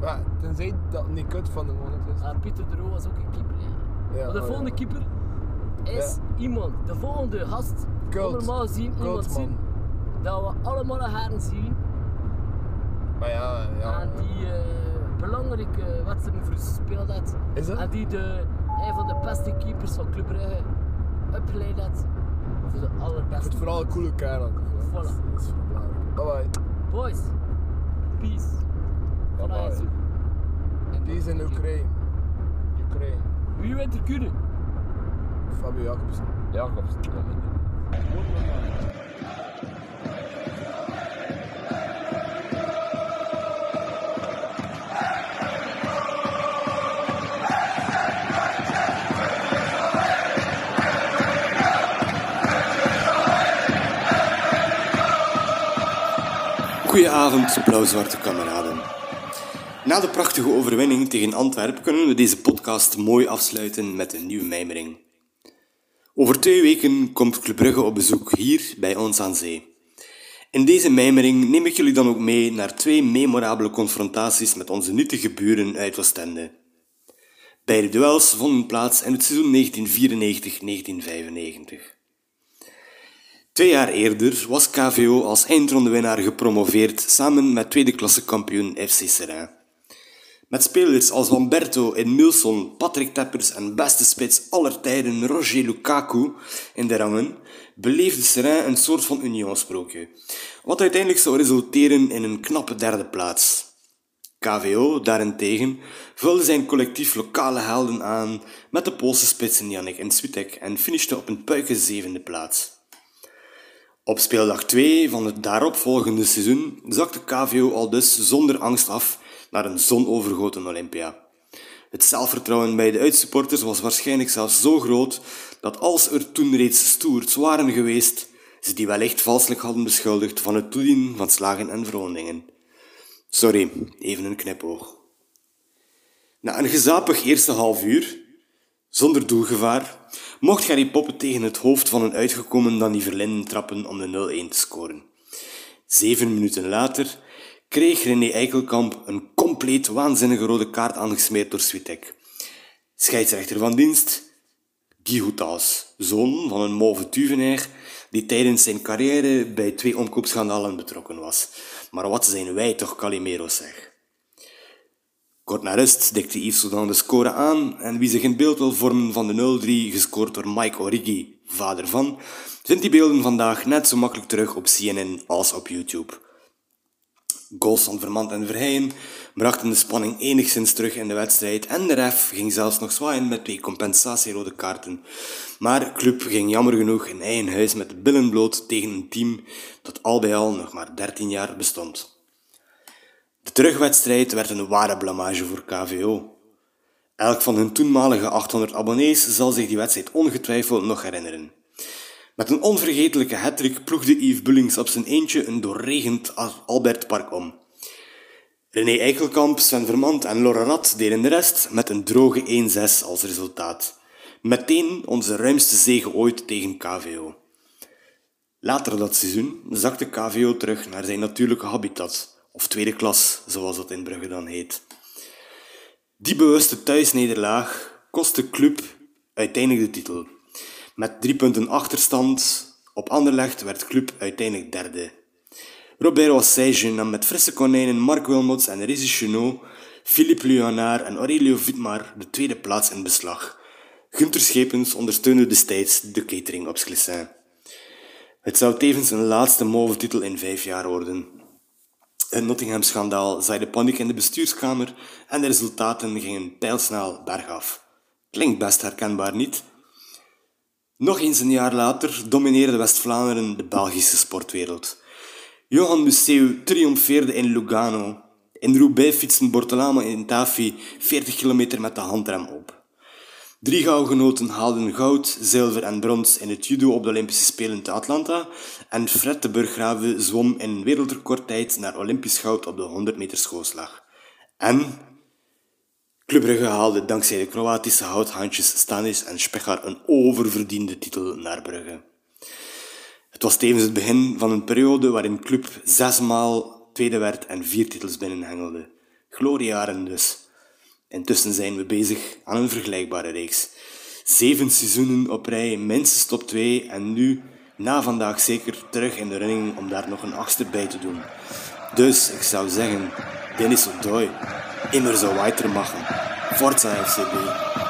Speaker 11: Ja, tenzij dat niet kut van de moment is.
Speaker 4: Ah, Pieter de Roo was ook een keeper. Ja.
Speaker 11: Ja,
Speaker 4: maar
Speaker 11: oh
Speaker 4: de
Speaker 11: ja.
Speaker 4: volgende keeper is iemand. De volgende gast.
Speaker 11: Kult.
Speaker 4: Allemaal zien,
Speaker 11: Kult,
Speaker 4: iemand
Speaker 11: man.
Speaker 4: zien. Dat we allemaal haar zien.
Speaker 11: Maar ja, ja.
Speaker 4: En die eh,
Speaker 12: belangrijke wedstrijd voor de speeltijd.
Speaker 11: Is
Speaker 4: Ah,
Speaker 11: dat?
Speaker 12: En die de, een van de beste keepers van Club Brugge opgeleid had voor de
Speaker 11: Ik
Speaker 12: allerbeste.
Speaker 11: vind het vooral een coole kerel.
Speaker 12: Voilà.
Speaker 11: Dat is- dat is wel belangrijk. Bye bye.
Speaker 12: Boys, peace.
Speaker 11: Bye bye. Peace in Ukraine. Ukraine.
Speaker 12: Wie wint er kunnen?
Speaker 11: Fabio Jacobsen.
Speaker 10: Jacobsen.
Speaker 13: Goedenavond, blauw-zwarte kameraden. Na de prachtige overwinning tegen Antwerpen kunnen we deze podcast mooi afsluiten met een nieuwe mijmering. Over twee weken komt Club Brugge op bezoek hier bij ons aan zee. In deze mijmering neem ik jullie dan ook mee naar twee memorabele confrontaties met onze nietige buren uit Oostende. Beide duels vonden plaats in het seizoen 1994-1995. Twee jaar eerder was KVO als eindrondewinnaar gepromoveerd samen met tweede klasse kampioen FC Serrain. Met spelers als Wamberto, Edmilson, Patrick Teppers en beste spits aller tijden Roger Lukaku in de rangen, beleefde Serrain een soort van unionsprookje, wat uiteindelijk zou resulteren in een knappe derde plaats. KVO daarentegen vulde zijn collectief lokale helden aan met de Poolse spitsen Janik en Switek en finishte op een puike zevende plaats. Op speeldag 2 van het daaropvolgende seizoen zakte KVO al dus zonder angst af naar een zonovergoten Olympia. Het zelfvertrouwen bij de uitsupporters was waarschijnlijk zelfs zo groot dat als er toen reeds stoerts waren geweest, ze die wellicht valselijk hadden beschuldigd van het toedienen van slagen en verwondingen. Sorry, even een knipoog. Na een gezapig eerste half uur, zonder doelgevaar, mocht Gary Poppen tegen het hoofd van een uitgekomen Danny Verlinden trappen om de 0-1 te scoren. Zeven minuten later kreeg René Eikelkamp een compleet waanzinnige rode kaart aangesmeerd door Switek. Scheidsrechter van dienst, Guy Houtaus, zoon van een mauve Tuvenair die tijdens zijn carrière bij twee omkoopschandalen betrokken was. Maar wat zijn wij toch Calimero's zeg. Kort na rust dikte Yves Soudan de score aan en wie zich een beeld wil vormen van de 0-3 gescoord door Mike Origi, vader van, vindt die beelden vandaag net zo makkelijk terug op CNN als op YouTube. Goals van Vermand en Verheyen brachten de spanning enigszins terug in de wedstrijd en de ref ging zelfs nog zwaaien met twee compensatierode kaarten. Maar Club ging jammer genoeg in eigen huis met de billen bloot tegen een team dat al bij al nog maar 13 jaar bestond. De terugwedstrijd werd een ware blamage voor KVO. Elk van hun toenmalige 800 abonnees zal zich die wedstrijd ongetwijfeld nog herinneren. Met een onvergetelijke hattrick ploegde Yves Bullings op zijn eentje een doorregend Al- Albert Park om. René Eikelkamp, Sven Vermand en Laura Rat deden de rest met een droge 1-6 als resultaat. Meteen onze ruimste zege ooit tegen KVO. Later dat seizoen zakte KVO terug naar zijn natuurlijke habitat, of tweede klas, zoals dat in Brugge dan heet. Die bewuste thuisnederlaag kost de club uiteindelijk de titel. Met drie punten achterstand op Anderlecht werd club uiteindelijk derde. Robert Ossège nam met frisse konijnen Mark Wilmots en Rizzi Chenot, Philippe Luanaar en Aurelio Vitmar de tweede plaats in beslag. Gunther Schepens ondersteunde destijds de catering op Sclissin. Het zou tevens een laatste mauve titel in vijf jaar worden. Het Nottingham-schandaal zaaide paniek in de bestuurskamer en de resultaten gingen pijlsnel bergaf. Klinkt best herkenbaar niet? Nog eens een jaar later domineerde West-Vlaanderen de Belgische sportwereld. Johan Museeuw triomfeerde in Lugano. In Roubaix fietsen Bortolamo en Tafi 40 kilometer met de handrem op. Drie goudgenoten haalden goud, zilver en brons in het judo op de Olympische Spelen te Atlanta en Fred de Burggraven zwom in wereldrecordtijd naar Olympisch goud op de 100 meter schoolslag. En Club Brugge haalde dankzij de Kroatische houthandjes Stanis en Spechar een oververdiende titel naar Brugge. Het was tevens het begin van een periode waarin Club zesmaal tweede werd en vier titels binnenhengelde. Gloriejaren dus. Intussen zijn we bezig aan een vergelijkbare reeks. Zeven seizoenen op rij, minstens top 2 en nu, na vandaag zeker, terug in de running om daar nog een achtste bij te doen. Dus ik zou zeggen, Dennis O'Doy, Immer so weitermachen. Forza FCB.